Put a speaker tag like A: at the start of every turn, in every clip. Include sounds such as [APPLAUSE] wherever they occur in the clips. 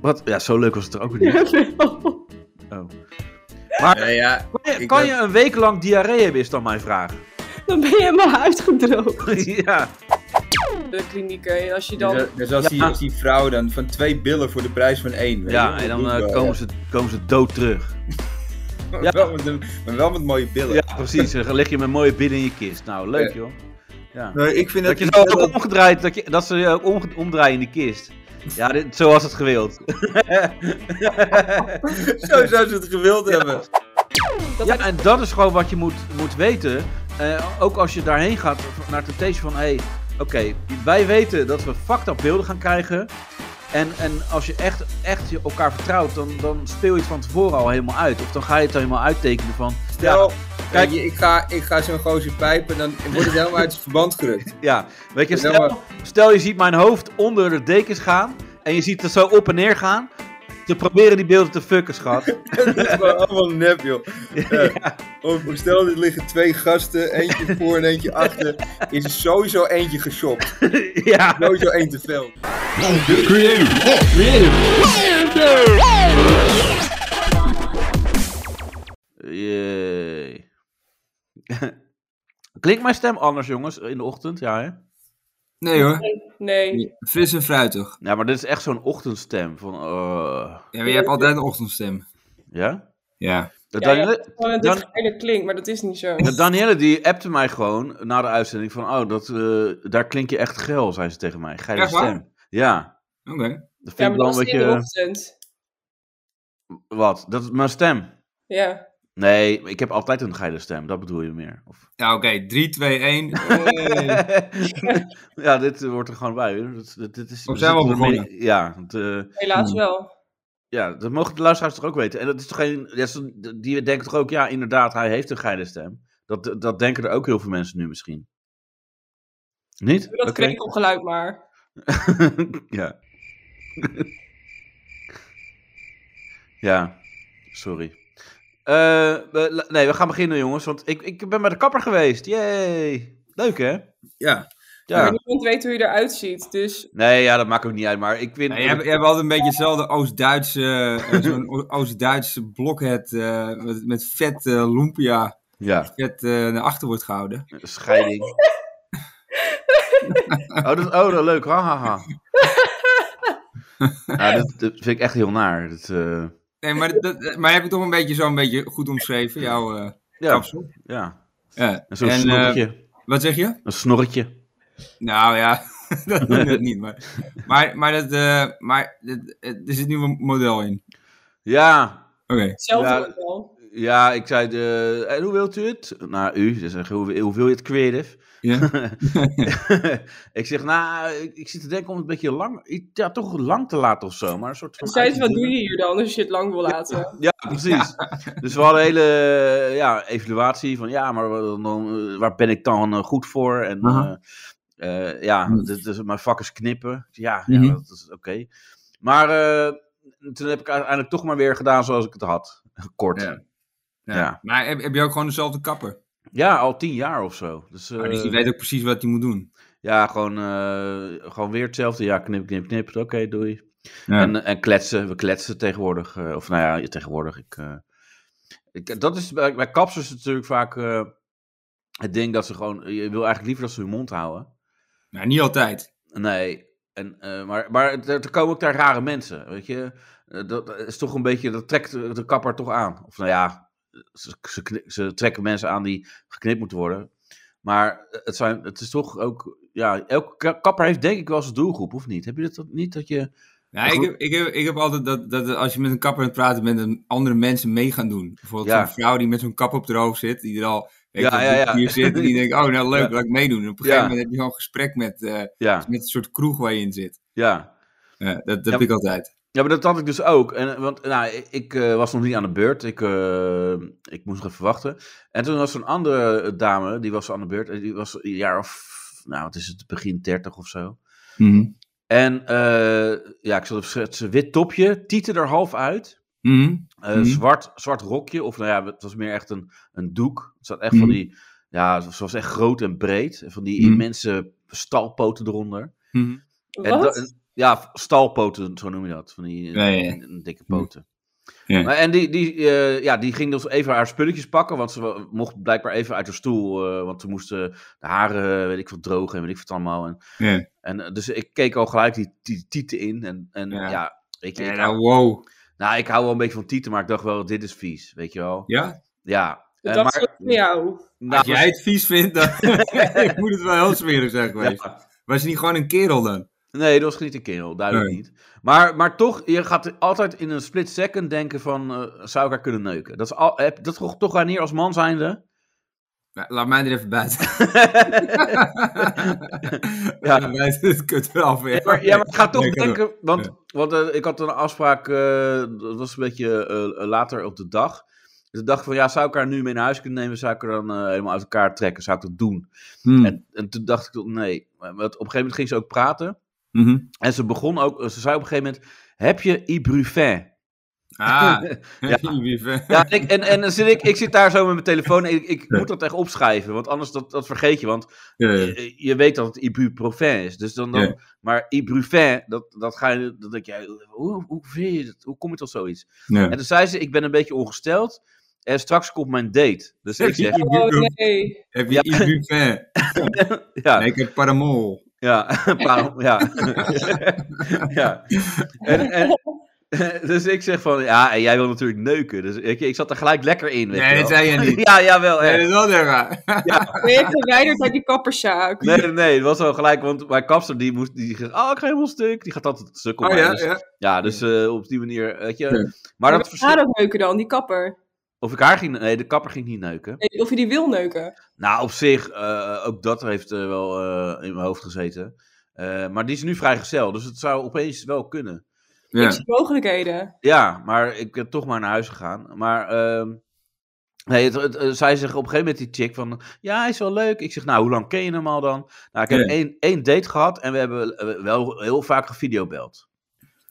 A: Wat? Ja, zo leuk was het er
B: [LAUGHS]
A: ook weer niet. Oh.
C: Ja, ja, dus
A: Kan, je,
C: Ik
A: kan
C: ben-
A: je een week lang diarree hebben, is dan mijn vraag. [LAUGHS]
B: Dan ben je helemaal uitgedroogd.
A: ja.
B: De klinieken. En als je
C: dus,
B: dan...
C: eh, dus als, die,
A: Ja.
C: als die vrouw dan van twee billen voor de prijs van één. weet je
A: ja,
C: wel,
A: en dan
C: dat
A: eh,
C: doet wel,
A: komen,
C: ja.
A: ze, komen ze dood terug. ja.
C: Maar [LAUGHS] wel met een- maar wel met mooie billen.
A: Ja, precies. Dan leg je met mooie billen in je kist. Nou, leuk joh. Ja.
C: Nee, ik vind
A: Dat je
C: die
A: ze ook
C: billen-
A: omgedraaid, dat, je, dat ze je ook omge- omdraaien in de kist. Ja, dit, zo was het
C: [LAUGHS]
A: gewild.
C: Zo zou ze het gewild hebben.
B: Dat
A: Ja, en dat is gewoon wat je moet, moet weten. Eh, ook als je daarheen gaat naar het Temptation van... Hey, Oké, wij weten dat we fucked up beelden gaan krijgen. En, en als je echt, echt je elkaar vertrouwt, dan, dan speel je het van tevoren al helemaal uit. Of dan ga je het al helemaal uittekenen van...
C: Stel,
A: kijk-
C: kijk, ik ga, ik ga zo'n gozer pijpen, dan wordt het helemaal uit zijn verband gerukt. [LAUGHS]
A: Ja, weet je,
C: Ja, maar-
A: stel, stel je ziet mijn hoofd onder de dekens gaan en je ziet het zo op en neer gaan. Ze proberen die beelden te fucken,
C: [LAUGHS]
A: schat.
C: dat is gewoon allemaal nep, joh. Eh, Of stel, er liggen twee gasten, eentje voor en eentje achter. Is er sowieso eentje geshopt.
A: ja.
C: Sowieso één te veel.
A: Jee. [LAUGHS] Klinkt mijn stem anders, jongens, in de ochtend? Ja, hè?
C: Nee hoor,
B: Nee.
C: fris en fruitig.
A: Ja, maar dit is echt zo'n ochtendstem van... eh,
C: Ja, maar je hebt altijd een ochtendstem.
A: ja?
C: Ja.
A: De
B: Ja, ja,
A: Danielle,
B: Gewoon dat het
A: Dan-
B: geiler klinkt, maar dat is niet zo.
A: de Danielle die appte mij gewoon na de uitzending van... Oh, dat, eh, daar klink je echt geil, zei ze tegen mij. Geile
C: Echt waar?
A: stem. Ja, dat
C: Oké.
B: Ja,
A: vind
B: maar
A: ik wel
B: dat
A: een
B: is in de
A: beetje...
B: ochtend.
A: Wat? Dat is mijn stem.
B: Ja.
A: Nee, ik heb altijd een geile stem, dat bedoel je meer. Of...
C: Ja, oké. 3, 2, 1.
A: [LAUGHS] ja, dit eh, wordt er gewoon bij. hoor. Dat- dat- dit is,
C: Of zijn we al
A: dit is ermee-
C: begonnen?
A: Ja, het, eh,
B: Helaas
C: Hmm.
B: wel.
A: ja, dat mogen de luisteraars toch ook weten. En dat is toch geen. dat is een- Die denken toch ook, ja, inderdaad, hij heeft een geile stem. Dat, dat denken er ook heel veel mensen nu misschien. Niet?
B: Dat
A: Oké.
B: krekelgeluid maar.
A: [LAUGHS] ja. ja, sorry. Eh, we- la- nee, we gaan beginnen, jongens. Want ik, ik ben bij de kapper geweest. Yay. Leuk, hè?
C: Ja.
B: Maar
A: Ja.
B: niemand weet hoe je eruit ziet, dus...
A: Nee, ja, dat maakt ook niet uit. Maar ik vind.
C: Ja, jij, hebt- jij hebt altijd een beetje hetzelfde Oost-Duitse, eh, zo'n O- Oost-Duitse blokhead eh, met, met vet eh, lumpia,
A: Ja,
C: vet eh, naar achter wordt gehouden.
A: [LAUGHS] scheiding. oh, dat, oh, dat leuk. Ha, ha, [LAUGHS] ha. Ja, dat, dat vind ik echt heel naar. Dat, eh,
C: Nee, maar, dat, maar heb je toch een beetje zo'n beetje goed omschreven, jouw eh
A: ja,
C: kapsel?
A: ja.
C: Ja.
A: En zo'n
C: eh,
A: snorretje.
C: wat zeg je?
A: een snorretje.
C: Nou ja, [LAUGHS] dat doe ik net niet, maar, maar, maar, dat, eh, maar dat, eh, er zit nu een model in.
A: Ja,
C: Oké.
B: Hetzelfde
A: Ja.
B: wordt wel.
A: Ja, ik zei, de, en hoe wilt u het? Nou, u, ze zeggen, hoe, hoe wil je het creative?
C: Ja.
A: [LAUGHS] ik zeg, nou, ik, ik zit te denken om het een beetje lang, ja, toch lang te laten of zo, maar een soort van...
B: Toen zei ze, wat
A: uitdiening.
B: doe je hier dan als je het lang wil laten?
C: [LAUGHS]
A: Ja, precies. Dus we hadden een hele eh, ja, evaluatie van, ja, maar wat dan, eh, waar ben ik dan eh, goed voor? En
C: Aha.
A: eh, eh, ja,
C: Hm.
A: dit is mijn vak is knippen. Dus Ja,
C: Mhm.
A: ja dat is oké. Maar eh, toen heb ik uiteindelijk toch maar weer gedaan zoals ik het had. [LAUGHS] Kort.
C: Ja.
A: Ja,
C: Ja.
A: Ja.
C: Nou, Maar heb, heb je ook gewoon dezelfde kapper?
A: al tien jaar of zo. Dus,
C: Oh, dus
A: eh,
C: die weet ook precies wat hij moet doen.
A: Ja, gewoon, eh, gewoon weer hetzelfde. Ja, knip, knip, knip. Oké, doei.
C: Ja.
A: En, en kletsen. We kletsen tegenwoordig. eh, of nou ja, tegenwoordig. Ik, eh, ik, dat is bij, bij kapsers natuurlijk vaak eh, het ding dat ze gewoon... Je wil eigenlijk liever dat ze hun mond houden.
C: Nou, niet altijd.
A: Nee. En, eh, maar maar er, er komen ook daar rare mensen, weet je. Eh, dat is toch een beetje... Dat trekt de de kapper toch aan. Of nou ja, ze, ze, kni- ze trekken mensen aan die geknipt moeten worden. Maar eh, het, zijn, het is toch ook... Ja, elke ka- kapper heeft denk ik wel zijn doelgroep, of niet? Heb je dat dat niet? Dat je...
C: Ja,
A: Maar
C: ik
A: goed.
C: heb, ik, heb, ik heb altijd dat, dat als je met een kapper aan het praten bent, dat andere mensen mee gaan doen. Bijvoorbeeld
A: Ja.
C: zo'n vrouw die met zo'n kap op haar hoofd zit, die er al weet
A: Ja,
C: je,
A: ja, ja.
C: hier zit, en die denkt, oh nou leuk,
A: [LAUGHS] Ja.
C: laat ik meedoen. En op een gegeven
A: Ja.
C: moment heb je gewoon een gesprek met, eh,
A: Ja,
C: met een soort kroeg waar je in zit.
A: ja.
C: Ja, dat dat
A: Ja.
C: heb ik altijd.
A: Ja, maar dat had ik dus ook. En, want nou, ik- ik eh, was nog niet aan de beurt. Ik, eh, ik moest nog even wachten. En toen was er een andere dame, die was aan de beurt. En die was een jaar of... Nou, wat is het? Begin 30 of zo. En eh, ja, ik zal het schetsen. Wit topje, tieten er half uit.
C: Mhm.
A: eh,
C: Mhm.
A: zwart, zwart rokje, of nou ja, het was meer echt een, een doek. Het zat echt van
C: Mhm.
A: die, ja, ze was echt groot en breed. Van die
C: Mhm.
A: immense stalpoten eronder.
C: Mhm.
A: En
B: Wat?
A: dat- en- Ja, stalpoten, zo noem je dat. Van die
C: Ja, ja.
A: een- een dikke poten.
C: Ja.
A: Maar, en die, die, eh, ja, die ging dus even haar spulletjes pakken, want ze wa- mocht blijkbaar even uit haar stoel. eh, want ze moesten de haren, weet ik veel, drogen en weet ik veel het allemaal. En,
C: Ja.
A: en, eh, dus ik keek al gelijk die, die tieten in. En, en ja.
C: Ja.
A: weet je,
C: Ja,
A: ik
C: nou,
A: hou,
C: wow.
A: nou, ik hou wel een beetje van tieten, maar ik dacht wel, dit is vies, weet je wel.
C: Ja?
A: Ja.
B: Dat
A: Eh,
B: dacht ze ook
A: [LAUGHS]
B: van jou.
A: nou,
C: Als jij het vies
A: [LAUGHS]
C: vindt, dan [LAUGHS] ik moet het wel heel smerig zijn
A: ja.
C: geweest. Was je niet gewoon een kerel dan?
A: Nee, dat was niet een kerel, duidelijk
C: Nee.
A: niet. Maar, maar toch, je gaat altijd in een split second denken van, eh, zou ik haar kunnen neuken? Dat, is al, heb, dat toch, toch aan hier als man zijnde? [LAUGHS]
C: Nou, laat mij er even buiten. [LAUGHS]
A: Ja.
C: ja. Buiten het kut wel af.
A: Ja, maar, ja, maar ik ga toch
C: Nee, kan
A: denken, want, want eh, ik had een afspraak, eh, dat was een beetje eh, later op de dag. Dus ik dacht van, ja, zou ik haar nu mee naar huis kunnen nemen? Zou ik haar dan eh, helemaal uit elkaar trekken? Zou ik dat doen?
C: Hmm.
A: En, en toen dacht ik, nee. Maar op een gegeven moment ging ze ook praten.
C: Mhm.
A: En ze begon ook, ze zei op een gegeven moment, heb je Ibrufen?
C: Ah,
A: [LAUGHS] Ja.
C: [LAUGHS] ja. lieve.
A: Ja, en, ik, en, en dan zit ik, ik zit daar zo met mijn telefoon en ik, ik
C: Ja.
A: moet dat echt opschrijven, want anders dat, dat vergeet je, want
C: Ja.
A: je, je weet dat het ibuprofen is. Dus dan, dan,
C: Ja.
A: Maar ibuprofen, dat, dat ga je, dat denk je, hoe, hoe, vind je dat? hoe kom je tot zoiets? En
C: Ja.
A: toen zei ze, ik ben een beetje ongesteld en straks komt mijn date. Dus ik
C: [LAUGHS]
A: zeg,
B: Oh nee.
C: Heb
A: Ja.
C: je ja. Buffet?
A: ja,
C: Nee, ik heb Paramol.
A: ja, [LAUGHS] waarom- ja. ja. En, en, [LAUGHS] dus ik zeg van, ja, en jij wil natuurlijk neuken. Dus ik, ik zat er gelijk lekker in, weet
C: Nee,
A: je
C: dat
A: wel.
C: zei je
A: [LAUGHS]
C: niet.
A: Ja, jawel,
C: Nee,
A: echt.
C: dat is wel heel [LAUGHS] raar.
B: Ben je verwijderd uit die kapperszaak?
A: Nee, nee, nee, het was wel gelijk, want mijn kapster die moest, die zegt, oh, ik ga helemaal stuk. Die gaat altijd stuk om
C: Oh
A: mij,
C: ja,
A: dus,
C: ja.
A: ja, dus eh, op die manier, weet je.
C: Ja.
A: Maar dat
B: dat
A: verschil,
B: Ga dat neuken dan, die kapper.
A: of ik haar ging, nee, de kapper ging niet neuken.
B: Nee, Of je die wil neuken.
A: Nou, op zich, eh, ook dat heeft eh, wel eh, in mijn hoofd gezeten. Eh, maar die is nu vrijgezel, dus het zou opeens wel kunnen.
B: Ik
C: ja.
B: zie mogelijkheden.
A: Ja, maar ik ben toch maar naar huis gegaan. Maar, ehm nee, het, het, eh, zij zegt op een gegeven moment die chick van, ja, hij is wel leuk. Ik zeg, nou, hoe lang ken je hem al dan? Nou, ik heb
C: Ja.
A: één, één date gehad en we hebben eh, wel heel vaak gevideobeld.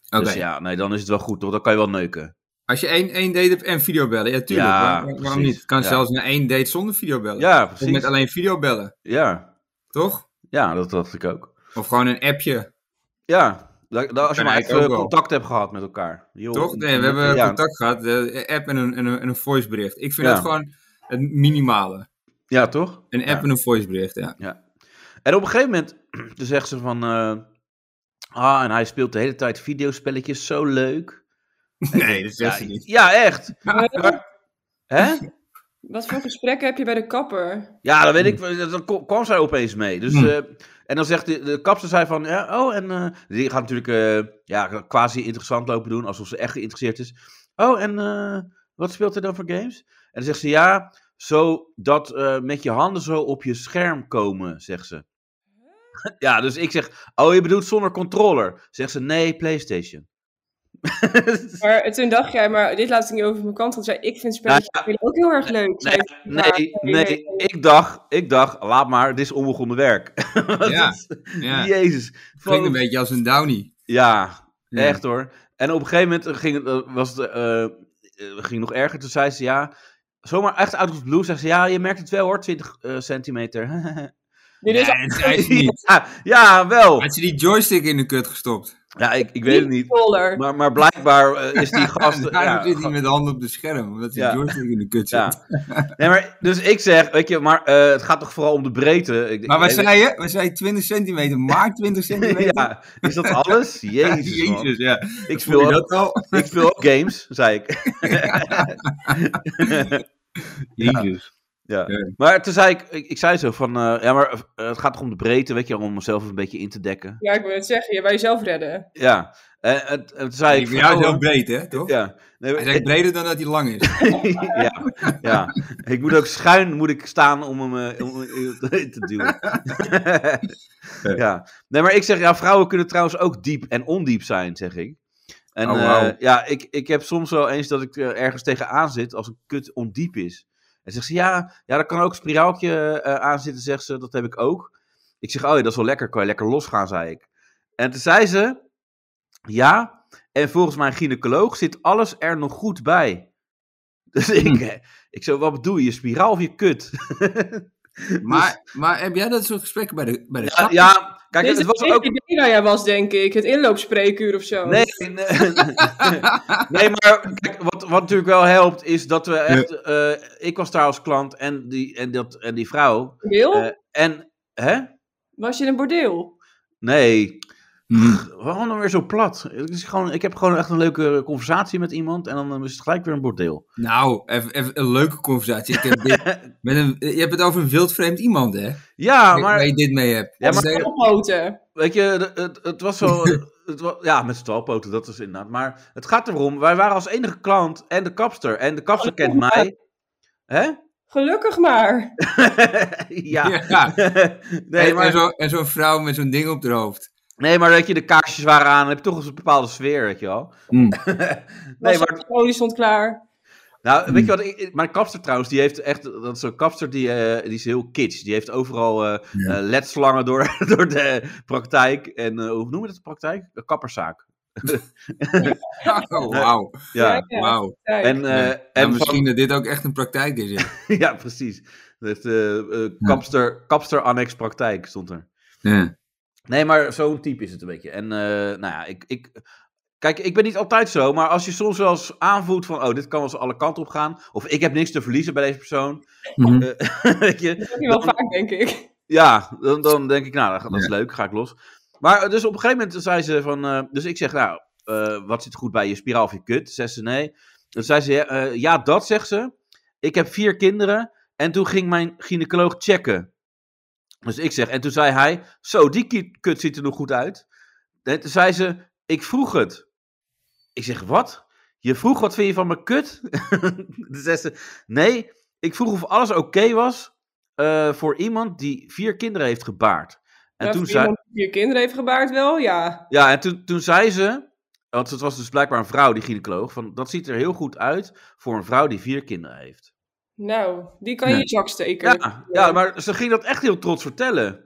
C: Oké.
A: Dus ja, nee, dan is het wel goed, toch? Dan kan je wel neuken.
C: Als je één, één date hebt en videobellen, ja tuurlijk.
A: Ja,
C: Waar- waar- waarom
A: precies.
C: niet? Het kan
A: Ja.
C: zelfs naar één date zonder videobellen.
A: Ja,
C: Of met
A: precies.
C: alleen videobellen,
A: Ja,
C: toch?
A: ja dat dacht ik ook.
C: Of gewoon een appje,
A: Ja, da- da- als je
C: Ben
A: maar
C: ik
A: echt
C: ook
A: eh,
C: wel.
A: contact hebt gehad met elkaar. Joh,
C: toch? Nee, we hebben
A: ja,
C: contact gehad, eh, app en een, en een, en een voicebericht. Ik vind
A: Ja.
C: dat gewoon het minimale.
A: Ja, toch?
C: Een app
A: Ja.
C: en een voicebericht, ja. [LAUGHS]
A: En op een gegeven moment [CLEARS THROAT] toen zegt ze van... eh, ah, en hij speelt de hele tijd videospelletjes, zo leuk.
C: Nee, dat
A: Ja,
C: zegt ze niet.
A: ja, echt. Hè?
B: Wat voor gesprekken heb je bij de kapper?
A: Ja, dat weet ik. Dan ko- kwam zij opeens mee. Dus,
C: Hmm.
A: eh, en dan zegt de, de kapster zij van, ja, oh, en eh, die gaat natuurlijk eh, ja, quasi interessant lopen doen, alsof ze echt geïnteresseerd is. Oh, en eh, wat speelt er dan voor games? En dan zegt ze, ja, zo dat eh, met je handen zo op je scherm komen, zegt ze. [LAUGHS] ja, dus ik zeg, oh, je bedoelt zonder controller? Zegt ze, nee, PlayStation.
B: Maar eh, toen dacht jij, maar dit laat ik niet over mijn kant. Want zei, ik vind spelletjes spelen ook heel erg leuk. zei ze. Maar,
A: Nou nee, nee, ik dacht, ik dacht, laat maar, dit is onbegonnen werk. [LAUGHS] Wat
C: Ja,
A: is-
C: Ja.
A: Jezus.
C: Klinkt
A: Van-
C: een beetje als een downy.
A: Ja,
C: Ja.
A: echt hoor. En op een gegeven moment ging het, eh, was het, eh, eh, ging nog erger. Toen zei ze ja, zomaar echt out of the blue. Zegt ze ja, je merkt het wel hoor, 20 eh, centimeter. [LAUGHS]
B: Dit is
C: Nee, dat zei ze niet.
A: ja, ja, wel.
C: Had je die joystick in de kut gestopt?
A: Ja, ik, ik weet het niet.
B: controller.
A: Maar, maar blijkbaar
C: [LAUGHS]
A: eh, is die gast...
C: Daarom
A: ja,
C: zit hij
A: ga-
C: met de handen op de scherm, omdat die
A: Ja.
C: joystick in de kut zit.
A: ja. Nee, maar, dus ik zeg, weet je, maar eh, het gaat toch vooral om de breedte. Ik,
C: Maar wat
A: ik-
C: zei je? Wat zei je? 20 centimeter, maar 20 centimeter?
A: [LAUGHS] Ja, is dat
C: [LAUGHS]
A: alles? Jezus, man.
C: Jezus, ja.
A: Ik
C: Voel
A: speel
C: je
A: ook-
C: dat al?
A: ik speel ook games, zei
C: [LAUGHS]
A: ik. [LAUGHS]
C: Jezus.
A: Ja.
C: Ja.
A: Maar toen zei ik, ik, ik zei zo van, eh, ja, maar eh, het gaat toch om de breedte, weet je, om mezelf een beetje in te dekken.
B: Ja, ik wil het zeggen. Je bij jezelf redden.
A: Ja. En, en- en toen zei
C: Die
A: ik,
C: voor
A: van,
C: jou is
A: oh,
C: heel breed, hè? Toch?
A: ja. Nee,
C: Hij
A: maar-
C: is breder dan dat hij lang is.
A: [LAUGHS] ja, ja. Ik moet ook schuin moet ik staan om hem eh, om, eh, te duwen. ja. Nee, maar ik zeg, ja, vrouwen kunnen trouwens ook diep en ondiep zijn, zeg ik. En
C: Oh, wauw.
A: eh, ja, ik, ik heb soms wel eens dat ik eh, ergens tegenaan zit als een kut ondiep is. En zegt ze, ja, ja daar kan ook een spiraaltje eh, aan zitten, zegt ze, dat heb ik ook. Ik zeg, oh ja, dat is wel lekker, kan je lekker losgaan, zei ik. En toen zei ze, ja, en volgens mijn gynaecoloog zit alles er nog goed [LAUGHS]
B: Hmm.
A: bij. Dus ik, eh, ik zo, wat bedoel je, je spiraal of je kut?
D: Maar, maar heb jij dat soort gesprekken bij de, bij de
A: Ja, ja, kijk,
B: Dit
A: het
B: is
A: was
B: het
A: ook...
B: ook... idee waar jij was, denk ik. Het inloopspreekuur of zo.
A: Nee, nee, [LAUGHS] nee, maar kijk, wat, wat natuurlijk wel helpt is dat we echt... eh, ik was daar als klant en die, en dat, en die vrouw.
B: Bordeel?
A: eh, en, hè?
B: was je in een bordeel?
A: Nee,
D: Hm.
A: Waarom dan weer zo plat? Het is gewoon, ik heb gewoon echt een leuke conversatie met iemand en dan is het gelijk weer een bordeel.
D: Nou, even, even een leuke conversatie. Ik heb
A: [LAUGHS]
D: dit met een, je hebt het over een wildvreemd iemand, hè?
A: Ja,
D: Waar
A: maar
D: je dit mee hebt.
A: Ja,
D: Dat is
B: Met
D: de-
B: Oppoten.
A: weet je, de- het, het was
D: [LAUGHS]
A: zo. Het wa- ja, met z'n twaalfpoten, dat is inderdaad. Maar het gaat erom, wij waren als enige klant en de kapster. En de
D: Oh,
A: kapster kent mij. Hè? [LAUGHS]
B: Gelukkig maar.
A: ja.
D: [LAUGHS] Ja.
A: [LAUGHS] nee,
D: en, en
A: maar,
D: zo- en zo'n vrouw met zo'n ding op haar
A: [LAUGHS]
D: hoofd.
A: nee, maar weet je, de kaarsjes waren aan. Dan heb je toch eens een bepaalde sfeer, weet je wel.
B: Nee,
A: [LAUGHS] Nee,
B: maar...
A: maar
B: De olie stond klaar.
A: Nou,
D: Hmm.
A: weet je wat? ik- ik- mijn kapster trouwens, die heeft echt. Dat is zo'n kapster die, eh, die is heel kitsch. Die heeft overal eh
D: Ja.
A: eh, ledslangen door, [LAUGHS] door de praktijk. En eh, hoe noemen we dat de praktijk? Een kapperszaak.
D: Oh, wauw.
A: Ja.
D: Wauw.
B: kijk.
A: En, eh,
D: Ja.
A: en
D: Ja,
A: van-
D: misschien dat dit ook echt een praktijk is.
C: [LAUGHS]
D: Ja.
A: [LAUGHS] ja, precies. Dat, eh, eh, kapster, kapster Annex Praktijk stond er.
D: Ja.
A: Nee, maar zo'n type is het een beetje. En eh, nou ja, ik, ik. Kijk, ik ben niet altijd zo, maar als je soms wel eens aanvoelt van, oh, dit kan wel eens alle kanten op gaan. Of ik heb niks te verliezen bij deze persoon. eh,
D: Mhm.
A: [LAUGHS] Weet je,
B: Dat heb je wel
A: dan-
B: vaak, denk ik.
A: Ja, dan, dan denk ik, nou, dat, dat is leuk, ga ik los. Maar eh, dus op een gegeven moment zei ze van... eh, dus ik zeg, nou, eh, wat zit goed bij je spiraal of je kut? Zegt ze nee. Dan zei ze, ja, eh, ja, dat zegt ze. Ik heb vier kinderen. En toen ging mijn gynaecoloog checken. Dus ik zeg, en toen zei hij... Zo, die ki- kut ziet er nog goed uit. En toen zei ze, ik vroeg het. Ik zeg, wat? Je vroeg, wat vind je van mijn kut? [LAUGHS] toen zei ze, nee, ik vroeg of alles oké was eh, voor iemand die vier kinderen heeft gebaard. En
B: Ja,
A: toen
B: voor
A: zei,
B: iemand die je kinderen heeft gebaard wel, ja.
A: ja, en toen, toen zei ze, want het was dus blijkbaar een vrouw, die gynaecoloog, van dat ziet er heel goed uit voor een vrouw die vier kinderen heeft.
B: Nou, die kan je
D: Ja.
B: in je zak steken.
A: Ja, ja, maar ze ging dat echt heel trots vertellen.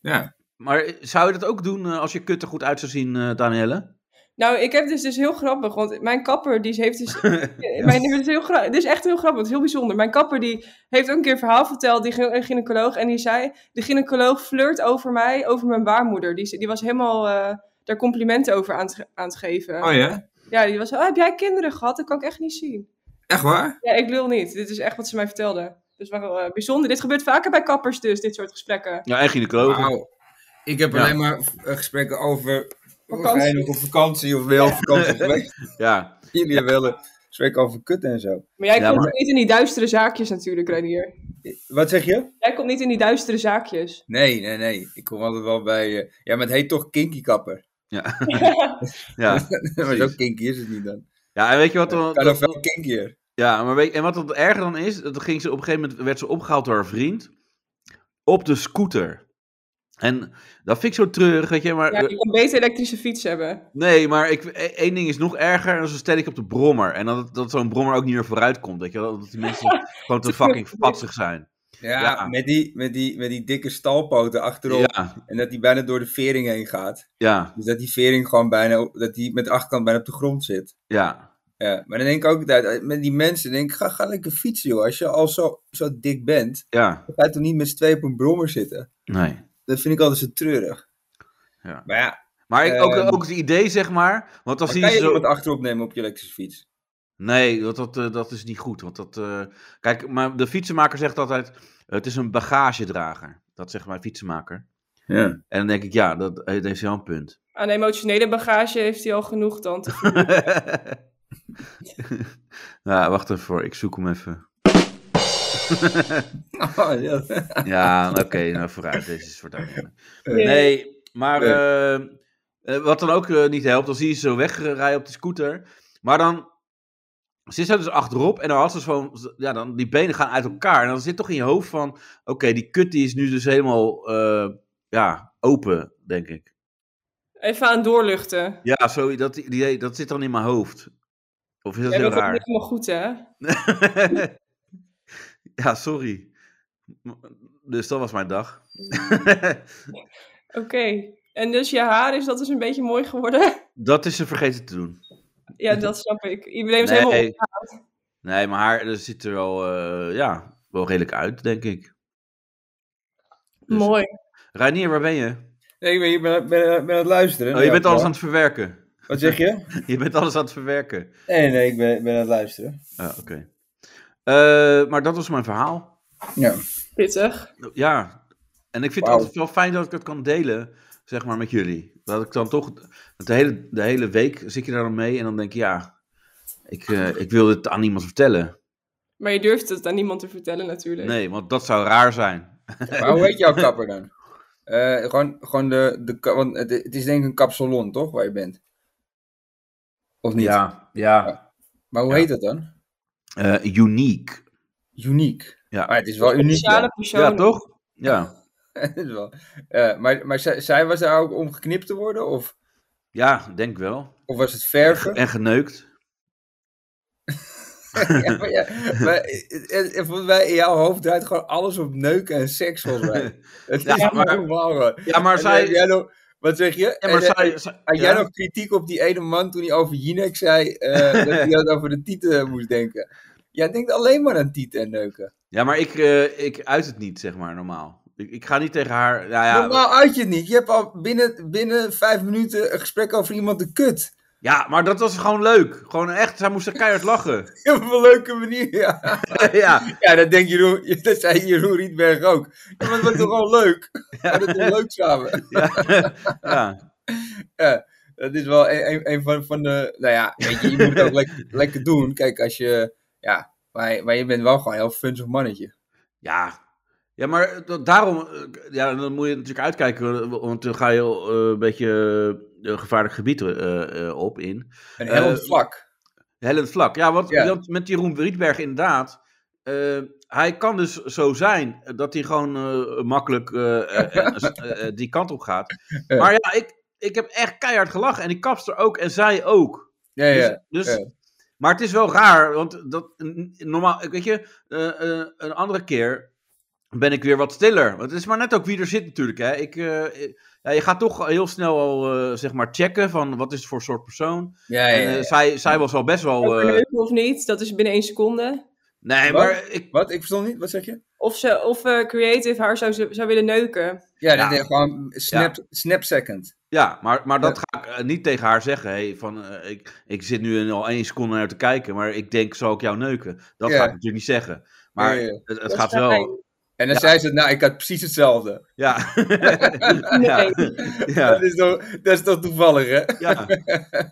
D: Ja.
A: Maar zou je dat ook doen eh, als je kut er goed uit zou zien, eh Danielle?
B: Nou, ik heb dus, dus heel grappig, want mijn kapper die heeft dus... mijn, dit, is heel gra- dit is echt heel grappig, het is heel bijzonder. Mijn kapper die heeft ook een keer een verhaal verteld, die gy- een gynaecoloog, en die zei... De gynaecoloog flirt over mij, over mijn baarmoeder. Die, die was helemaal eh, daar complimenten over aan het, ge- aan het geven.
D: Oh ja?
B: Ja, die was zo, oh, heb jij kinderen gehad? Dat kan ik echt niet zien.
D: Echt waar?
B: Ja, ik lul niet. Dit is echt wat ze mij vertelde. Dus wel eh, bijzonder. Dit gebeurt vaker bij kappers dus, dit soort gesprekken.
A: Ja, en gynaecoloog.
D: Wauw. Ik heb
A: Ja.
D: alleen maar eh, gesprekken over...
B: Vakantie.
D: Ga je nog op vakantie of wel?
C: Op [LAUGHS] vakantie geweest.
A: Ja.
C: Jullie hebben
D: eh,
C: wel een gesprek over kut en zo.
B: Maar jij
A: Ja,
B: komt
A: maar-
B: niet in die duistere zaakjes natuurlijk, Renier.
C: Wat zeg je?
B: Jij komt niet in die duistere zaakjes.
C: Nee, nee, nee. Ik kom altijd wel bij... eh, ja, maar het heet toch kinky kapper? [LAUGHS]
A: Ja. ja.
C: maar zo kinky is het niet dan.
A: ja, en weet je wat dan...
C: Kan nog wel kinkier.
A: Ja, maar weet, en wat het erger dan is, dat ging ze op een gegeven moment werd ze opgehaald door haar vriend op de scooter. En dat vind ik zo treurig, weet je, maar
B: Ja, je kan beter elektrische fiets hebben.
A: nee, maar ik, e- één ding is nog erger, en dat is een stelling op de brommer. En dat, dat zo'n brommer ook niet meer vooruit komt, weet je, wel, dat die mensen gewoon te fucking patsig zijn.
C: Ja,
A: Ja.
C: Met, die, met, die, met die dikke stalpoten achterop.
A: Ja,
C: En dat die bijna door de vering heen gaat.
A: ja,
C: Dus dat die vering gewoon bijna... op- Dat die met de achterkant bijna op de grond zit.
A: ja,
C: Ja, maar dan denk ik ook altijd, met die mensen, denk ik, ga, ga lekker fietsen joh. Als je al zo, zo dik bent,
A: ja,
C: dan ga je toch niet met z'n tweeën op een brommer zitten.
A: nee.
C: Dat vind ik altijd zo treurig.
A: Ja.
C: Maar ja,
A: Maar ik, ook,
C: Ehm,
A: ook het idee, zeg maar, want dan
C: dan
A: zie
C: kan
A: je
C: je
A: zo...
C: iemand achterop nemen op je elektrische fiets.
A: Nee, dat, dat, eh, dat is niet goed. Want dat, eh, kijk, maar de fietsenmaker zegt altijd: het is een bagagedrager. Dat zegt mijn fietsenmaker.
C: Ja.
A: En dan denk ik, ja, dat eh, dat heeft wel een punt. [LAUGHS]
B: Aan emotionele bagage heeft hij al genoeg dan. te-
A: nou, wacht even voor, ik zoek hem even.
C: Oh, ja.
A: Ja, oké, nou vooruit, deze is voor Daniel.
B: Nee.
A: Nee, maar eh, eh, wat dan ook eh, niet helpt, dan zie je ze zo wegrijden op de scooter. Maar dan zit ze dus achterop en dan had ze zo'n, ja, dan die benen gaan uit elkaar. En dan zit toch in je hoofd van, oké, die kut die is nu dus helemaal, eh, ja, open, denk ik.
B: Even aan doorluchten.
A: Ja, zo, dat, idee, dat zit dan in mijn hoofd. Of is dat
B: Jij
A: heel
B: bent ook
A: raar?
B: niet helemaal goed, hè?
A: [LAUGHS] ja, sorry. M- Dus dat was mijn dag.
B: Oké. En dus je haar is dat is een beetje mooi geworden.
A: [LAUGHS]
B: [LAUGHS]
A: dat is ze vergeten te doen.
B: ja, dat snap ik. Iedereen is
A: nee,
B: helemaal...
A: nee, maar haar er ziet er wel, eh, ja, wel redelijk uit, denk ik. Dus-
B: Mooi.
A: Reinier, waar ben je?
C: Nee, ik ben, ik ben, ben, ben aan het luisteren.
A: Oh, je
C: Ja,
A: bent alles
C: ja.
A: aan het verwerken. [LAUGHS]
C: Wat zeg je?
A: Je bent alles aan het verwerken.
C: Nee, nee, ik ben, ben aan het luisteren.
A: Ah, oké. Eh, maar dat was mijn verhaal.
C: Ja.
B: Pittig.
A: Ja. En ik vind
C: Wauw.
A: het altijd wel fijn dat ik het kan delen, zeg maar, met jullie. Dat ik dan toch, dat de hele, de hele week zit je daar dan mee en dan denk je, ja, ik, eh, ik wil dit aan niemand vertellen.
B: Maar je durft het aan niemand te vertellen natuurlijk.
A: Nee, want dat zou raar zijn.
C: Maar hoe heet jouw kapper dan? Eh, gewoon gewoon de, de, ka- want het, het is denk ik een kapsalon, toch? Waar je bent. Of niet?
A: Ja, ja.
C: Maar hoe
A: Ja.
C: heet dat dan?
A: Eh, uniek.
C: Uniek.
A: Ja.
C: Maar het is wel uniek.
B: Speciale
C: dan.
B: persoon.
A: Ja, toch? Ja.
C: [LAUGHS] Het is wel. Eh, maar maar zij, zij was daar ook om geknipt te worden? Of,
A: Ja, denk wel.
C: of was het
A: [LAUGHS]
C: verven?
A: En geneukt.
C: ja, maar ja, maar, het- het- het- volgens mij in jouw hoofd draait gewoon alles op neuken en seks, volgens
A: [LAUGHS]
C: mij. Het
A: Ja,
C: is ja,
A: maar-
C: maar, normaal. eh,
A: Ja, maar zij...
C: Jij nog, wat zeg je?
A: Ja, maar
C: En, eh,
A: zij, zij-
C: Had jij
A: ja?
C: nog kritiek op die ene man toen hij over Jinek zei eh,
A: [LAUGHS]
C: dat hij dat over de tieten moest denken? Jij denkt alleen maar aan tieten en neuken.
A: Ja, maar ik, eh, ik uit het niet, zeg maar, normaal. Ik, ik ga niet tegen haar... Nou ja,
C: Normaal uit je het niet. Je hebt al binnen, binnen vijf minuten een gesprek over iemand de kut.
A: ja, maar dat was gewoon leuk. Gewoon echt, zij moest er keihard lachen. [LAUGHS]
C: [LAUGHS] Op een leuke manier, ja.
A: ja,
C: Ja, dat denkt Jeroen, [LAUGHS] dat zei Jeroen Rietberg ook. Ja, maar het was toch wel leuk? Ja, dat is leuk samen.
A: [LAUGHS] ja.
C: Dat is wel een, een, een van, van de, nou ja, weet je, je moet het ook lekker, lekker doen. Kijk, als je, ja, maar, maar je bent wel gewoon een heel funzig mannetje.
A: ja. Ja, maar dat- daarom... eh, Ja, dan moet je natuurlijk uitkijken, want dan ga je eh, een beetje eh, gevaarlijk gebied eh, eh, op in.
C: Een heel
A: Eh,
C: vlak.
A: Hellend vlak. Ja, want
C: Ja.
A: want met Jeroen Rietberg inderdaad. eh, hij kan dus zo zijn dat hij gewoon eh, makkelijk eh, eh, eh, eh, eh, die kant op gaat.
C: Ja.
A: Maar ja, ik, ik heb echt keihard gelachen. En die kapster ook. En zij ook.
C: Ja,
A: Dus,
C: ja.
A: dus,
C: ja.
A: Maar het is wel raar. Want dat, n- normaal, weet je, eh, eh, een andere keer ben ik weer wat stiller. Want het is maar net ook wie er zit natuurlijk. Hè. Ik, eh, ik- ja, je gaat toch heel snel al eh, zeg maar checken van wat is het voor soort persoon.
C: Ja,
A: En,
C: ja,
A: eh,
C: ja.
A: zij, zij was al best wel...
B: Of
A: eh,
B: leuk of niet, dat is binnen één seconde.
A: Nee,
C: Wat?
A: maar ik.
C: Wat? Ik verstond niet. Wat zeg je?
B: Of, ze, of eh, Creative haar zou, zou willen neuken.
C: Ja,
A: Ja.
C: dat is gewoon snap, snap second.
A: Ja, maar, maar dat ga ik eh, niet tegen haar zeggen. Hey, van, eh, ik, ik zit nu in al één seconde naar te kijken, maar ik denk, zal ik jou neuken? Dat
C: Ja.
A: ga ik natuurlijk niet zeggen. Maar
C: Ja, ja.
A: het, het
B: Dat
A: gaat
B: is
A: wel.
B: fijn.
C: En dan zei ze, nou, ik had precies hetzelfde.
A: Ja. [LAUGHS] ja.
C: Dat, [LAUGHS]
A: ja.
C: is toch, dat is toch toevallig, hè? Oké,
A: ja.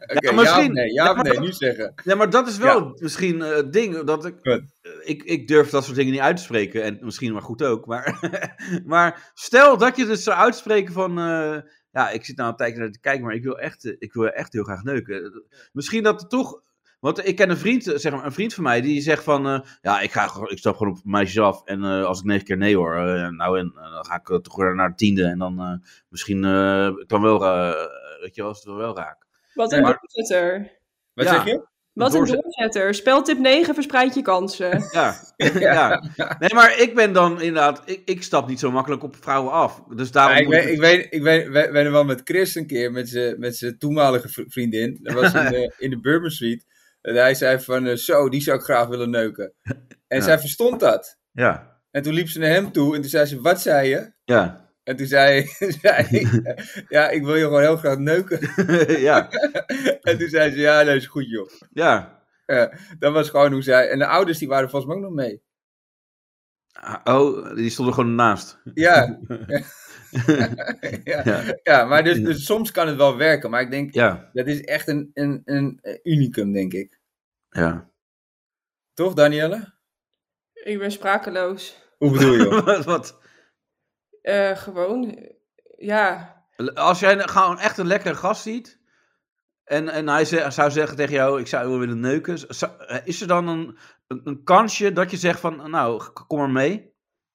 C: ja,
A: misschien.
C: of nee, ja,
A: Ja,
C: of nee, nu zeggen.
A: Ja, maar dat is wel misschien eh, het ding. Dat ik,
C: Wat?
A: eh, ik, ik durf dat soort dingen niet uit te spreken. En misschien maar goed ook. Maar, [LAUGHS] maar stel dat je dus zou uitspreken van... eh, ja, ik zit nou een tijdje naar te kijken, maar ik wil echt, eh, ik wil echt heel graag neuken. Eh, Misschien dat het toch... Want ik ken een vriend, eh, zeg maar, een vriend van mij, die zegt van... eh, ja, ik, ga, gewoon- ik stap gewoon op meisjes af. En eh, als ik negen keer nee hoor, eh, nou en... eh, dan ga ik eh, toch weer naar de tiende. En dan eh, misschien eh, kan wel... eh, weet je wel, als het wel raak.
B: Wat
C: Ja,
B: een
A: maar-
B: doorzetter.
C: Wat
A: Ja.
C: zeg je?
B: Wat een
A: Doorzet-
B: doorzetter. Speltip 9, verspreid je kansen.
A: Ja, ja. Nee, maar ik ben dan inderdaad... Ik, ik stap niet zo makkelijk op vrouwen af. Dus daarom...
C: Ja, ik,
A: moet
C: weet, ik, weet, ik weet, we- we hebben wel met Chris een keer, met zijn met zijn toenmalige v- vriendin. Dat was in
A: [LAUGHS]
C: de, in de Bourbon Street. En hij zei van, eh, zo, die zou ik graag willen neuken. En
A: Ja.
C: zij verstond dat.
A: Ja,
C: En toen liep ze naar hem toe en toen zei ze, wat zei je?
A: ja. [LAUGHS]
C: En toen zei, [LAUGHS] zei hij, ja, ik wil je gewoon heel graag
A: [LAUGHS]
C: neuken.
A: ja,
C: En toen zei ze, ja, dat is goed, joh.
A: ja.
C: Dat was gewoon hoe zij... En de ouders die waren volgens mij ook nog
A: [LAUGHS]
C: mee.
A: Ah, Oh, die stonden gewoon naast.
C: Ja. ja.
A: [LAUGHS] Ja,
C: ja, maar dus, dus soms kan het wel werken. Maar ik denk,
A: ja,
C: dat is echt een, een, een eh, unicum, denk ik.
A: ja. [LAUGHS]
C: Toch, Danielle?
B: Ik ben sprakeloos.
C: Hoe
A: [LAUGHS]
C: bedoel je?
A: wat, wat?
B: Eh, gewoon, ja.
A: Als jij gewoon echt een lekkere gast ziet... En, en hij ze- zou zeggen tegen jou, ik zou wel willen neuken. zou- is er dan een, een, een kansje dat je zegt van, nou, k- kom maar mee?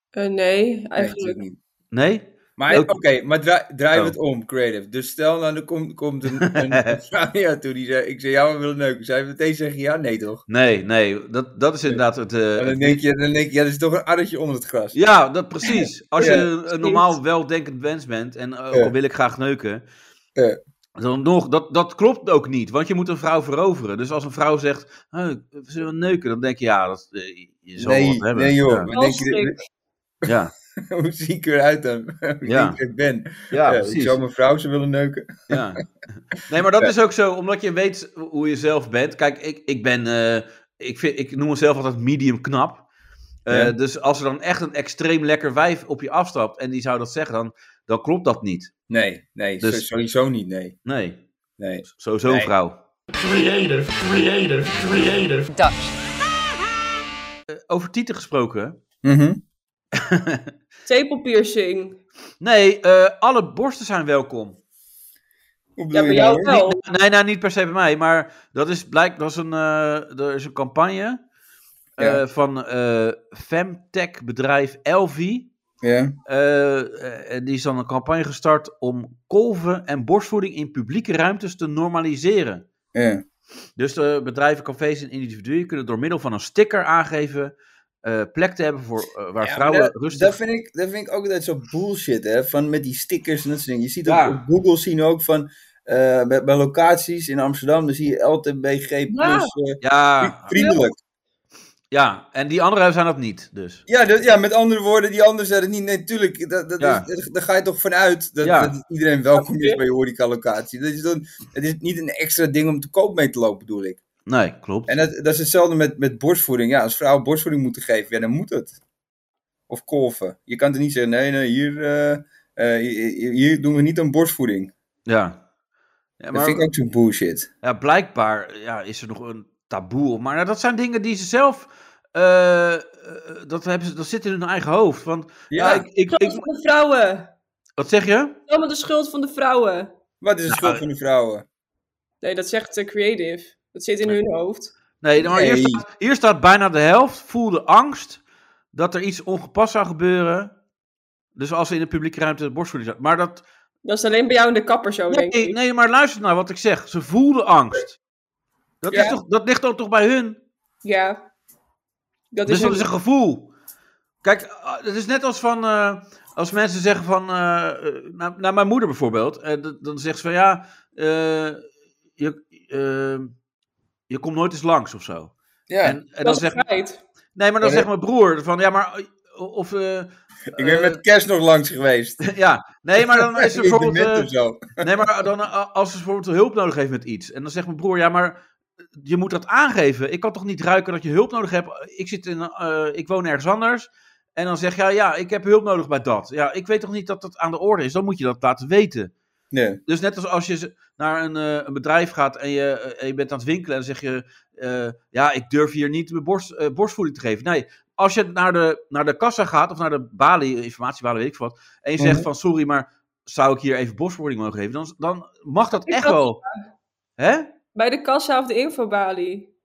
B: Eh, nee,
C: Nee, natuurlijk
B: eigenlijk.
C: niet.
A: Nee?
C: Maar
A: Ook-
C: oké, maar draai, draai
A: Oh.
C: het om, creative. Dus stel, nou, er komt, komt een,
A: [LAUGHS]
C: een, een vrouw naar jou toe die zegt, ik zei, ja, we willen neuken. Zij meteen zeggen, ja, nee toch?
A: Nee, nee. Dat, dat is inderdaad het... eh,
C: En
A: het
C: dan denk je, dan denk je ja, er is toch een addertje onder het gras.
A: Ja, dat precies. Als je
C: Ja,
A: een normaal weldenkend mens bent en eh, ook al
C: Ja.
A: wil ik graag neuken,
C: Ja.
A: dan nog, dat, dat klopt ook niet, want je moet een vrouw veroveren. Dus als een vrouw zegt, "Hey, zullen we neuken, dan denk je, ja, dat, eh, je zal
C: nee,
A: wat hebben.
C: nee joh.
A: Ja.
C: Dan denk je,
B: Halstik.
A: Ja.
C: [LAUGHS] hoe zie ik eruit dan? Wie
A: Ja.
C: ik ben.
A: Ja,
C: Ja, ik
A: precies.
C: zou mijn vrouw ze willen neuken.
A: Ja. Nee, maar dat is ook zo, omdat je weet hoe je zelf bent. Kijk, ik, ik ben, eh, ik, vind, ik noem mezelf altijd medium knap. Eh,
C: Ja.
A: Dus als er dan echt een extreem lekker wijf op je afstapt en die zou dat zeggen, dan, dan klopt dat niet.
C: Nee, nee,
A: Dus-
C: zo- sowieso niet, nee.
A: Nee,
C: nee.
A: sowieso een
C: Nee.
A: vrouw.
E: creative, creative, creative.
F: Dutch.
A: Eh, Over tieten gesproken.
C: Mhm.
B: Tepelpiercing.
A: Nee, eh, alle borsten zijn welkom.
C: Hoe bedoel
B: Ja, bij
C: je nou,
B: jou
C: hoor?
B: wel.
A: Nee, nou niet per se bij mij, maar dat is blijkbaar, dat is een, eh, er is een campagne eh,
C: Ja.
A: van eh, femtech bedrijf Elvi.
C: Ja.
A: Eh, eh, en die is dan een campagne gestart om kolven en borstvoeding in publieke ruimtes te normaliseren.
C: Ja.
A: Dus de bedrijven, cafés en individuen kunnen door middel van een sticker aangeven eh, plek te hebben voor, eh, waar
C: Ja,
A: vrouwen
C: maar
A: rustig...
C: Dat vind, ik, dat vind ik ook altijd zo bullshit, hè? Van met die stickers en dat soort dingen. Je ziet
A: Ja.
C: op, op Google zien ook van. eh, bij, bij locaties in Amsterdam, dan zie je LTBG plus eh,
A: Ja,
C: vriendelijk.
A: ja, en die anderen zijn dat niet, dus.
C: Ja, dat, ja, met andere woorden, die anderen zeiden niet. Nee, tuurlijk, dat, dat
A: Ja.
C: is, dat- daar ga je toch vanuit dat,
A: Ja.
C: dat iedereen welkom is bij je horeca-locatie. Dat is dan, het is niet een extra ding om te koop mee te lopen, bedoel ik.
A: Nee, klopt.
C: En dat, dat is hetzelfde met, met borstvoeding. Ja, als vrouwen borstvoeding moeten geven, ja, dan moet het. Of kolven. Je kan er niet zeggen, nee, nee, hier, eh, eh, hier, hier doen we niet aan borstvoeding.
A: Ja. Ja,
C: Dat
A: maar
C: vind ik ook zo'n bullshit.
A: ja, blijkbaar ja, is er nog een taboe op. Maar nou, dat zijn dingen die ze zelf... eh, eh, dat, hebben ze, dat zit in hun eigen hoofd. Want ja, ik, ik,
B: Schuld
A: ik,
B: van de vrouwen.
A: wat zeg je?
B: Allemaal de schuld van de vrouwen.
C: Wat is het
A: Nou,
C: schuld van de vrouwen?
B: Nee, dat zegt de creative. Dat zit in hun hoofd.
A: Nee, maar Hier,
C: Nee.
A: staat, hier staat bijna de helft voelde angst dat er iets ongepast zou gebeuren. Dus als ze in de publieke ruimte de borstvoeding zat. Maar dat.
B: Dat is alleen bij jou in de kapper zo, denk
A: Nee,
B: ik.
A: nee, maar luister naar wat ik zeg. Ze voelden angst. Dat,
C: Ja.
A: is toch, dat ligt ook toch bij hun?
B: Ja. Dat
A: dus
B: is
A: dat
B: hun-
A: is een gevoel. Kijk, ah, het is net als van. eh, als mensen zeggen van. eh, eh, nou, nou, mijn moeder bijvoorbeeld. eh, d- dan zegt ze van ja. eh, je, eh, je komt nooit eens langs of zo.
C: Ja,
A: En, en dan
B: dat is
A: zegt
B: een feit.
A: Nee, maar dan
C: Ja,
A: zegt mijn broer van ja, maar of eh,
C: [LAUGHS] ik ben met kerst nog langs geweest.
A: ja, nee, maar
C: [LAUGHS]
A: dan is er
C: In de
A: bijvoorbeeld
C: met of
A: eh,
C: zo.
A: nee, maar dan eh, als ze bijvoorbeeld hulp nodig heeft met iets en dan zegt mijn broer ja, maar eh, je moet dat aangeven. Ik kan toch niet ruiken dat je hulp nodig hebt. Ik zit in, eh, ik woon ergens anders en dan zeg je ja, ja, ik heb hulp nodig bij dat. Ja, ik weet toch niet dat dat aan de orde is. Dan moet je dat laten weten.
C: Nee.
A: Dus net als als je z- naar een, eh, een bedrijf gaat en je, eh, en je bent aan het winkelen en dan zeg je, eh, ja, ik durf hier niet mijn borst, eh, borstvoeding te geven. Nee, als je naar de, naar de kassa gaat of naar de balie, informatiebalie, weet ik veel wat, en je zegt
C: Mhm.
A: van, sorry, maar zou ik hier even borstvoeding mogen geven? Dan, dan mag dat
B: Ik
A: echt
B: had-
A: wel. Hè?
B: Bij de kassa of de infobalie.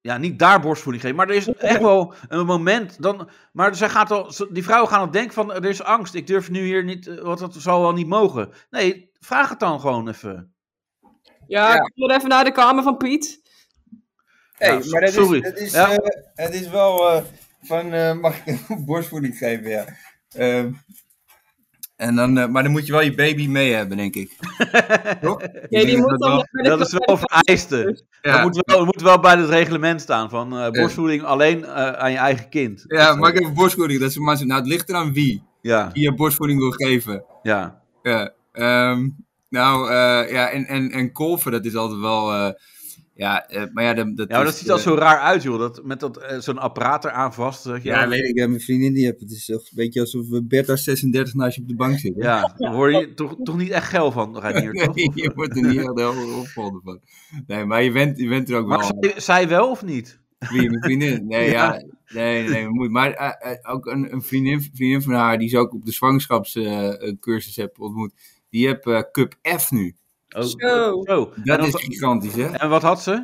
A: Ja, niet daar borstvoeding geven, maar er is echt wel een moment. Dan, maar zij gaat al, ze- die vrouwen gaan al denken van, er is angst, ik durf nu hier niet, eh, want dat zal wel niet mogen. Nee, vraag het dan gewoon even.
B: Ja,
C: Ja.
B: ik kom er even naar de kamer van Piet.
C: Hey,
A: Ja,
C: maar dat
A: sorry.
C: is, dat is,
A: Ja.
C: eh, het is wel eh, van, eh, mag ik een [LAUGHS] borstvoeding geven, ja. Ehm, en dan, eh, maar dan moet je wel je baby mee hebben, denk
A: [LAUGHS]
C: ik. Toch? Ik
B: Nee,
C: denk
B: die
C: dat
B: moet
C: dat
B: dan
C: wel-
B: nog bij de
A: Dat is
B: kassa-
A: wel vereiste.
D: Ja,
A: Dat moet wel, dat moet wel bij het reglement staan van eh, borstvoeding alleen eh, aan je eigen kind.
D: ja maar ik heb een borstvoeding. Dat is een man. Nou, het ligt eraan wie.
A: Ja,
D: Die je borstvoeding wil geven.
A: ja.
D: Ja. ehm, nou, eh, ja, en, en, en kolven, dat is altijd wel... eh, ja, eh, maar ja, dat, dat
A: ja, maar dat
D: is,
A: ziet er al
D: eh,
A: zo raar uit, joh. Dat, met dat, eh, zo'n apparaat eraan vast. weet je
D: Ja, eh,
C: Ja,
A: wel.
C: weet ik. Ja, mijn vriendin die heeft het. Het is echt een beetje alsof we
D: Beta 36 naast je op de bank zit. [LAUGHS] hè?
A: ja, daar word je toch, toch niet echt geil van,
D: [LAUGHS]
A: Reinier, toch?
D: Nee, je wordt er niet heel erg opgeholpen van. Nee, maar je bent, je bent er ook
A: Maar
D: wel...
A: zij, zij wel of niet?
D: Wie, mijn
A: [LAUGHS]
D: vriendin? Nee, ja. Nee, nee, moet. Maar eh, eh, ook een, een vriendin, vriendin van haar, die ze ook op de zwangerschapscursus eh, heb ontmoet, die heeft eh, Cup F nu.
A: Oh,
B: Zo.
A: zo. En,
D: Dat
A: dan-
D: is gigantisch, hè?
A: en wat had ze?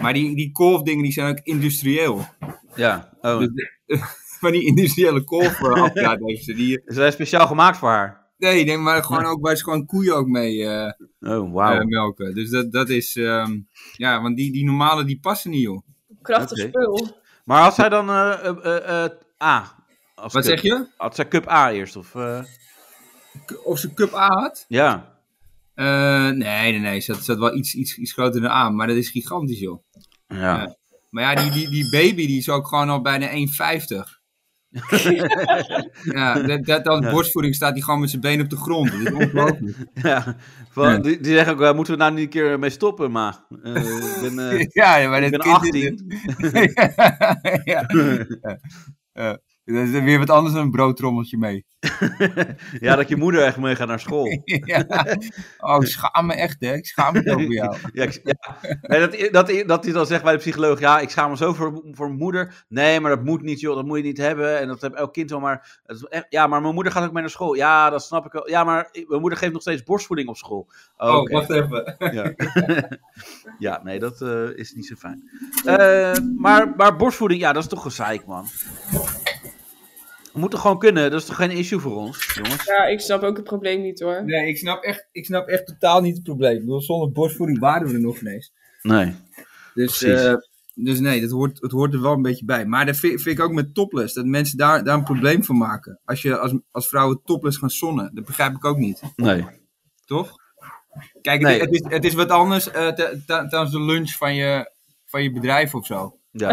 D: Maar die, die kolfdingen, die zijn ook industrieel. [LAUGHS]
A: Ja. Oh.
D: Dus- Maar die industriële kolf
A: [LAUGHS]
D: eh, apparaat heeft ze. Die,
A: Ze zijn speciaal gemaakt voor haar.
D: nee, nee, maar gewoon ook waar ze gewoon koeien ook mee eh,
A: Oh, wauw.
D: eh, melken. Dus dat, dat is, ehm, ja, want die, die normale, die passen niet, joh.
B: Krachtig
A: Oké.
B: spul.
A: [LAUGHS] maar had zij dan eh, eh, eh, eh, A? Als
D: Wat
A: cup?
D: zeg je?
A: Had zij cup A eerst? Of, eh,
D: Of ze Cup A had?
A: ja.
D: Eh, nee, nee, nee. Ze had, ze had wel iets, iets, iets groter dan aan, maar dat is gigantisch, joh.
A: Ja.
D: Maar ja, die, die, die baby die is ook gewoon al bijna 1,50.
C: Ja, dat, dat, dat borstvoeding staat die gewoon met zijn benen op de grond. Dat is ongelooflijk.
A: [LAUGHS] Ja, van, Die, die zeggen ook, eh, moeten we nou niet een keer mee stoppen, maar eh, ik ben,
C: [LAUGHS]
A: eh,
C: Ja, ja, maar
A: ik
C: dat
A: ben
C: kind
A: 18.
C: is- [LAUGHS] ja, ja. Ja. Dat is weer wat anders dan een broodtrommeltje mee.
A: [LAUGHS]
C: [LAUGHS]
A: ja, dat je moeder echt mee gaat naar school.
C: ja. Oh, ik schaam me echt, hè. Ik schaam me over jou.
A: Ja, ik- ja. Nee, dat, dat, dat hij dan zegt bij de psycholoog, ja, ik schaam me zo voor, voor mijn moeder. Nee, maar dat moet niet, joh, dat moet je niet hebben. En dat heeft elk kind wel, maar... het is echt- ja, maar mijn moeder gaat ook mee naar school. Ja, dat snap ik wel. Ja, maar eh, mijn moeder geeft nog steeds borstvoeding op school. Oké.
G: Oh, wacht even.
A: [LAUGHS] Ja, ja nee, dat eh, is niet zo fijn. Eh, maar, maar borstvoeding, ja, dat is toch gezeik, man. We moeten gewoon kunnen, dat is toch geen issue voor ons, jongens?
B: Ja, ik snap ook het probleem niet hoor.
C: Nee, ik snap echt...
G: Ik snap echt totaal niet het probleem. Ik bedoel, zonder borstvoeding waren we er nog ineens.
A: Nee.
C: Dus,
A: Precies.
C: eh, dus nee, dat hoort, het hoort er wel een beetje bij. Maar dat vind, vind ik ook met topless, dat mensen daar, daar een probleem van maken. Als, je, als, als vrouwen topless gaan zonnen, dat begrijp ik ook niet,
A: Nee.
C: toch? Kijk,
A: Nee.
C: het, het is, het is wat anders eh, t- t- tijdens de lunch van je, van je bedrijf of zo.
A: Ja.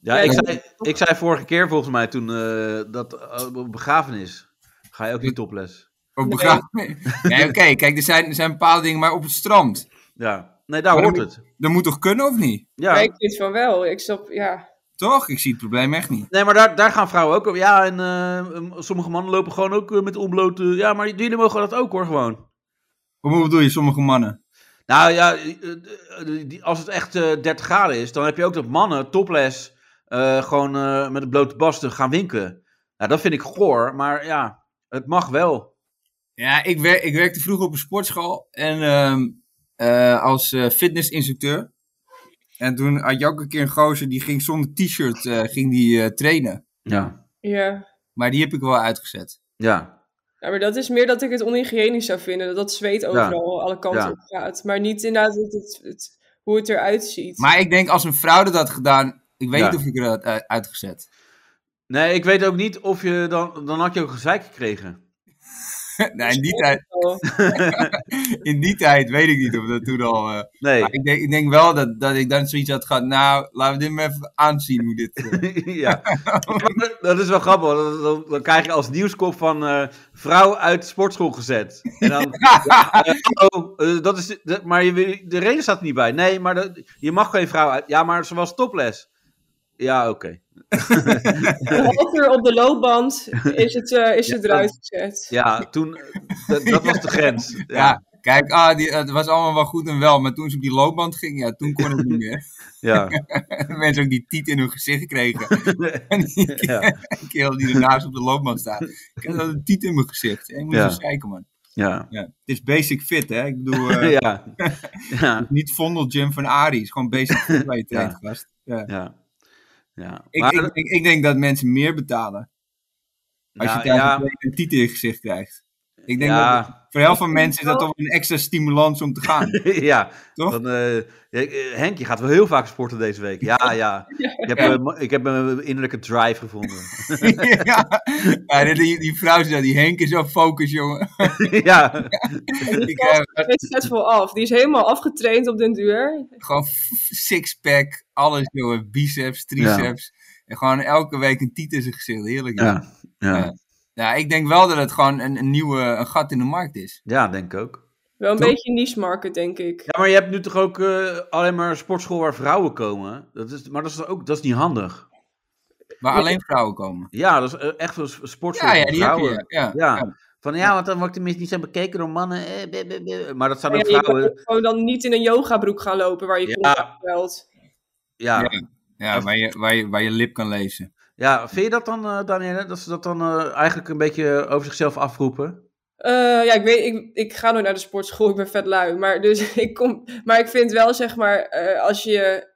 A: Ja, ik zei, ik zei vorige keer volgens mij toen eh, dat eh, op begrafenis ga je ook niet topless.
C: Of begraaf- [LAUGHS] Nee, oké, kijk, er zijn, er zijn bepaalde dingen, maar op het strand,
A: Ja. Nee, daar
C: Maar dan
A: hoort het.
C: dat moet toch kunnen of niet?
A: Ja.
B: Maar ik vind van wel. Ik snap, ja.
C: Toch? Ik zie het probleem echt niet.
A: Nee, maar daar, daar gaan vrouwen ook op. Ja, en eh, sommige mannen lopen gewoon ook eh, met onblote... Ja, maar jullie mogen dat ook hoor, gewoon.
C: Hoe bedoel je, sommige mannen?
A: Nou ja, eh, eh, die- als het echt eh, 30 graden is, dan heb je ook dat mannen topless eh, gewoon eh, met een blote basten gaan winkelen. Nou, dat vind ik goor, maar ja, het mag wel.
C: Ja, ik, wer ik werkte vroeger op een sportschool en ehm, eh, als eh, fitnessinstructeur. En toen had je ook een keer een gozer die ging zonder t-shirt eh, ging die eh, trainen.
A: Ja.
B: Ja.
C: Maar die heb ik wel uitgezet.
A: Ja,
B: Ja, maar dat is meer dat ik het onhygiënisch zou vinden. Dat dat zweet overal alle kanten
A: Ja.
B: op gaat. Maar niet inderdaad het, het, het- hoe het eruit ziet.
C: Maar ik denk als een vrouw dat had gedaan, ik weet
A: Ja.
C: niet of ik er had eh, uitgezet. [LAUGHS]
A: Nee, ik weet ook niet of je dan... Dan had je ook gezeik gekregen.
C: nee, in, die tijd,
B: Oh,
C: in die tijd weet ik niet of dat toen al... eh,
A: Nee.
C: maar ik, denk, ik denk wel dat, dat ik dan zoiets had gehad, nou, laten we dit maar even aanzien hoe dit... eh,
A: [LAUGHS] ja. Dat is wel grappig. want Dan, dan, dan krijg je als nieuwskop van eh, vrouw uit sportschool gezet. En
C: [LAUGHS]
A: dan, eh, hallo, eh, dat is de, de- maar je, wil- de reden staat er niet bij. Nee, maar dat- je mag geen vrouw uit. Ja, maar ze was topless. Ja, oké.
B: een half uur op de loopband is het, eh, is
A: [LAUGHS]
B: het
A: Ja.
B: eruit gezet.
A: Ja, toen, eh, dat, dat was de grens. Ja,
C: [LAUGHS] Ja, kijk, ah, die, het was allemaal wel goed en wel, maar toen ze op die loopband ging, ja, toen kon het niet meer.
A: ja, [LAUGHS]
C: [LAUGHS] mensen ook die tiet in hun gezicht kregen. en die
A: ja,
C: kerel die ernaast op de loopbaan staat. Ik had een tiet in mijn gezicht. En moet je
A: Ja.
C: eens kijken, man.
A: ja,
C: Ja. Het is basic fit, hè? Ik bedoel, eh,
A: [LAUGHS] ja, ja,
C: niet Vondel Jim van Arie. Het is gewoon basic fit bij je
A: [LAUGHS] Ja.
C: traint, gast. Ja.
A: ja. ja.
C: Ik,
A: Maar-
C: ik, ik, ik denk dat mensen meer betalen als
A: nou,
C: je tijdens
A: ja,
C: het trainen een tiet in je gezicht krijgt. Ik denk
A: ja.
C: dat voor heel veel mensen is dat toch een extra stimulans om te
A: [LAUGHS]
C: gaan. [LAUGHS]
A: ja,
C: Toch?
A: Dan, eh, ja, eh, Henk, je gaat wel heel vaak sporten deze week. Ja,
C: [LAUGHS]
A: ja. Ik heb, eh, ma- ik heb een innerlijke drive gevonden. [LAUGHS]
C: ja. Ja, die, die vrouw zei, die Henk is zo focus, jongen.
A: ja,
C: Ik eh, krijg
B: Het staat vol af. Die is helemaal afgetraind op den duur.
C: Gewoon f- f- sixpack, alles jongen, biceps, triceps. En gewoon elke week een tiet in zijn gezicht, heerlijk. Ja.
A: ja, ja.
C: ja, ik denk wel dat het gewoon een, een nieuwe een gat in de markt is.
A: ja, denk ik ook.
B: Wel een
C: Toch?
B: beetje niche market, denk ik.
A: Ja, maar je hebt nu toch ook eh, alleen maar een sportschool waar vrouwen komen? Dat is, maar dat is, ook, dat is niet handig.
C: Waar alleen vrouwen komen.
A: Ja, dat is eh, echt een s- sportschool
C: Ja, ja,
A: voor
C: die heb
A: vrouwen.
C: je. Ja.
A: ja. Van ja, want dan word ik tenminste niet zo bekeken door mannen. eh, be- be- be. Maar dat zijn
B: Ja,
A: ook
B: je kan
A: vrouwen.
B: ook gewoon dan niet in een yogabroek gaan lopen waar je
A: Ja.
B: kont afvuilt.
A: Ja,
C: Ja. Ja, waar, je, waar, je, waar je lip kan lezen.
A: ja. vind je dat dan, eh Danielle, dat ze dat dan eh, eigenlijk een beetje over zichzelf afroepen?
B: Eh, ja, ik weet, ik, ik ga nooit naar de sportschool, ik ben vet lui. Maar, dus, [LAUGHS] ik, kom, maar ik vind wel, zeg maar, eh, als je...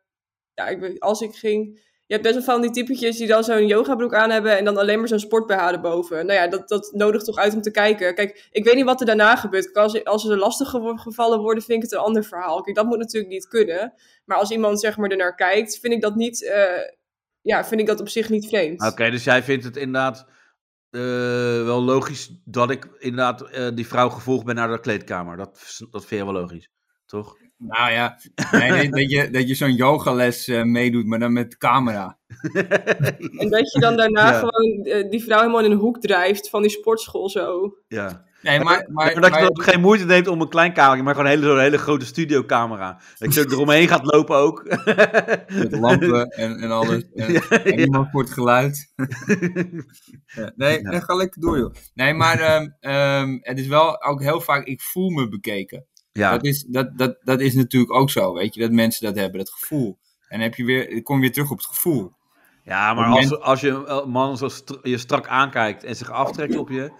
B: Ja, ik, weet- als ik ging... Je hebt best wel van die typetjes die dan zo'n yogabroek aan hebben en dan alleen maar zo'n sport erboven. Nou ja, dat, dat nodigt toch uit om te kijken. Kijk, ik weet niet wat er daarna gebeurt. Kijk, Als, als ze lastig gewo- gevallen worden, vind ik het een ander verhaal. Kijk, dat moet natuurlijk niet kunnen. Maar als iemand zeg maar ernaar kijkt, vind ik dat niet... eh, ja, vind ik dat op zich niet vreemd.
A: Oké, dus jij vindt het inderdaad eh, wel logisch dat ik inderdaad eh, die vrouw gevolgd ben naar de kleedkamer. Dat, dat vind je wel logisch, toch? [LAUGHS]
C: Nou ja, nee, nee, dat je, dat je zo'n yogales eh, meedoet, maar dan met camera.
B: En dat je
C: [LAUGHS]
B: dan daarna
A: Ja.
B: gewoon eh, die vrouw helemaal in een hoek drijft van die sportschool zo.
A: ja.
C: Nee, maar, maar,
A: Maar, dat je
C: maar-
A: dan ook geen moeite neemt om een klein kamertje, maar gewoon een hele, zo'n hele grote studiocamera. Dat je er eromheen gaat lopen ook. [LAUGHS]
C: met lampen en, en alles. En, en niemand voor het geluid. Ja, nee,
A: Ja.
C: nee, ga lekker door, joh. Nee, maar ehm, ehm, het is wel ook heel vaak, ik voel me bekeken.
A: ja,
C: Dat, is, dat, dat, dat is natuurlijk ook zo, weet je, dat mensen dat hebben, dat gevoel. En dan heb je weer, kom je weer terug op het gevoel.
A: ja, maar als, als je een man zo str- je strak aankijkt en zich aftrekt op je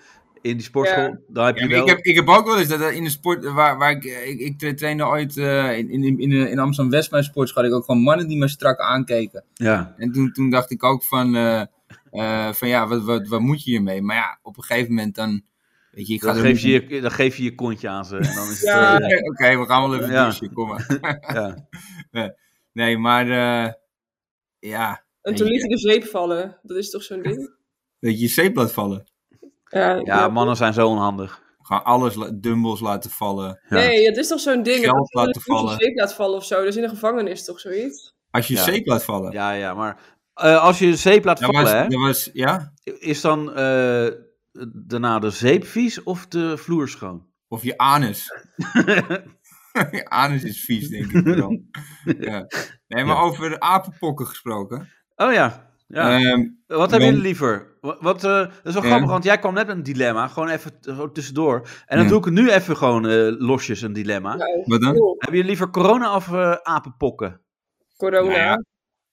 A: in die sportschool, dan heb
C: Ja,
A: je
C: maar
A: wel...
C: ik, heb, ik heb ook wel eens dat er in de sport, eh, waar, waar ik, ik, ik tra- trainde ooit eh, in, in, in, eh, in Amsterdam West, mijn sportschool, had ik ook gewoon mannen die me strak aankeken.
A: Ja,
C: En toen, toen dacht ik ook van, eh, eh, van ja, wat, wat, wat moet je hiermee? Maar ja, op een gegeven moment dan, weet je, ik ga
A: dan
C: er
A: geef,
C: niet-
A: je je, dan geef je je kontje aan ze en dan is het...
B: Ja.
A: eh,
C: Oké, we gaan wel even
A: Ja.
C: douchen, kom maar.
A: [LAUGHS] ja.
C: [LAUGHS] Nee, maar eh, ja,
B: En toen
C: Ja.
B: liet hij de zeep vallen. Dat is toch zo'n ding?
C: dat je je zeepblad vallen.
B: Ja,
A: ja, mannen zijn zo onhandig.
C: Gewoon alles, la- dumbbells laten vallen.
A: Ja.
B: Nee, dat is toch zo'n ding.
C: Geld
B: dat je
C: laten
B: een voetje
C: vallen.
B: zeep laat vallen of zo. Dat is in de gevangenis toch zoiets?
C: Als je
A: Ja.
C: zeep laat vallen. Ja,
A: Ja, ja, maar eh, als je zeep laat
C: dat
A: vallen,
C: was,
A: hè?
C: dat was, ja.
A: Is dan eh, daarna de zeep vies of de vloer schoon? [LAUGHS]
C: Of je anus. [LAUGHS] je anus is vies,
A: [LAUGHS]
C: denk ik vooral. ja. Nee, maar
A: Ja.
C: over apenpokken gesproken.
A: Oh ja. ja.
C: Ehm,
A: Wat hebben
C: men-
A: jullie liever? Wa- Wat, eh, dat is wel
C: Ja.
A: grappig, want jij kwam net met een dilemma. Gewoon even t- zo tussendoor. En dan
C: Ja.
A: doe ik nu even gewoon eh, losjes een dilemma.
B: Nou,
C: wat dan?
B: joh,
A: Hebben jullie liever corona of eh, apenpokken?
B: corona.
C: Nou ja,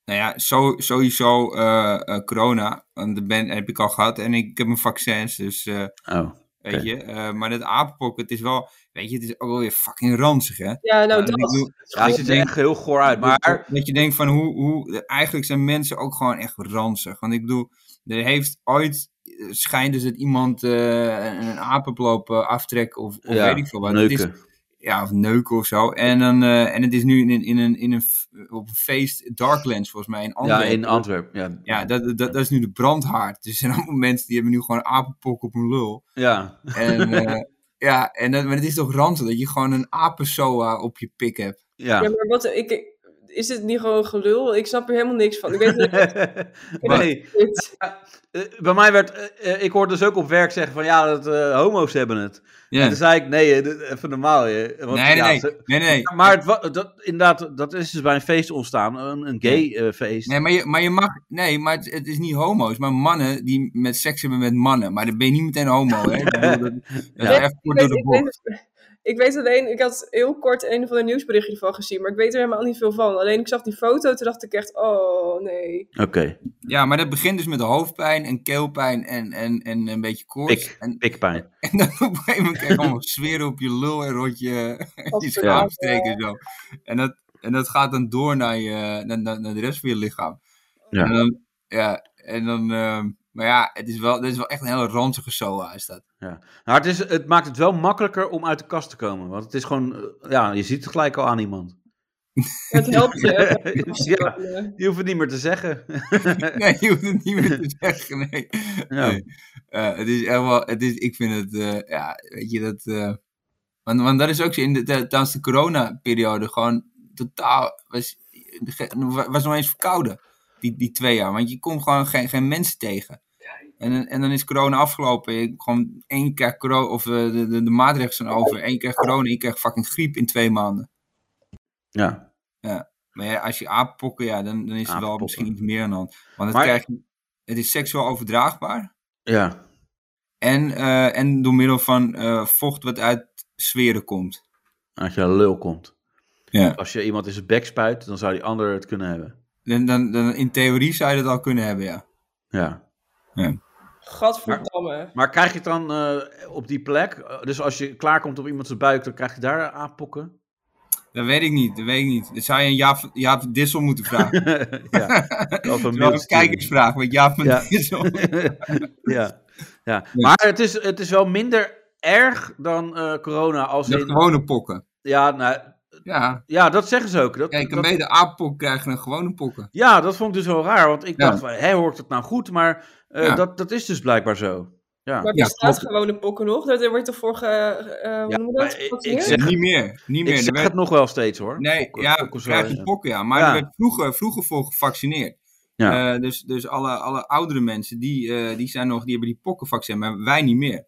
C: Nou ja, zo, sowieso eh, eh, corona. Want dat ben, heb ik al gehad. En ik heb mijn vaccins, dus eh,
A: Oh.
C: weet je. eh, maar dat apenpok, het is wel, weet je, het is ook wel weer fucking ranzig, hè.
B: Ja, nou
C: Ja,
B: dat.
C: ik bedoel-
A: Ja, het ziet er
C: denk-
A: echt heel goor uit. Maar
C: Dat je denkt van, hoe, hoe, eigenlijk zijn mensen ook gewoon echt ranzig. Want ik bedoel, er heeft ooit, eh, schijnt dus dat iemand eh, een, een apenloop aftrekt of, of
A: ja,
C: weet ik veel wat. Het is-
A: neuken.
C: ja, of neuken of zo. En, dan, eh, en het is nu in, een- in een, in een, f- op een feest, Darklands volgens mij, in
A: ja,
C: Antwerpen.
A: in Antwerpen. Ja.
C: Ja, dat, dat, dat is nu de brandhaard. Dus er zijn allemaal mensen die hebben nu gewoon apenpok op hun lul.
A: Ja.
C: En, eh, ja, en dat, maar het is toch ranzig dat je gewoon een apensoa op je pik hebt.
A: ja.
B: Ja, maar wat, ik, is dit niet gewoon gelul? Ik snap er helemaal niks van. Ik
C: [LAUGHS]
B: weet niet
A: [LAUGHS] nee,
B: dit.
A: eh, bij mij werd... eh, eh, ik hoorde dus ook op werk zeggen van... Ja, dat, eh, homo's hebben het.
C: Ja.
A: En toen zei ik, nee, eh, dit- even normaal. eh, Want,
C: nee,
A: ja,
C: nee, nee,
A: ze-
C: nee, nee.
A: Maar het wa- dat, inderdaad, dat is dus bij een feest ontstaan. Een, een gay eh, feest.
C: Nee, maar je, maar je mag. Nee, maar het, het is niet homo's, maar mannen die met seks hebben met mannen. Maar dan ben je niet meteen homo, hè? Ik bedoel, dat, dat is
A: Ja.
C: echt kort
B: Ik
C: door
B: weet-
C: de bocht.
B: Ik weet, ik weet alleen, ik had heel kort een van de nieuwsberichten ervan gezien, maar ik weet er helemaal niet veel van. Alleen ik zag die foto, toen dacht ik echt, oh
C: [LAUGHS]
B: nee.
A: Oké,
C: Ja, maar dat begint dus met hoofdpijn en keelpijn en, en, en een beetje koorts.
A: pik,
C: En,
A: pikpijn.
C: en dan [LAUGHS] op een gegeven moment krijg je allemaal zweren op je lul en rot je, je
B: Als er-
C: schaam steken en zo. En dat, en dat gaat dan door naar, je, naar, naar, naar de rest van je lichaam.
A: Ja.
C: En dan, ja, en dan ehm, maar ja, het is, wel, het is wel echt een hele ranzige soa is dat.
A: Nou, het, is, het maakt het wel makkelijker om uit de kast te komen. Want het is gewoon, eh, ja, je ziet het gelijk al aan iemand.
B: Het helpt je.
A: [LAUGHS]
B: Het
A: ja, je hoeft het niet meer te zeggen. [LAUGHS]
C: Nee, je hoeft het niet meer te zeggen, nee.
A: Ja.
C: Nee. Eh, het is echt wel, het is, ik vind het, eh, ja, weet je, dat... eh, want, want dat is ook zo, in de, de- tijdens de coronaperiode gewoon totaal, was, was nog eens verkouden, die, die twee jaar. Want je komt gewoon geen, geen mensen tegen. En, dan- en dan is corona afgelopen. Je, gewoon één keer corona, of eh, de, de, de maatregelen zijn over. Eén keer corona, één keer fucking griep in twee maanden.
A: Ja,
C: Maar ja, als je aappokken, ja, dan, dan is het wel
A: Aappokken.
C: misschien iets meer aan de hand. Want het,
A: Maar-
C: krijg je- het is seksueel overdraagbaar.
A: ja.
C: En, eh, en door middel van eh, vocht wat uit sferen komt.
A: Als je een lul komt.
C: Ja.
A: Als je iemand in zijn bek spuit, dan zou die ander het kunnen hebben.
C: Dan, dan, dan, in theorie zou je dat al kunnen hebben, ja.
A: Ja.
B: Gadverdamme.
A: Maar krijg je het dan eh, op die plek? eh, dus als je klaarkomt op iemand zijn buik, dan krijg je daar aanpokken? [LAUGHS]
C: Dat weet ik niet, dat weet ik niet. Dat zou je een Jaap, Jaap Dissel moeten [LAUGHS] vragen.
A: ja. Of een
C: Dat is wel
A: mailtje
C: een
A: sturen.
C: kijkersvraag met Jaap van
A: Ja.
C: Dissel.
A: [LAUGHS] ja. ja. Maar het is, het is wel minder erg dan eh, corona. Als
C: Dat
A: in-
C: gewone pokken.
A: ja, nou,
C: Ja,
A: ja, dat zeggen ze ook. Dat,
C: kijk, een
A: dat-
C: mede aappok krijgen een gewone pokken.
A: ja, dat vond ik dus wel raar. Want ik
C: Ja.
A: dacht, van, hè, hoort het nou goed? Maar eh,
C: Ja.
A: dat, dat is dus blijkbaar zo. Ja.
B: Maar
C: Ja,
B: bestaat
C: klopt.
B: gewoon een pokken nog? Daar wordt toch voor ge... eh, hoe
A: Ja,
B: noem je
A: maar
B: dat?
A: ik- ik
B: Gevacineerd?
A: zeg-
C: Niet meer, niet meer.
A: ik
C: Er
A: zeg
C: werd-
A: het nog wel steeds hoor.
C: nee,
A: Pokken,
C: ja,
A: pokken zo,
C: krijg je
A: ja.
C: pokken, ja. Maar
A: Ja.
C: er werd vroeger, vroeger voor gevaccineerd.
A: Ja.
C: Eh, dus dus alle, alle oudere mensen, die, eh, die, zijn nog, die hebben die pokkenvaccin, maar wij niet meer.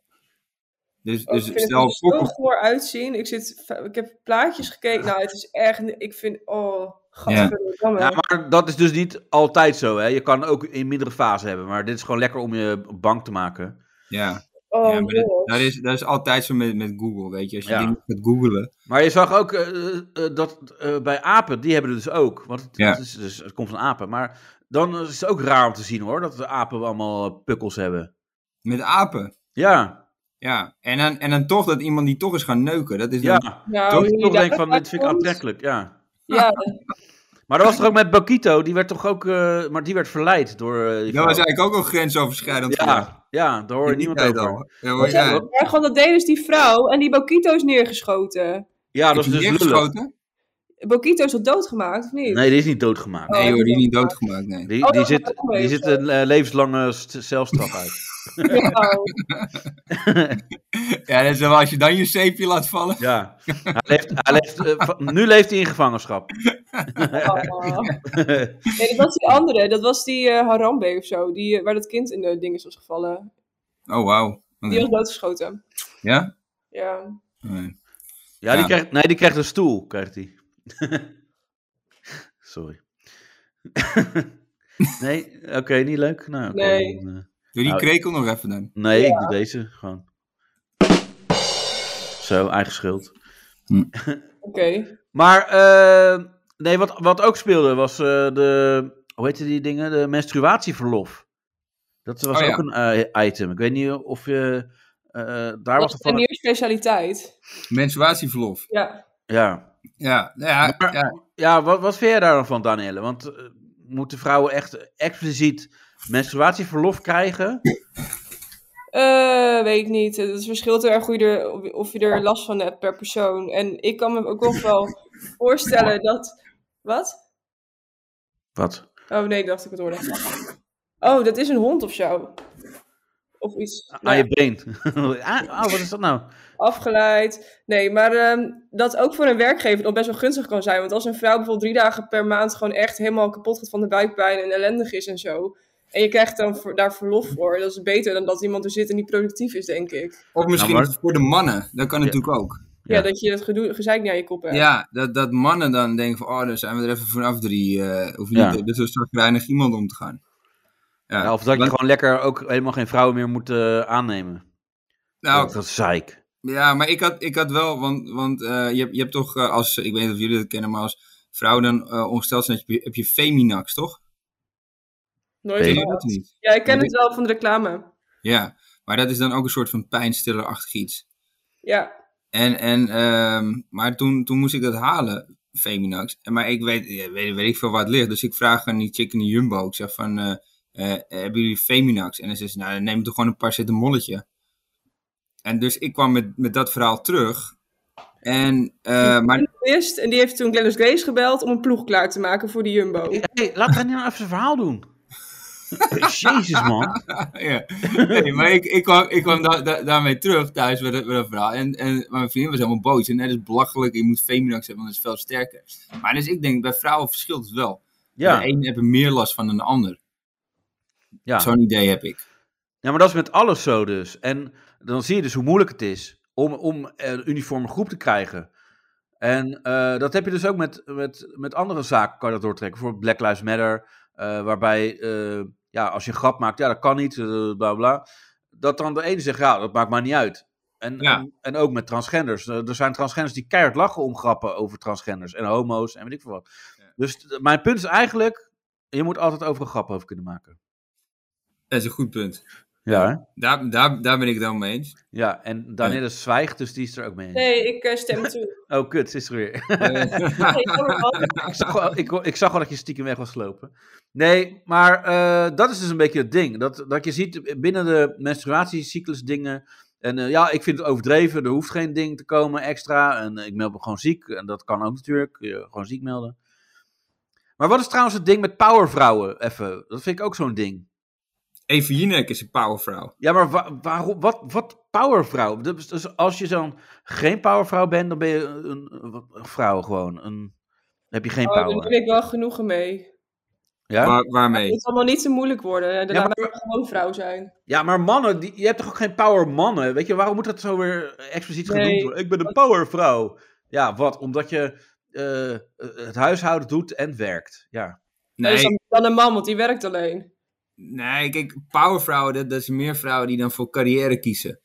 C: Dus,
B: Oh,
C: dus
B: ik vind
C: stel
B: het er zo
C: pokken...
B: goor uitzien. Ik, zit, ik heb plaatjes gekeken. Nou, het is echt... Ik vind... Oh, gadverdamme.
A: Ja, maar dat is dus niet altijd zo, hè. Je kan ook in mindere fase hebben, maar dit is gewoon lekker om je bang te maken.
C: Ja,
B: oh,
C: ja maar dat,
B: jongens.
C: dat, is, dat is altijd zo met, met Google, weet je. Als je
A: Ja.
C: dingen gaat googelen.
A: Maar je zag ook eh, eh, dat eh, bij apen, die hebben het dus ook. Want het,
C: Ja.
A: het is dus, het komt van apen. Maar dan is het ook raar om te zien, hoor, dat de apen allemaal eh, pukkels hebben.
C: Met apen.
A: Ja,
C: Ja, en dan, en dan toch dat iemand die toch is gaan neuken. Dat is dan-
A: ja.
B: nou,
A: Toch,
B: wie
A: toch denk ik
B: daar
A: van, dit vind ik
B: komt-
A: aantrekkelijk, ja.
B: Ja,
A: Maar dat was toch ook met Bakito, die werd toch ook, eh, maar die werd verleid door eh, die
C: Dat was
A: vrouw.
C: eigenlijk ook al grensoverschrijdend. gedrag.
A: ja, ja, daar hoor je
C: In die
A: niemand
C: tijd
A: over.
C: al. Ja, hoor,
B: maar
C: ja.
B: ja, gewoon dat deed dus die vrouw. En die Bokito is neergeschoten.
A: Ja,
C: Heb
A: dat is
C: je
A: dus lullig.
C: neergeschoten?
B: Bokito is al doodgemaakt, of niet?
A: Nee, die is niet doodgemaakt.
C: Nee hoor, die is niet doodgemaakt, nee. [LAUGHS]
A: Die,
B: Oh,
A: die,
B: dat
A: zit,
B: was ook
A: die
B: leuk,
A: zit
B: ja.
A: een eh, levenslange st- celstraf uit.
B: Ja.
C: Ja, dat is wel als je dan je zeepje laat vallen.
A: [LAUGHS] Ja. Hij leeft, hij leeft, eh, va- nu leeft hij in gevangenschap. [LAUGHS]
B: Oh. Nee, dat was die andere. Dat was die eh, Harambe of zo. Die, eh, waar dat kind in de dinges was gevallen.
C: Oh, wauw. Oké.
B: Die was doodgeschoten.
C: Ja?
B: Ja.
C: Nee.
A: Ja, die
C: Ja.
A: krijgt, nee, die krijgt een stoel, krijgt hij. [LAUGHS] Sorry. [LAUGHS] nee, oké, niet leuk. Nou, oké,
B: Nee.
A: dan, eh,
C: Doe die
A: Nou,
C: krekel nog even dan.
A: Nee, ik doe deze gewoon. Zo, eigen schuld.
B: Oké.
A: Maar, eh, nee, wat, wat ook speelde was eh, de, hoe heette die dingen? De menstruatieverlof. Dat was
C: Oh, ja.
A: ook een eh, item. Ik weet niet of je, eh, daar
B: Dat
A: was
B: is
A: het van.
B: een nieuwe specialiteit.
C: Menstruatieverlof.
B: Ja.
A: Ja,
C: Ja, nou ja,
A: Maar-
C: ja.
A: ja wat, wat vind jij daar dan van, Danielle? Want eh, moeten vrouwen echt expliciet menstruatieverlof krijgen?
B: Eh, weet ik niet. Het verschilt heel erg hoe je er, of je er last van hebt per persoon. En ik kan me ook
A: [LAUGHS]
B: nog wel voorstellen dat... Wat?
A: Wat?
B: Oh nee, ik dacht ik het hoorde. Oh, dat is een hond of zo. Of iets.
A: Aan
C: Nou
B: Ja.
A: je been. [LAUGHS] ah, ah, wat is dat nou?
B: afgeleid. Nee, maar ehm, dat ook voor een werkgever nog best wel gunstig kan zijn. Want als een vrouw bijvoorbeeld drie dagen per maand gewoon echt helemaal kapot gaat van de buikpijn en ellendig is en zo. En je krijgt dan voor- daar verlof voor. Dat is beter dan dat iemand er zit en niet productief is, denk ik.
C: Of misschien
A: Nou, maar-
C: voor de mannen. Dat kan
A: Ja.
C: natuurlijk ook.
B: Ja,
A: Ja.
B: dat je dat gedoe, gezeik naar je kop hebt.
C: Ja, dat, dat mannen dan denken van... Oh, daar zijn we er even vanaf drie. eh, of niet,
A: Ja.
C: dus er zo weinig iemand om te gaan. Ja,
A: Ja, of dat je
C: want-
A: gewoon lekker ook helemaal geen vrouwen meer moet eh, aannemen.
C: nou,
A: Dat is zeik.
C: Ja, maar ik had, ik had wel, want, want eh, je, hebt, je hebt toch eh, als, ik weet niet of jullie dat kennen, maar als vrouwen dan eh, ongesteld zijn, heb je, heb je Feminax, toch?
B: Nooit
A: Nee.
C: Ken je
B: gedaan.
C: dat niet?
B: Ja, ik ken het wel van de reclame.
C: Ja, maar dat is dan ook een soort van pijnstillerachtig iets.
B: Ja,
C: En, en, ehm, maar toen, toen moest ik dat halen, Feminax. En Maar ik weet, eh, weet, weet ik veel waar het ligt, dus ik vraag aan die chick in de Jumbo, ik zeg van, eh, eh, hebben jullie Feminax? En dan zegt ze, nou, dan neem toch gewoon een paracetamolletje. En dus ik kwam met, met dat verhaal terug. En, eh, maar [LAUGHS]
B: eerst. En die heeft toen Glennis Grace gebeld om een ploeg klaar te maken voor de Jumbo.
A: hey, laat René nou even zijn verhaal doen. [LAUGHS] Jezus, man.
C: ja. Nee, maar ik, ik kwam, ik kwam da- da- daarmee terug thuis met, dat- met dat verhaal. En, en maar mijn vriendin was helemaal boos. En dat is belachelijk. Je moet feminax hebben, want dat is veel sterker. Maar dus ik denk, bij vrouwen verschilt het wel.
A: Ja,
C: De een heeft er meer last van dan de ander.
A: ja.
C: Zo'n idee heb ik.
A: ja, maar dat is met alles zo dus. En dan zie je dus hoe moeilijk het is om, om een uniforme groep te krijgen. En eh, dat heb je dus ook met, met, met andere zaken kan je dat doortrekken. Bijvoorbeeld Black Lives Matter, eh, waarbij eh, ja, als je een grap maakt, ja, dat kan niet, eh, bla bla. Dat dan de ene zegt, ja, dat maakt mij niet uit. En,
C: Ja.
A: en, en ook met transgenders. Eh, Er zijn transgenders die keihard lachen om grappen over transgenders en homo's en weet ik veel wat.
C: Ja.
A: Dus t- mijn punt is eigenlijk, je moet altijd over een grap over kunnen maken.
C: Dat is een goed punt.
A: Ja, hè?
C: Daar, daar, daar ben ik het helemaal mee eens. [LAUGHS]
A: Ja, en Danielle zwijgt, dus die is er ook mee. eens.
B: Nee, ik eh, stem
A: [LAUGHS]
B: toe.
A: Oh, kut, ze is er
C: [LAUGHS]
A: weer. [LAUGHS]
C: Eh,
B: Nee, jammer, man.
A: ik, zag wel, ik, ik zag wel dat je stiekem weg was gelopen. Nee, maar eh, dat is dus een beetje het ding. Dat, dat je ziet binnen de menstruatiecyclus dingen. En eh, ja, ik vind het overdreven. Er hoeft geen ding te komen extra. En eh, ik meld me gewoon ziek. En dat kan ook natuurlijk. Je gewoon ziek melden. Maar wat is trouwens het ding met powervrouwen? Even, dat vind ik ook zo'n ding.
C: Eva Jinek is een powervrouw.
A: Ja, maar wa- waarom, wat, wat powervrouw? Dus, dus als je dan geen powervrouw bent, dan ben je een, een- een vrouw gewoon. Een, dan heb je geen
B: Oh, daar
A: power.
B: neem ik wel genoegen mee.
A: Ja?
C: Waar, waarmee?
B: Het zal allemaal niet zo moeilijk worden. De
A: Ja,
B: laat
A: maar-
B: mij gewoon vrouw zijn.
A: Ja, maar mannen, die, je hebt toch ook geen power mannen? Weet je, waarom moet dat zo weer expliciet
B: Nee.
A: genoemd worden? Ik ben een powervrouw. Ja, wat? Omdat je eh, het huishouden doet en werkt. Ja.
B: Nee.
C: Nee,
B: dan, dan een man, want die werkt alleen.
C: nee, kijk, powervrouwen, dat, dat zijn meer vrouwen die dan voor carrière kiezen.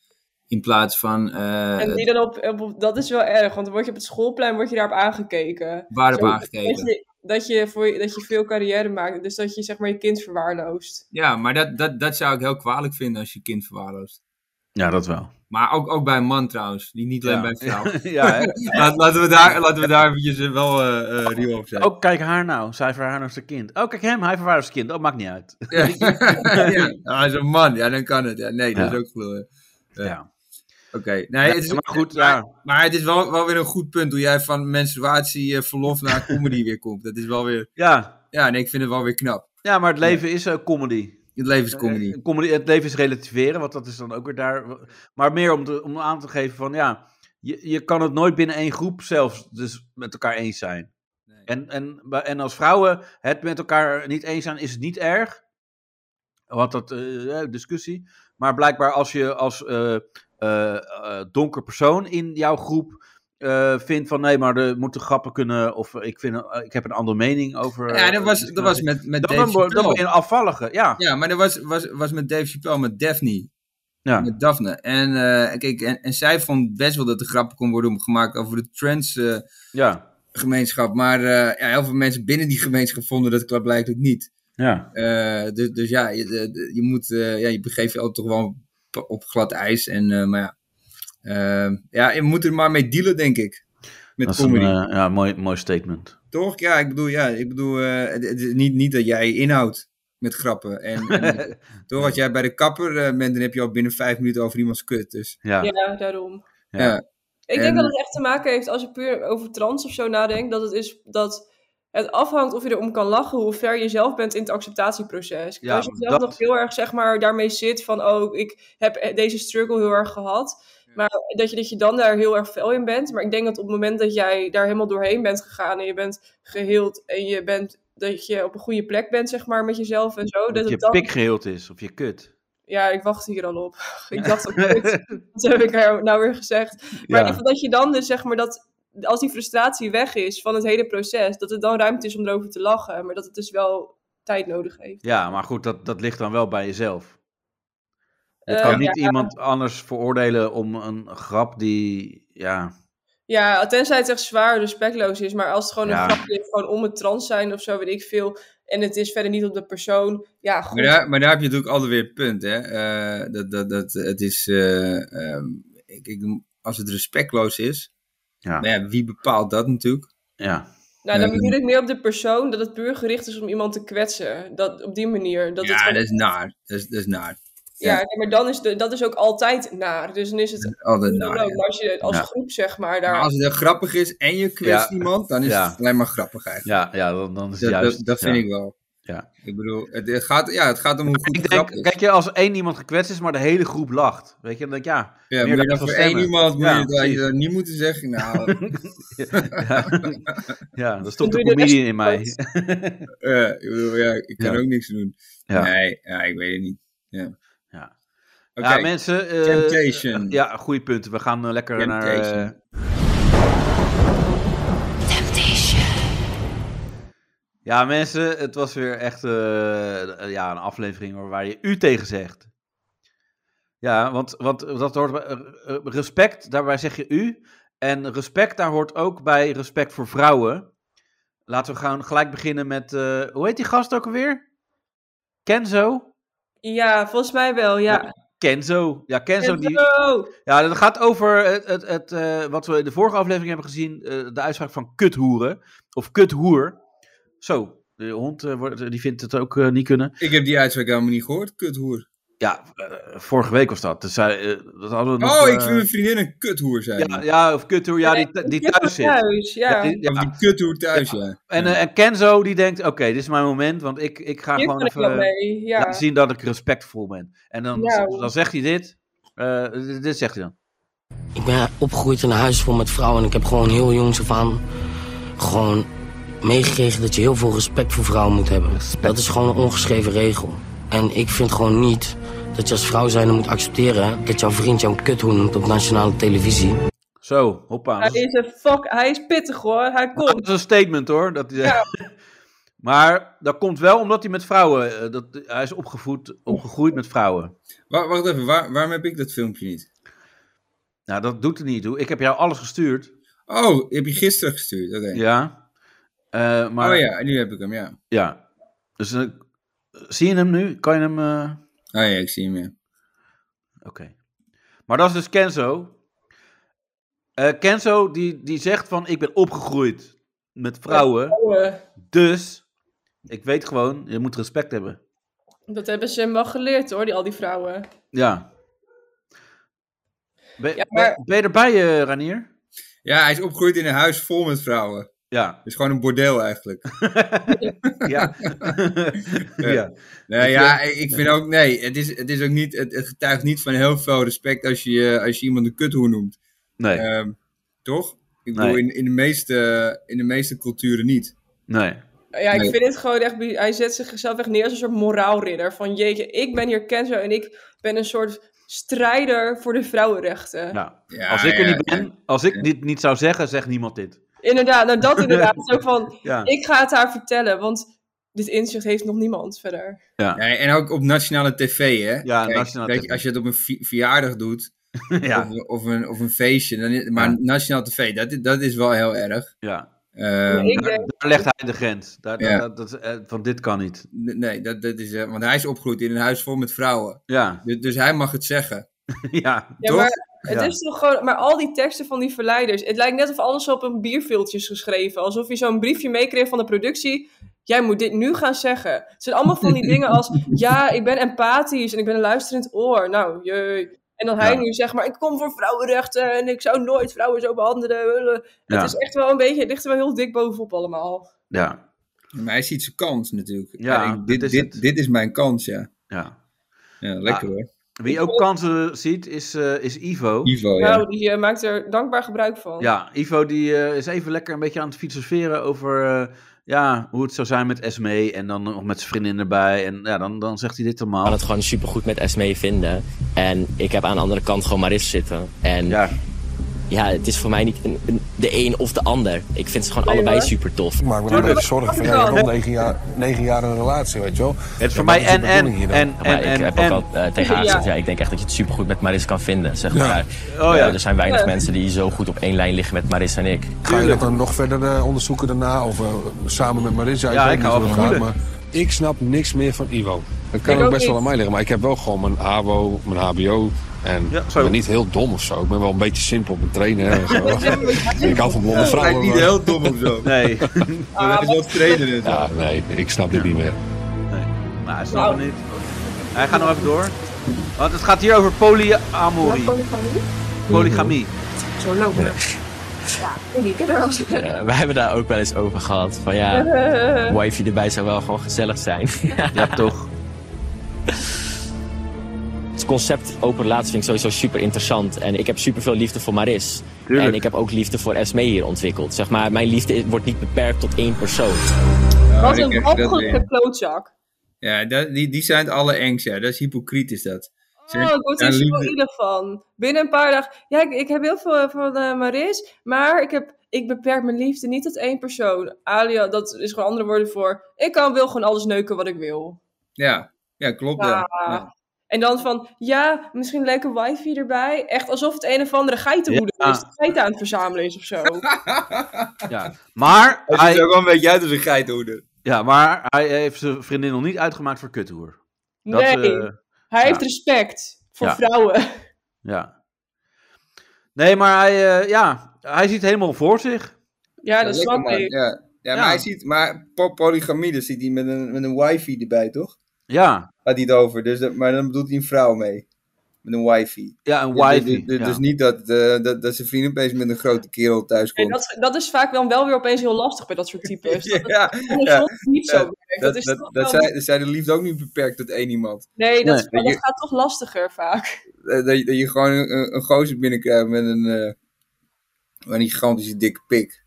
C: In plaats van eh,
B: en die dan op, op, op- Dat is wel erg, want dan word je op het schoolplein word je daarop aangekeken.
C: waarop
B: Zo,
C: aangekeken.
B: Dat je, dat, je voor, je- dat je veel carrière maakt, dus dat je zeg maar je kind verwaarloost.
C: Ja, maar dat, dat, dat zou ik heel kwalijk vinden als je kind verwaarloost.
A: Ja, dat wel.
C: Maar ook, ook bij een man trouwens, die niet
A: Ja.
C: alleen bij vrouw.
A: [LAUGHS] ja, hè?
C: Laat- laten, we daar, laten we daar eventjes eh, wel eh eh, ruw op zijn.
A: Oh, kijk haar nou. Zij verwaarloost haar kind. Oh, kijk hem. Hij verwaarloost zijn kind. Dat maakt niet uit.
C: Ja. [LAUGHS] ja. Als een man, ja, dan kan het. Ja, nee, dat
A: Ja.
C: is ook vloer. Ja.
A: Ja.
C: Oké. Nee, het is,
A: Ja, maar goed, ja.
C: Maar het is wel, wel weer een goed punt hoe jij van menstruatie eh, verlof
A: [LAUGHS]
C: naar comedy weer komt. Dat is wel weer.
A: Ja.
C: Ja, nee, ik vind het wel weer knap.
A: ja, maar het leven is eh, comedy.
C: Het leven is comedy.
A: Eh, comedy. Het leven is relativeren, want dat is dan ook weer daar. Maar meer om, te, om aan te geven van ja, je, je kan het nooit binnen één groep zelfs dus met elkaar eens zijn.
C: Nee.
A: En, en, bij- en als vrouwen het met elkaar niet eens zijn, is het niet erg. Want dat eh, eh, discussie. Maar blijkbaar als je als eh, eh, eh, donker persoon in jouw groep eh, vindt van nee, maar er moeten grappen kunnen. Of ik, vind, eh, ik heb een andere mening over.
C: Ja,
A: eh,
C: dat was, dat was
A: discriminatie.
C: met, met
A: Dan,
C: Dave
A: word- dan ben je
C: Chappelle.
A: een afvallige, ja.
C: Ja, maar dat was, was, was met Dave Chappelle, met Daphne.
A: Ja.
C: Met Daphne. En, eh, kijk, en, en zij vond best wel dat er grappen kon worden gemaakt over de trans eh,
A: ja.
C: gemeenschap. Maar eh, ja, heel veel mensen binnen die gemeenschap vonden dat blijkbaar niet.
A: Ja,
C: Eh, dus, dus ja, je, de- de- je moet, eh, ja, je begeeft je altijd toch wel op, op glad ijs. En, eh, maar ja. Eh, ja, je moet er maar mee dealen, denk ik. Met
A: dat is een
C: comedy.
A: eh, ja, mooi, mooi
B: [LAUGHS]
A: statement.
C: Toch? Ja, ik bedoel, ja, ik bedoel eh, het, het is niet, niet dat jij je inhoudt met grappen.
A: [LAUGHS]
C: En, en, toch, als jij bij de kapper eh, bent, dan heb je al binnen vijf minuten over iemands kut. Dus
A: Ja, ja.
B: Ja, daarom.
C: ja.
B: Ik
C: En-
B: denk dat het echt te maken heeft, als je puur over trans of zo nadenkt, dat het is dat het afhangt of je erom kan lachen, hoe ver je zelf bent in het acceptatieproces.
A: Ja,
B: als je zelf
A: dat-
B: nog heel erg zeg maar, daarmee zit van, oh, ik heb deze struggle heel erg gehad. Maar dat je, dat je dan daar heel erg fel in bent. Maar ik denk dat op het moment dat jij daar helemaal doorheen bent gegaan en je bent geheeld en je bent dat je op een goede plek bent, zeg maar, met jezelf en zo. Oh, Dat,
A: dat
B: het
A: je
B: dan...
A: pik geheeld is of je kut.
B: Ja, ik wacht hier al op. [LAUGHS] Ik dacht ook, "Kut, wat heb ik er nou weer gezegd? Maar in ieder geval dat je dan dus zeg maar dat als die frustratie weg is van het hele proces, dat het dan ruimte is om erover te lachen, maar dat het dus wel tijd nodig heeft.
A: Ja, maar goed, dat, dat ligt dan wel bij jezelf. Je
B: Eh,
A: kan niet iemand anders veroordelen om een grap die. Ja,
B: Ja, tenzij het echt zwaar respectloos is, maar als het gewoon
A: Ja.
B: een grapje is, gewoon om het trans zijn of zo, weet ik veel, en het is verder niet op de persoon, ja, goed.
C: Maar daar, maar daar heb je natuurlijk altijd weer het punt, hè? Eh, dat, dat, dat, het is, eh, ehm, ik, ik- als het respectloos is,
A: Ja.
C: Maar ja, wie bepaalt dat natuurlijk?
A: ja.
B: nou, dan
C: eh,
B: bedoel ik meer op de persoon dat het puur gericht is om iemand te kwetsen. Dat, op die manier. Dat het
C: ja,
B: gewoon-
C: dat is naar. Dat is, dat is naar.
B: ja, nee, maar dan is de, dat is ook altijd naar. Dus dan is het.
C: Altijd naar. Nou, ja.
B: maar als Nou, je als
A: Ja.
B: groep, zeg maar, daar.
A: Nou,
C: Maar als het heel grappig is en je kwetst
A: Ja.
C: iemand, dan is
A: Ja.
C: het alleen maar grappig eigenlijk.
A: Ja, ja dan, dan is het
C: Dat, dat-
A: juist.
C: dat, vind
A: ja.
C: ik wel.
A: Ja.
C: Ik bedoel, het, het gaat, ja, het gaat om hoe goed
A: Ik
C: de grap
A: denk,
C: is.
A: kijk je, als één iemand gekwetst is, maar de hele groep lacht. Weet je, dan denk ik, ja.
C: ja,
A: meer
C: moet je
A: dan
C: dat voor
A: van
C: één
A: stemmen.
C: iemand moet
A: Ja,
C: je, dat, je
A: precies.
C: dat niet moeten
A: [LAUGHS]
C: zeggen. Nou,
A: Ja, ja dat is toch
B: Dan
A: de
B: doe je de rest
A: comedian in mij.
C: eh, ik, bedoel, ja, ik kan
A: Ja.
C: ook niks doen.
A: Ja.
C: Nee, ja, ik weet het niet. Ja.
A: Ja.
C: Oké,
A: Ja, mensen. eh,
C: Temptation.
A: ja, goede punten. We gaan eh, lekker naar. eh,
C: Temptation.
A: Ja, mensen, het was weer echt eh, eh, ja, een aflevering waar- waar je u tegen zegt. Ja, want, want dat hoort bij eh, eh, respect, daarbij zeg je u. En respect, daar hoort ook bij respect voor vrouwen. Laten we gaan gelijk beginnen met, eh, hoe heet die gast ook alweer? Kenzo?
B: Ja, volgens mij wel, ja.
A: Kenzo. Ja, Kenzo,
B: Enzo!
A: Die, ja, dat gaat over het, het, het, eh, wat we in de vorige aflevering hebben gezien. eh, de uitspraak van kuthoeren. Of kuthoer. Zo, de hond eh, wordt, die vindt het ook eh, niet kunnen.
C: ik heb die uitspraak helemaal niet gehoord, kuthoer.
A: Ja, eh, vorige week was dat. Dus zij, eh, dat hadden we nog,
C: Oh, ik
A: eh,
C: vind mijn vriendin een kuthoer zijn.
A: ja, ja, of kuthoer. Ja, die, die
B: Ja,
A: thuis zit.
B: ja.
A: Ja, die- ja.
C: Of die kuthoer thuis, ja.
A: En, eh, en Kenzo die denkt, oké, dit is mijn moment. Want ik, ik ga
B: Hier
A: gewoon
B: kan ik wel
A: even
B: mee, ja.
A: laten zien dat ik respectvol ben. En dan,
B: Ja.
A: dan zegt hij dit. Eh, dit- dit zegt hij dan.
F: Ik ben opgegroeid in een huis vol met vrouwen en ik heb gewoon heel jongs af aan gewoon meegekregen dat je heel veel respect voor vrouwen moet hebben. Dat is gewoon een ongeschreven regel. En ik vind gewoon niet dat je als vrouw zijnde moet accepteren dat jouw vriend jou een kuthoen noemt op nationale televisie.
A: Zo, hoppa.
B: Hij
A: Dat is,
B: is een fuck, hij is pittig hoor, hij
A: dat
B: komt.
A: is een statement hoor. Dat hij, [LAUGHS] Maar dat komt wel omdat hij met vrouwen. eh, dat, hij is opgevoed, opgegroeid met vrouwen.
C: Wa- wacht even, waar, waarom heb ik dat filmpje niet?
A: Nou, dat doet er niet toe. Ik heb jou alles gestuurd.
C: Oh, die heb je gisteren gestuurd. Oké.
A: Ja. Eh, maar,
C: Oh ja, nu heb ik hem, ja.
A: ja. Dus eh, zie je hem nu? Kan je hem. eh,
C: Ah ja, ik zie hem, ja.
A: Oké. Maar dat is dus Kenzo. Eh, Kenzo die, die zegt van ik ben opgegroeid met vrouwen. Dus ik weet gewoon, je moet respect hebben.
B: Dat hebben ze hem wel geleerd hoor, die, al die vrouwen.
A: Ja. Ben,
B: Ja, maar-
A: ben- ben je erbij, eh, Ranier?
C: Ja, hij is opgegroeid in een huis vol met vrouwen. Het
A: Ja.
C: is gewoon een bordeel eigenlijk.
A: Ja. [LAUGHS] ja.
C: Nee, ja, ik vind ook, nee, het, is, het, is ook niet, het het getuigt niet van heel veel respect als je, eh, als je iemand een kuthoer noemt.
A: Nee.
C: Ehm, toch? Ik bedoel,
A: Nee.
C: in, in, de meeste, in de meeste culturen niet.
A: Nee.
B: Ja, ik
C: Nee.
B: vind het gewoon echt... bi- Hij zet zichzelf echt neer als een soort moraalridder. Van jeetje, ik ben hier Kenzo en ik ben een soort strijder voor de vrouwenrechten.
A: Ja.
C: Ja,
A: Als ik er
C: ja,
A: niet ben, als ik dit niet zou zeggen, zegt niemand dit.
B: Inderdaad,
A: [LAUGHS]
B: nou dat inderdaad. Zo van,
A: Ja.
B: ik ga het haar vertellen, want dit inzicht heeft nog niemand verder.
A: Ja.
C: Nee, en ook op nationale tv, hè?
A: Ja, nationale
C: weet je,
A: tv.
C: Als je het op een vi- verjaardag doet,
A: [LAUGHS] Ja.
C: of, of, een, of een feestje, dan is- maar
A: Ja.
C: nationale tv, dat, is- dat is wel heel erg.
A: ja.
C: Ehm,
B: ik
A: Daar,
B: denk,
A: daar legt hij de grens. Daar,
C: Ja.
A: dat, dat, eh, van dit kan niet.
C: nee, dat, dat is, eh, want hij is opgegroeid in een huis vol met vrouwen.
A: Ja. [LAUGHS]
C: Dus, dus hij mag het zeggen.
A: Ja.
B: ja,
C: toch?
B: maar het
A: Ja.
B: is toch gewoon... Maar al die teksten van die verleiders... Het lijkt net of alles op een bierviltje is geschreven. Alsof je zo'n briefje meekreeg van de productie... Jij moet dit nu gaan zeggen. Het zijn allemaal van die dingen als...
C: [LAUGHS]
B: Ja, ik ben empathisch en ik ben een luisterend oor. Nou, je... En dan hij
A: Ja.
B: nu zegt, maar ik kom voor vrouwenrechten... en ik zou nooit vrouwen zo behandelen.
A: Ja.
B: Het is echt wel een beetje... Het ligt er wel heel dik bovenop
C: Oh,
B: allemaal.
A: ja.
C: Maar hij ziet zijn kans natuurlijk.
A: Ja,
C: En ik- dit,
A: dat is
C: dit,
A: het.
C: dit is mijn kans, ja.
A: Ja.
C: Ja, lekker
A: Ah.
C: hoor.
A: Wie ook kansen ziet is, eh, is Ivo.
C: Ivo, ja.
B: Nou, die eh, maakt er dankbaar gebruik van.
A: Ja, Ivo die eh, is even lekker een beetje aan het filosoferen over eh, ja, hoe het zou zijn met Esme en dan nog met zijn vriendin erbij. En ja, dan, dan zegt hij dit
H: kan
A: allemaal.
H: het gewoon supergoed met Esmee vinden. En ik heb aan de andere kant gewoon Maris zitten. En ja,
A: Ja,
H: het is voor mij niet een- een- de een of de ander. Ik vind ze gewoon
B: Nee,
H: allebei
B: hoor.
H: super tof.
I: Ik maak me daar
A: Tuurlijk.
I: echt zorgen van. Ja, je komt negen jaar, negen jaar in een relatie, weet je wel.
A: het is voor
I: Ja,
A: mij
I: wat
A: en
I: de
A: en
I: bedoeling hier
A: en
I: dan?
A: en
H: Maar ik
A: en.
H: heb ook al eh, tegen
B: [LAUGHS]
H: haar
B: Ja.
H: gezegd, ja, ik denk echt dat je het supergoed met Maris kan vinden. Zeg maar.
A: Oh ja.
H: Eh, er zijn weinig
B: Ja.
H: mensen die zo goed op één lijn liggen met Maris en
B: [LAUGHS]
H: ik.
I: Ga je dat dan nog verder eh, onderzoeken daarna? Of eh, samen met Marissa?
A: Ja,
I: weet
A: ik
I: niet
A: hou
I: hoe
A: wel
I: het
A: van
I: gaat, maar ik snap niks meer van Ivo. Het kan
B: Ik ook
I: ook best wel
B: niet.
I: aan mij liggen, maar ik heb wel gewoon mijn ABO, mijn HBO. En
A: Ja,
I: ik
A: zo.
I: ben niet heel dom of zo. Ik ben wel een beetje simpel met trainen. En zo. ik hou van blonde
C: Hij is
I: vrouwen.
C: niet
I: maar-
C: heel dom of zo.
A: [LAUGHS] Nee, Nou,
B: Nou,
C: Hij is wel trainer en zo.
I: Ja, nee, ik snap dit niet meer.
A: maar hij snapt het niet. Hij gaat nog even door. Want het gaat hier over polyamorie. Polygamie.
H: Eh, wij hebben daar ook wel eens over gehad. Van
B: [LAUGHS]
H: ja, wifey erbij zou wel gewoon gezellig zijn.
A: Ja, toch.
H: Het concept open relatie vind ik sowieso super interessant. En ik heb super veel liefde voor Maris.
A: Tuurlijk.
H: En ik heb ook liefde voor Esme hier ontwikkeld. Zeg maar, mijn liefde wordt niet beperkt tot één persoon.
B: Wat
C: ik
B: een
C: heb dat
B: walgelijke
C: weer.
B: klootzak.
C: Ja, dat, die, die zijn het allerengst, ja. Dat is hypocriet, is dat. Zijn-
B: Oh, ik word er
C: zijn
B: zo
C: liefde-
B: ieder van. Binnen een paar dagen. Ja, ik, ik heb heel veel eh, van eh, Maris. Maar ik, heb, ik beperk mijn liefde niet tot één persoon. Alia, dat is gewoon andere woorden voor. Ik kan, wil gewoon alles neuken wat ik wil.
C: Ja, ja klopt. Ja.
B: Ah.
C: Ja.
B: En dan van, ja, misschien een leuke wifi erbij. Echt alsof het een of andere geitenmoeder
A: Ja.
B: is. die Geiten aan het verzamelen is of
A: [LAUGHS]
B: zo.
A: [LAUGHS] Ja. Maar,
C: Hij ziet er
A: hij,
C: ook wel een beetje uit als een geitenhoeder.
A: ja, maar hij heeft zijn vriendin nog niet uitgemaakt voor kuthoer. Dat,
B: nee,
A: eh,
B: hij
A: ja.
B: heeft respect voor
A: Ja.
B: vrouwen. [LAUGHS]
A: Ja. Nee, maar hij, eh, ja, hij ziet helemaal voor zich.
B: Ja,
C: Ja,
B: dat
C: lekker,
B: snap
C: man.
B: ik.
C: Ja. Ja, maar
A: Ja.
C: hij ziet, maar po- polygamie, dat ziet hij met een, met een wifi erbij, toch?
A: Ja,
C: Gaat hij het over, dus dat, maar dan bedoelt hij een vrouw mee. Met een wifi.
A: ja een
C: Dus-
A: wifey.
C: dus, dus
A: ja.
C: niet dat, eh, dat, dat zijn vriend opeens met een grote kerel thuis
B: En
C: komt.
B: dat, dat is vaak dan wel weer opeens heel lastig bij dat soort
C: [LAUGHS]
B: types. Dat het
C: ja,
B: andersom niet zo
C: Ja,
B: werkt.
C: dat,
B: is
C: dat,
B: toch
C: dat,
B: wel-
C: zij, dat zij de liefde ook niet beperkt tot één iemand.
B: Nee, dat, is-
C: Nee,
B: dat
C: je-
B: gaat toch lastiger vaak.
C: Eh, dat, je- dat je gewoon een, een- een gozer binnenkrijgt met een, eh, met een gigantische dikke pik.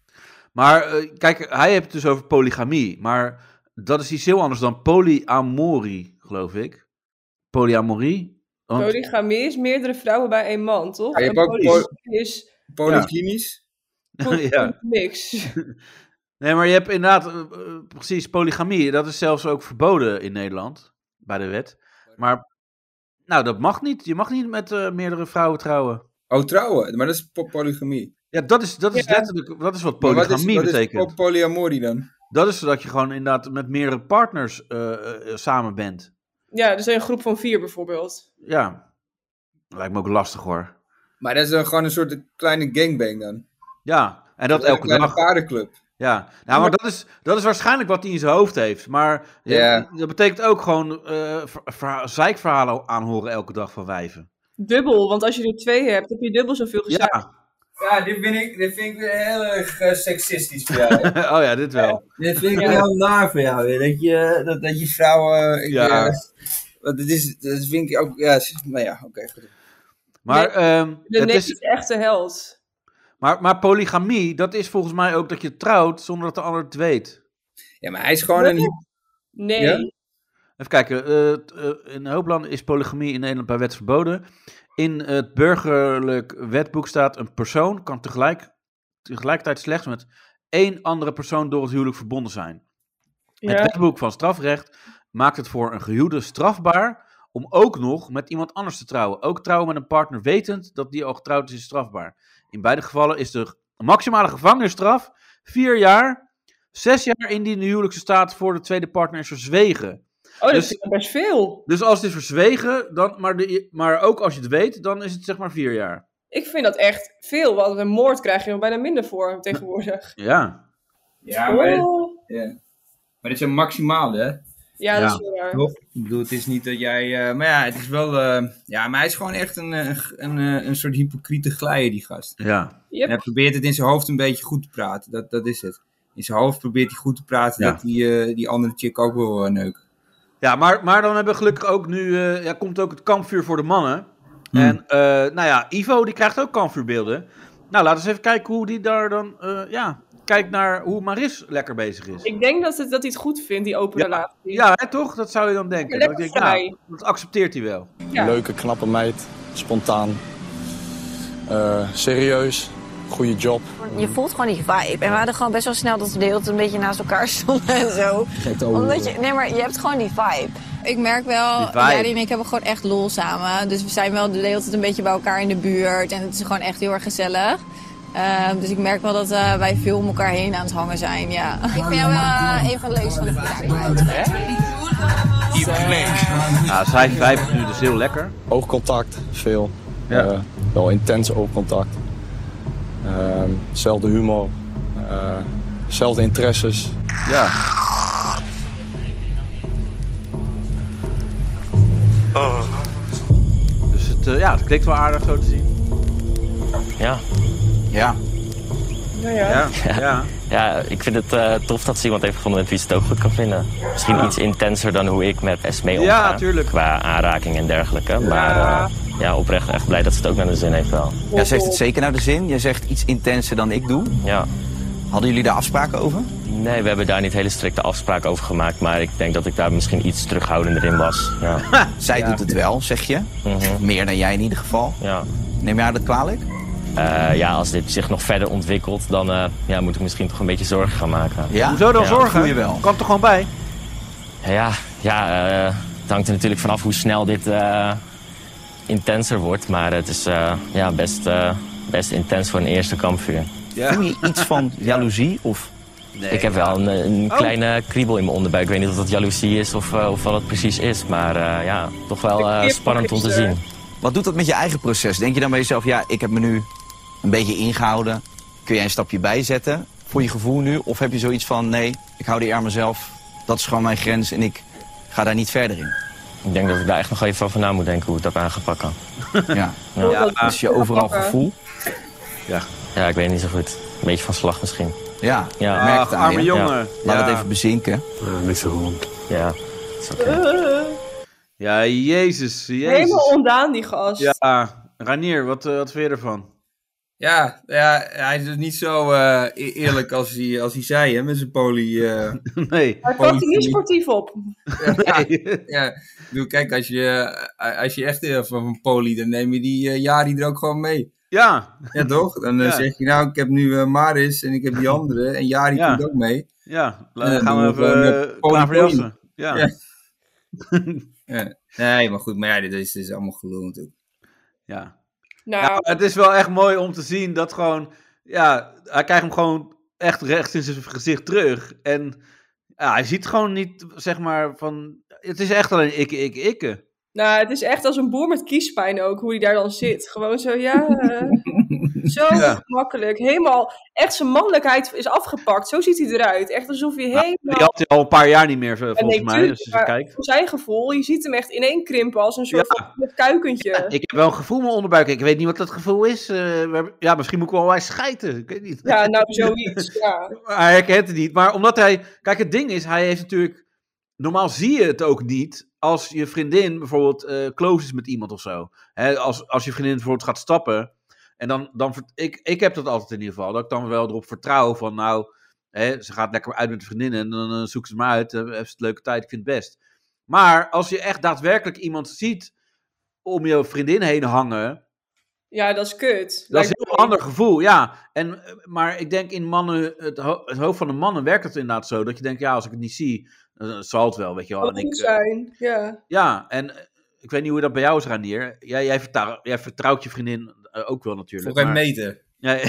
A: Maar eh, kijk, hij heeft het dus over polygamie. Maar dat is iets heel anders dan polyamorie, geloof ik. Polyamorie? Want-
B: Polygamie is meerdere vrouwen bij één man, toch?
C: Ja, je
B: En
C: hebt ook
B: polygamie is
A: [LAUGHS]
C: Polyklinisch?
A: ja.
B: niks.
A: Nee, maar je hebt inderdaad, eh, eh, precies, polygamie. Dat is zelfs ook verboden in Nederland, bij de wet. Maar, nou, dat mag niet. Je mag niet met eh, meerdere vrouwen trouwen.
C: Oh, trouwen. Maar dat is po- polygamie.
A: Ja, dat is, dat is
B: Ja.
A: letterlijk, dat is wat
C: Maar
A: polygamie
C: wat is, wat
A: betekent.
C: Is po- polyamorie dan?
A: Dat is dat je gewoon inderdaad met meerdere partners eh, eh, samen bent.
B: Ja, dus een groep van vier bijvoorbeeld.
A: Ja, lijkt me ook lastig hoor.
C: Maar dat is dan gewoon een soort kleine gangbang dan.
A: Ja, en dat
C: een
A: elke
C: kleine
A: dag.
C: paardenclub.
A: Ja, nou, maar dat is, dat is waarschijnlijk wat hij in zijn hoofd heeft. Maar eh,
C: Ja.
A: dat betekent ook gewoon eh, ver- verha- zeikverhalen aanhoren elke dag van wijven.
B: Dubbel, want als je er twee hebt, heb je dubbel zoveel gezegd.
A: Ja,
C: Ja, dit vind ik, dit vind ik weer heel erg eh, seksistisch voor [LAUGHS] jou. hè.
A: oh ja, [LAUGHS] dit wel.
C: dit vind ik heel naar voor jou. weer, Dat je, dat, dat je vrouwen... ik,
A: Ja.
C: eh, want dit is, dat vind ik ook... Ja, maar ja, oké. goed.
A: Maar, ehm,
B: De
A: het
B: neef
A: is,
B: is echt de held.
A: maar, maar polygamie, dat is volgens mij ook dat je trouwt zonder dat de ander het weet.
C: Ja, maar hij is gewoon een...
B: Nee.
C: Ja?
A: Even kijken, eh, t- eh, in Hoopland is polygamie in Nederland bij wet verboden. In het burgerlijk wetboek staat een persoon kan tegelijk, tegelijkertijd slechts met één andere persoon door het huwelijk verbonden zijn. Het
B: Ja.
A: wetboek van strafrecht maakt het voor een gehuwde strafbaar om ook nog met iemand anders te trouwen. Ook trouwen met een partner wetend dat die al getrouwd is, is strafbaar. In beide gevallen is de maximale gevangenisstraf vier jaar, zes jaar indien de huwelijkse staat voor de tweede partner is verzwegen.
B: Oh, dat
A: Dus-
B: is best veel.
A: Dus als het is verzwegen, dan, maar, de, maar ook als je het weet, dan is het zeg maar vier jaar.
B: Ik vind dat echt veel, want een moord krijg je er bijna minder voor tegenwoordig.
A: Ja.
C: Ja,
B: Oh.
C: maar dit is een maximaal, hè?
B: Ja, dat is wel waar.
C: Toch? Ik bedoel, het is niet dat jij... eh, maar ja, het is wel... eh, ja, maar hij is gewoon echt een, eh, g- een, eh, een soort hypocriete glijer, die gast.
A: Ja.
B: Yep.
C: En hij probeert het in zijn hoofd een beetje goed te praten. Dat, dat is het. In zijn hoofd probeert hij goed te praten
A: Ja.
C: dat die, eh, die andere chick ook wil eh, neuken.
A: Ja, maar, maar dan hebben we gelukkig ook nu, eh, ja, komt ook het kampvuur voor de mannen. En eh, nou ja, Ivo die krijgt ook kampvuurbeelden. Nou, laten we eens even kijken hoe die daar dan, eh, ja, kijkt naar hoe Maris lekker bezig is.
B: Ik denk dat, het, dat hij het goed vindt, die open
A: Ja.
B: relatie.
A: Ja, hè, toch? Dat zou je dan denken.
B: Lekker
A: Dat ik denk, nou,
B: vrij.
A: dat accepteert hij wel.
B: Ja.
J: Leuke, knappe meid. Spontaan. Eh, serieus. Goede job.
K: Je voelt gewoon die vibe. En we hadden gewoon best wel snel dat we de hele tijd een beetje naast elkaar stonden en zo. Omdat je, nee, maar je hebt gewoon die vibe. Ik merk wel,
A: Die vibe.
K: Jari en ik hebben gewoon echt lol samen. Dus we zijn wel de hele tijd een beetje bij elkaar in de buurt. En het is gewoon echt heel erg gezellig. Ehm, dus ik merk wel dat eh, wij veel om elkaar heen aan het hangen zijn, ja. Ik vind jou wel eh, een van de leukste van de
A: Nou, zij vijf nu dus heel lekker.
J: Oogcontact, veel.
A: Ja.
J: Eh, wel intens oogcontact. Ehm, Zelfde humor. Eh, zelfde interesses.
A: Ja. Dus het, eh, ja, het klinkt wel aardig zo te zien.
H: Ja.
A: Ja.
B: Nou ja.
A: Ja. ja.
H: ja, ik vind het eh, tof dat ze iemand heeft gevonden met wie ze het ook goed kan vinden. Misschien iets intenser dan hoe ik met Esmee omga.
A: Ja, tuurlijk.
H: Qua aanraking en dergelijke. Maar eh, ja, oprecht echt blij dat ze het ook naar de zin heeft wel.
D: Jij zegt het zeker naar de zin. Jij zegt iets intenser dan ik doe.
H: Ja.
D: Hadden jullie daar afspraken over?
H: Nee, we hebben daar niet hele strikte afspraken over gemaakt. Maar ik denk dat ik daar misschien iets terughoudender in
B: [LAUGHS]
H: was. Ja,
D: Zij doet het wel, zeg je.
A: Mhm.
D: Meer dan jij in ieder geval.
H: ja.
D: Neem jij dat kwalijk?
H: Eh, ja als dit zich nog verder ontwikkelt, dan eh, ja, moet ik misschien toch een beetje zorgen gaan maken.
D: Ja.
A: Hoezo dan
H: Ja,
A: zorgen?
D: voel je wel.
A: Kan toch gewoon bij?
H: Ja, ja eh, het hangt er natuurlijk vanaf hoe snel dit eh, intenser wordt. Maar het is eh, ja, best, eh, best intens voor een eerste kampvuur.
D: Voel je iets van jaloezie? Of
H: ik heb wel een,
B: Oh.
H: een kleine kriebel in mijn onderbuik. Ik weet niet of dat jaloezie is of, eh, of wat het precies is. Maar eh, ja, toch wel eh,
B: kip
H: spannend om te
B: gisteren.
H: zien.
D: wat doet dat met je eigen proces? Denk je dan bij jezelf, ja, ik heb me nu een beetje ingehouden. Kun jij een stapje bijzetten voor je gevoel nu? Of heb je zoiets van, nee, ik hou die aan mezelf. Dat is gewoon mijn grens en ik ga daar niet verder in.
H: Ik denk dat ik daar echt nog even over na moet denken hoe ik dat aan ga pakken.
D: Ja.
A: Ja.
D: Dat is je overal gevoel.
H: Ja, ik weet niet zo goed. Een beetje van slag misschien.
D: Ja,
H: Ja.
D: merk
A: Ach,
D: het aan
A: arme
D: je.
A: jongen.
D: Laat
A: ja.
D: het even bezinken.
H: Ja, is
B: Eh,
H: oké.
A: Ja, jezus, jezus.
B: Helemaal ondaan, die gast.
A: Ja, Ranier, wat, eh, wat vind je ervan? [LAUGHS]
D: Ja,
C: Ja, hij is dus niet zo eh, e- eerlijk als hij, als hij zei, hè, met zijn poly...
A: [LAUGHS]
C: eh,
A: Nee.
B: Maar pakt hij niet sportief op.
C: ja, ik bedoel, kijk, als je, eh, als je echt heel van van poly, dan neem je die eh, Jari er ook gewoon mee.
A: [LAUGHS] Ja,
C: Ja, toch? Dan eh,
A: Ja.
C: zeg je, nou, ik heb nu eh, Maris en ik
A: [LAUGHS]
C: heb die andere en Jari
A: Ja.
C: komt ook mee.
A: ja.
C: En
A: Dan
C: dan
A: gaan we
C: doen we gewoon, eh,
A: even eh,
C: pony,
A: klaar voor
C: pony.
A: jassen. Ja.
C: Ja. Ja. Nee, maar goed, maar ja, dit is, dit is allemaal gelul natuurlijk.
A: ja.
B: Nou,
A: Ja, maar het is wel echt mooi om te zien dat gewoon, ja, hij krijgt hem gewoon echt recht in zijn gezicht terug. En ja, hij ziet gewoon niet, zeg maar, van, het is echt alleen ikke, ikke, ikke.
B: nou, het is echt als een boer met kiespijn ook, hoe hij daar dan zit. Gewoon zo, ja, eh, zo
A: Ja.
B: makkelijk. Helemaal, echt zijn mannelijkheid is afgepakt. Zo ziet hij eruit. Echt alsof hij
A: Nou, Die
B: helemaal...
A: had hij al een paar jaar niet meer, eh, volgens
B: nee,
A: mij,
B: tuurlijk,
A: als je
B: maar
A: kijkt.
B: Voor zijn gevoel, je ziet hem echt ineenkrimpen als een soort van kuikentje. Ja,
A: Ik heb wel een gevoel in mijn onderbuik. Ik weet niet wat dat gevoel is. Eh, we hebben- ja, misschien moet ik wel eens schijten. Ik weet niet.
B: nou, zoiets, ja.
A: Hij herkent het niet. Maar omdat hij. Kijk, het ding is, hij heeft natuurlijk. Normaal zie je het ook niet als je vriendin bijvoorbeeld eh close is met iemand of zo. Hè, als, als je vriendin bijvoorbeeld gaat stappen. En dan. dan vert- ik, ik heb dat altijd in ieder geval. Dat ik dan wel erop vertrouw van. Nou, hè, ze gaat lekker uit met de vriendinnen. En dan eh, zoek ze me uit. eh, Heeft ze het leuke tijd. Ik vind het best. Maar als je echt daadwerkelijk iemand ziet om je vriendin heen hangen.
B: Ja, dat is kut.
A: Dat is
B: Lijkt
A: een heel
B: me-
A: ander gevoel, ja. En, eh, maar ik denk in mannen, het, ho- het hoofd van de mannen werkt het inderdaad zo. Dat je denkt, ja, als ik het niet zie, dan zal het wel, weet je wel.
B: kan
A: En ik,
B: goed
A: eh,
B: zijn, ja.
A: ja, en eh, ik weet niet hoe dat bij jou is, Ranier. Jij, jij, vertrouw- jij vertrouwt je vriendin eh, ook wel natuurlijk.
C: Voor geen
A: maar-
C: meter.
A: Ja,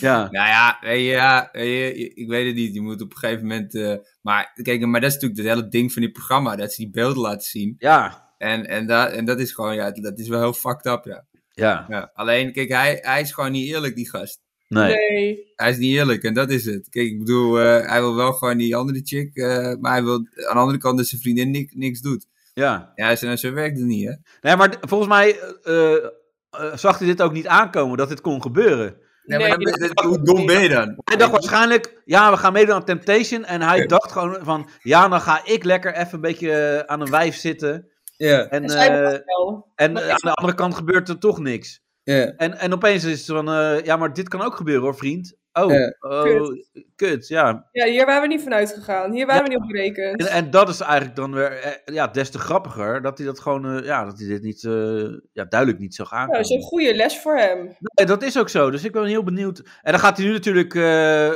A: ja. [LAUGHS]
C: Nou ja, weet je, ja weet je, je- ik weet het niet. Je moet op een gegeven moment. eh, maar kijk, maar dat is natuurlijk het hele ding van die programma. Dat ze die beelden laten zien.
A: ja,
C: En, en, dat, en dat is gewoon, ja, dat is wel heel fucked up, ja.
A: ja.
C: ja. Alleen, kijk, hij, hij is gewoon niet eerlijk, die gast.
A: Nee.
B: Nee.
C: Hij is niet eerlijk en dat is het. Kijk, ik bedoel, eh, hij wil wel gewoon die andere chick. eh, maar hij wil aan de andere kant dat zijn vriendin ni- niks doet.
A: Ja.
C: Ja, zo, zo werkt het niet, hè?
A: Nee, maar d- volgens mij eh, eh, eh, zag hij dit ook niet aankomen, dat dit kon gebeuren.
C: Nee,
B: Nee,
C: maar dat- dat- hoe dom ben je dan?
A: Hij dacht waarschijnlijk, ja, we gaan meedoen aan Temptation. En hij dacht gewoon van, ja, dan ga ik lekker even een beetje eh, aan een wijf zitten.
C: Ja,
A: En,
B: En zij
A: eh,
B: wil dat wel.
A: en eh, aan de andere kant gebeurt er toch niks.
C: ja.
A: En, en opeens is het van, eh, ja, maar dit kan ook gebeuren hoor, vriend. Oh,
C: Ja.
A: oh, kut.
B: Kut.
A: ja.
B: Ja, hier waren we niet van uitgegaan. Hier waren we niet op
A: En,
B: berekend.
A: en dat is eigenlijk dan weer, eh, ja, des te grappiger. Dat hij dat gewoon, eh, ja, dat hij dit niet, eh, ja, duidelijk niet zag
B: Nou,
A: aankomen.
B: dat is een goede les voor hem.
A: Nee, dat is ook zo. Dus ik ben heel benieuwd. En dan gaat hij nu natuurlijk. eh, eh,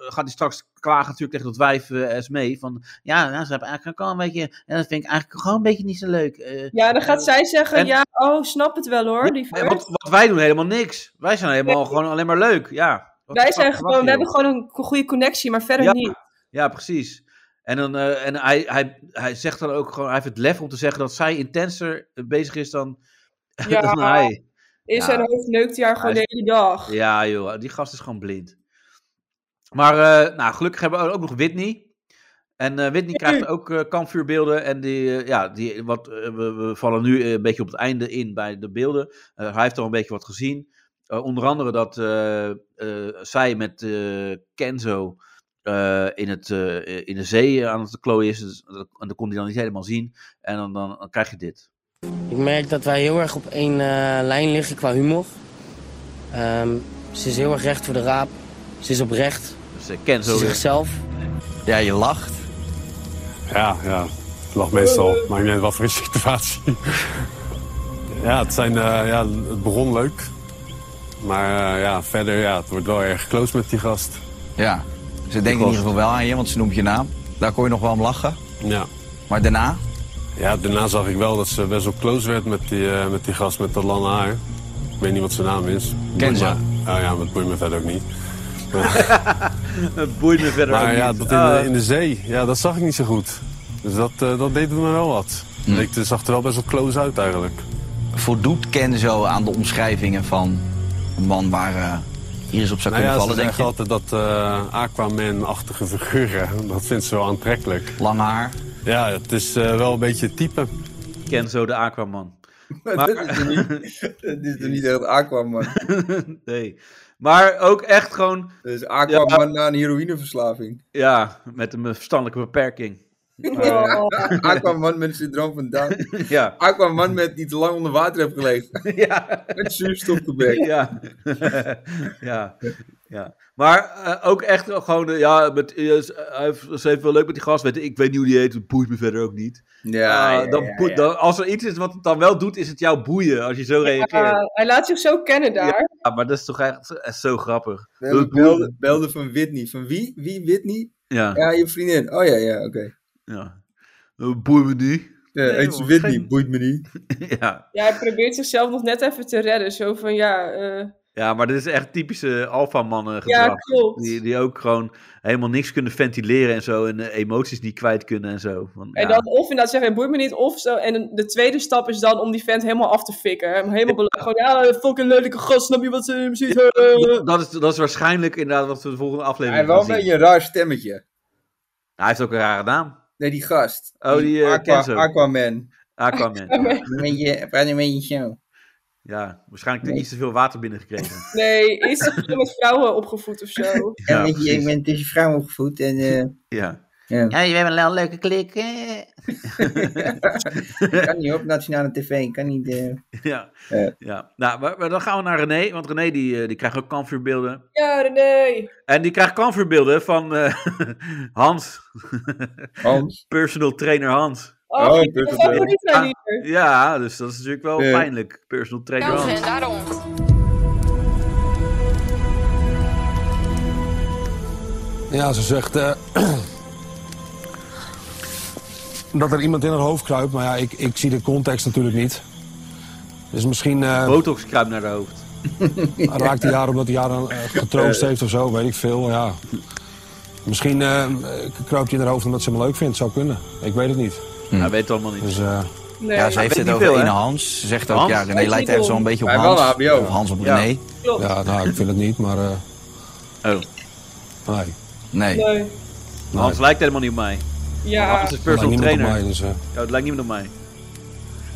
A: gaat hij straks klagen natuurlijk tegen dat wijf eh Esmee. Van ja, nou, ze hebben eigenlijk ook al een beetje. En dat vind ik eigenlijk gewoon een beetje niet zo leuk. eh.
B: Ja, dan gaat zij zeggen,
A: En-
B: ja, oh, snap het wel hoor, die
A: En
B: vent.
A: wat, wat wij doen helemaal niks. Wij zijn helemaal
B: Nee.
A: gewoon alleen maar leuk. Ja. Wat
B: Wij
A: de
B: zijn
A: fuck verwacht
B: gewoon,
A: je,
B: we hebben
A: joh?
B: gewoon een goede connectie, maar verder
A: Ja. [LAUGHS]
B: niet.
A: Ja, precies. En, dan, eh, en hij, hij, hij zegt dan ook gewoon. Hij heeft het lef om te zeggen dat zij intenser bezig is dan, [LAUGHS]
B: Ja.
A: dan hij.
B: In
A: Ja.
B: zijn hoofd neukt hij haar gewoon
A: Hij
B: de hele dag.
A: Ja, joh, die gast is gewoon blind. Maar eh, nou, gelukkig hebben we ook nog Whitney. En eh, Whitney krijgt ook eh, kampvuurbeelden. En die, eh, ja, die, wat, eh, we, we vallen nu eh, een beetje op het einde in bij de beelden. Eh, hij heeft al een beetje wat gezien. Eh, onder andere dat eh, eh, zij met eh, Kenzo eh, in, het, eh, in de zee eh, aan het klooien is. Dus dat, en dat kon hij dan niet helemaal zien. En dan, dan, dan krijg je dit.
F: Ik merk dat wij heel erg op één eh, lijn liggen qua humor. Ehm, ze is heel erg recht voor de raap. Ze is oprecht.
A: Dus eh,
F: Ze
A: Kenzo
F: is
A: weer.
F: zichzelf. Ja, je lacht.
I: Ja, ja. Het lag meestal. Maakt niet uit wat voor een [LAUGHS] situatie. ja, het, zijn, eh, ja, het begon leuk. Maar eh, ja, verder, ja, het wordt wel erg close met die gast.
L: Ja, ze denken in ieder geval wel aan je, want ze noemt je naam. Daar kon je nog wel om lachen.
I: Ja.
L: Maar daarna,
I: ja, daarna zag ik wel dat ze best wel close werd met die, eh, met die gast met dat lange haar. Ik weet niet wat zijn naam is.
L: Kenzo.
I: Boeit me- Oh ja, maar het boeit me verder ook niet.
A: Het boeit me verder ook
I: Maar ja,
A: niet.
I: dat in,
A: Ah.
I: de, in de zee, ja, dat zag ik niet zo goed. Dus dat, eh, dat deed me wel wat. Ik zag er wel best wel close uit eigenlijk.
L: voldoet Kenzo aan de omschrijvingen van een man waar eh hier is op zou
I: Nou
L: kunnen
I: ja, ze
L: vallen, denk
I: zeggen
L: je?
I: altijd dat eh, Aquaman-achtige figuren, [LAUGHS] dat vindt ze wel aantrekkelijk.
L: Lang haar.
I: Ja, het is eh, wel een beetje het type.
A: Ah, Kenzo de Aquaman.
C: [LAUGHS] Maar dat is er niet, [LAUGHS] dat is er niet echt Aquaman.
A: nee. Maar ook echt gewoon,
C: Dat is Aquaman na een heroïneverslaving. [LAUGHS]
A: ja, met een verstandelijke beperking. [LAUGHS]
C: Ja. Aquaman met een syndroom van Down.
A: Ja.
C: Aquaman met die te lang onder water heeft [LAUGHS] gelegen.
A: Ja.
C: Met zuurstofgebrek.
A: Ja. [LAUGHS] ja. ja. Maar eh, ook echt gewoon, eh, ja, met, eh, s- hij heeft- ze heeft wel leuk met die gast. Weet, ik weet niet hoe die heet, het boeit me verder ook niet.
C: Ja,
A: Eh,
C: ja,
A: dan
C: ja,
A: boe-
C: ja.
A: Dan, als er iets is wat het dan wel doet, is het jou boeien als je zo reageert.
B: Ja, hij laat zich zo kennen daar.
A: Ja, maar dat is toch echt, echt zo grappig.
C: We
A: Dat
C: hebben
A: boeit-
C: belden, belden van Whitney. Van wie? Wie Whitney?
A: Ja.
C: Ja, je vriendin. Oh ja, ja, oké.
A: Ja. Eh, Boeit me niet. [LAUGHS]
C: Ja,
A: Nee,
C: het is
A: joh,
C: Whitney,
A: geen-
C: boeit me niet.
A: ja.
B: Ja, hij probeert zichzelf nog net even te redden. Zo van, ja, eh,
A: ja, maar dit is echt typische alfamannen gedrag.
B: Ja, klopt.
A: Die, die ook gewoon helemaal niks kunnen ventileren en zo. En eh, emoties niet kwijt kunnen en zo. Van,
B: en
A: ja.
B: dan of inderdaad zeggen, het boeit me niet, of zo. En de tweede stap is dan om die vent helemaal af te fikken. Hem helemaal bela- Gewoon, ja, fucking lelijke gast, snap je wat ze precies...
A: dat, is, dat is waarschijnlijk inderdaad wat we de volgende
C: Hij
A: aflevering
C: heeft wel een
A: gaan zien.
C: beetje een raar stemmetje.
A: Hij heeft ook een rare naam.
C: Nee, die gast.
A: Oh, die eh,
C: Aqua-
A: Kenzo.
C: Aquaman.
A: Aquaman.
C: Een beetje, praat een beetje zo.
A: Ja, waarschijnlijk iets te veel water binnengekregen.
B: Nee, is hij gewoon met vrouwen opgevoed of
A: [LAUGHS]
B: zo?
A: Ja, Ja, weet je, precies. ik
C: ben tussen vrouwen opgevoed en... eh,
A: [LAUGHS] Ja.
C: Ja.
L: we hebben een leuke klik.
C: kan niet op nationale tv, kan niet... eh,
A: [LAUGHS] Ja.
C: Ja.
A: ja. Nou, maar, maar dan gaan we naar René. Want René die, eh, die krijgt ook kanvuurbeelden.
B: Ja, René.
A: En die krijgt kanvuurbeelden van eh, [LAUGHS] Hans.
C: Hans.
A: Personal trainer Hans.
B: Oh, Oh, ik ben personal trainer. favoriet van die.
A: Ja, ja, dus dat is natuurlijk wel
C: Ja.
A: pijnlijk. Personal trainer Hans.
K: daarom.
M: Ja, ze zegt eh, dat er iemand in haar hoofd kruipt. Maar ja, ik, ik zie de context natuurlijk niet. Dus misschien eh,
A: Botox kruipt naar de hoofd.
M: raakt hij haar omdat hij haar dan, eh, getroost heeft of zo, weet ik veel. Ja. Misschien eh, kruipt hij in haar hoofd omdat ze hem leuk vindt. Zou kunnen. Ik weet het niet.
A: Hij weet het allemaal niet.
M: Dus, eh,
B: Nee.
L: Ja, ze heeft
M: Weet
L: het
M: niet
L: over
M: veel,
L: ene
M: hè?
L: Hans. Ze zegt ook,
M: Hans?
L: ja, René
M: Weet
L: lijkt
M: niet
L: even
M: veel.
L: zo'n beetje op
M: Hij wel
L: Hans.
M: een HBO.
L: Of Hans op
M: Ja.
L: René.
B: Klopt.
M: ja, nou, ik vind het niet, maar... eh,
A: Oh,
M: nee.
L: Nee.
B: Nee.
A: Hans lijkt helemaal niet op mij.
B: Ja.
A: Hans is personal
L: Lijkt niemand
A: trainer.
L: op
M: mij, dus,
A: ja, het lijkt niemand op mij.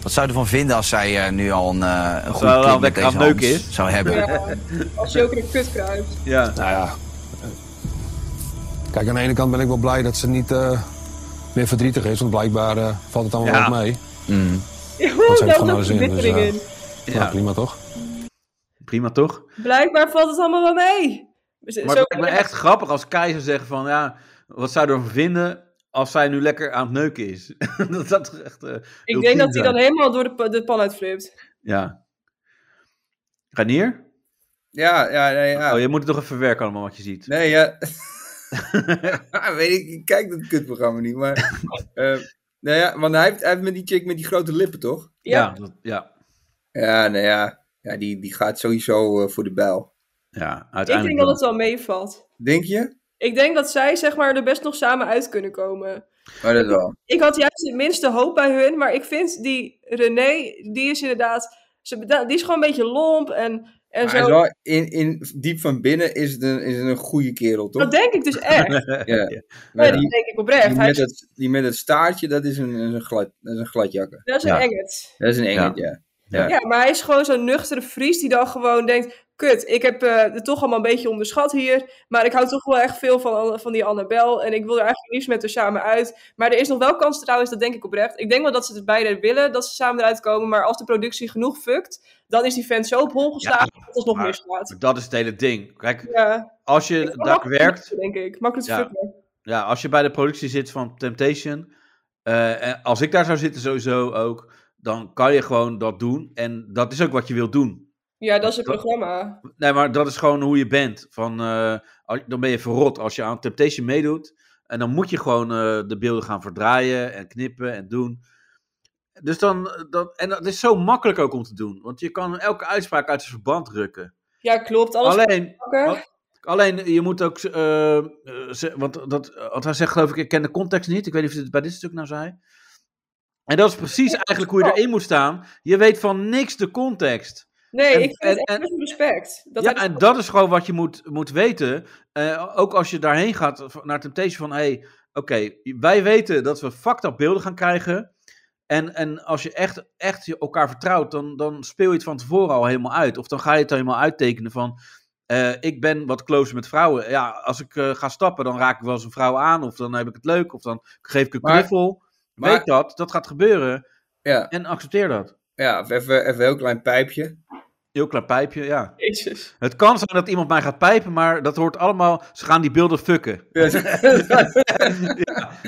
L: Wat zou je ervan vinden als zij eh, nu al een, eh een
A: Zou
L: goede
A: wel
L: klik met
A: lekker
L: deze
A: aan het
L: Hans
A: neuken is.
L: zou hebben?
B: Ja, als je ook in de kut kruipt.
A: Ja.
M: Nou ja. Kijk, aan de ene kant ben ik wel blij dat ze niet eh, meer verdrietig is. Want blijkbaar eh, valt het allemaal
A: Ja.
M: wel mee.
B: [LAUGHS] Ja,
L: Mm.
M: Want ze heeft
B: daar
M: gewoon
B: loopt
M: haar zin. Dus,
B: verbittering
M: eh,
B: in.
M: nou, prima toch?
A: Prima toch?
B: Blijkbaar valt het allemaal wel mee. Zo-
A: Maar het lijkt me echt grappig als Keizer zegt van ja, wat zou je ervan vinden als zij nu lekker aan het neuken is? [LAUGHS] dat dat toch echt. eh,
B: Ik
A: ultiem
B: denk dat hij
A: zijn.
B: dan helemaal door de, pa- de pan uitflipt.
A: Ja. Ranier?
C: Ja, ja, nee, ja.
A: Oh, je moet het toch even verwerken allemaal wat je ziet. [LAUGHS]
C: Nee, ja. [LAUGHS] Ah, Weet ik, ik kijk dat kutprogramma niet,
A: [LAUGHS]
C: maar... eh, nou ja, want hij heeft, hij heeft met die chick met die grote lippen, toch?
A: Ja. Ja, dat- ja.
C: Ja, nou ja. ja die, die gaat sowieso eh, voor de bijl.
A: Ja,
B: Ik denk dat het wel meevalt.
C: Denk je?
B: Ik denk dat zij zeg maar, er best nog samen uit kunnen komen.
C: Maar dat wel.
B: Ik had juist de minste hoop bij hun, maar ik vind die René, die is inderdaad, ze, beda- die is gewoon een beetje lomp en, en
C: Maar hij
B: zo.
C: is wel in, in, diep van binnen is het een, is het een goede kerel, toch?
B: Dat denk ik
C: [LAUGHS]
B: dus echt. Nee,
C: Ja. Maar
B: dat
C: die,
B: denk ik oprecht.
C: die
B: Hij is,
C: met dat, die met dat staartje, dat is een, is een, glad, dat is een gladjakker.
B: dat is een
C: ja.
B: engert.
C: Dat is een engert, ja.
B: Ja. maar hij is gewoon zo'n nuchtere Fries die dan gewoon denkt: Kut, ik heb eh, het toch allemaal een beetje onderschat hier. Maar ik hou toch wel echt veel van, van die Annabel. En ik wil er eigenlijk liefst met haar samen uit. Maar er is nog wel kans trouwens, dat denk ik oprecht. Ik denk wel dat ze het beide willen, dat ze samen eruit komen. Maar als de productie genoeg fukt, dan is die vent zo op hol geslagen dat het nog
A: maar-
B: misgaat.
A: Maar Dat is het hele ding. Kijk,
B: Ja.
A: als je daar
B: Makkelijk te
A: werkt,
B: fucken, Denk ik. Makkelijk te
A: Ja.
B: fucken.
A: ja, als je bij de productie zit van Temptation, eh, en als ik daar zou zitten sowieso ook, dan kan je gewoon dat doen. En dat is ook wat je wilt doen.
B: Ja, dat is het
A: Dat-
B: programma.
A: Nee, maar dat is gewoon hoe je bent. Van, eh, als- dan ben je verrot als je aan Temptation meedoet. En dan moet je gewoon eh, de beelden gaan verdraaien en knippen en doen. Dus dan, dan, en dat is zo makkelijk ook om te doen. Want je kan elke uitspraak uit zijn verband rukken.
B: Ja, klopt. Alles
A: Alleen-
B: fucken.
A: Alleen, je moet ook... eh, eh, ze- want, dat, want hij zegt geloof ik, ik ken de context niet. Ik weet niet of hij het bij dit stuk nou zei. En dat is precies eigenlijk hoe je erin moet staan. Je weet van niks de context.
B: Nee,
A: En-
B: ik vind
A: en-
B: het echt met respect. Dat
A: ja,
B: hij-
A: en dat is gewoon wat je moet, moet weten. Eh, ook als je daarheen gaat v- naar Temptation van... Hey, Oké, wij weten dat we fucked up beelden gaan krijgen. En, en als je echt, echt je elkaar vertrouwt, dan, dan speel je het van tevoren al helemaal uit. Of dan ga je het helemaal uittekenen van... eh, ik ben wat closer met vrouwen. Ja, als ik eh, ga stappen, dan raak ik wel eens een vrouw aan. Of dan heb ik het leuk. Of dan geef ik een
C: Maar-
A: knuffel.
C: maar-
A: Weet dat, dat gaat gebeuren.
C: Ja.
A: En accepteer dat.
C: Ja, of even, even een heel klein
A: [LAUGHS]
C: pijpje.
A: Heel klein pijpje, ja.
B: Jezus.
A: Het kan zijn dat iemand mij gaat pijpen, maar dat hoort allemaal... Ze gaan die beelden fucken.
C: Ja,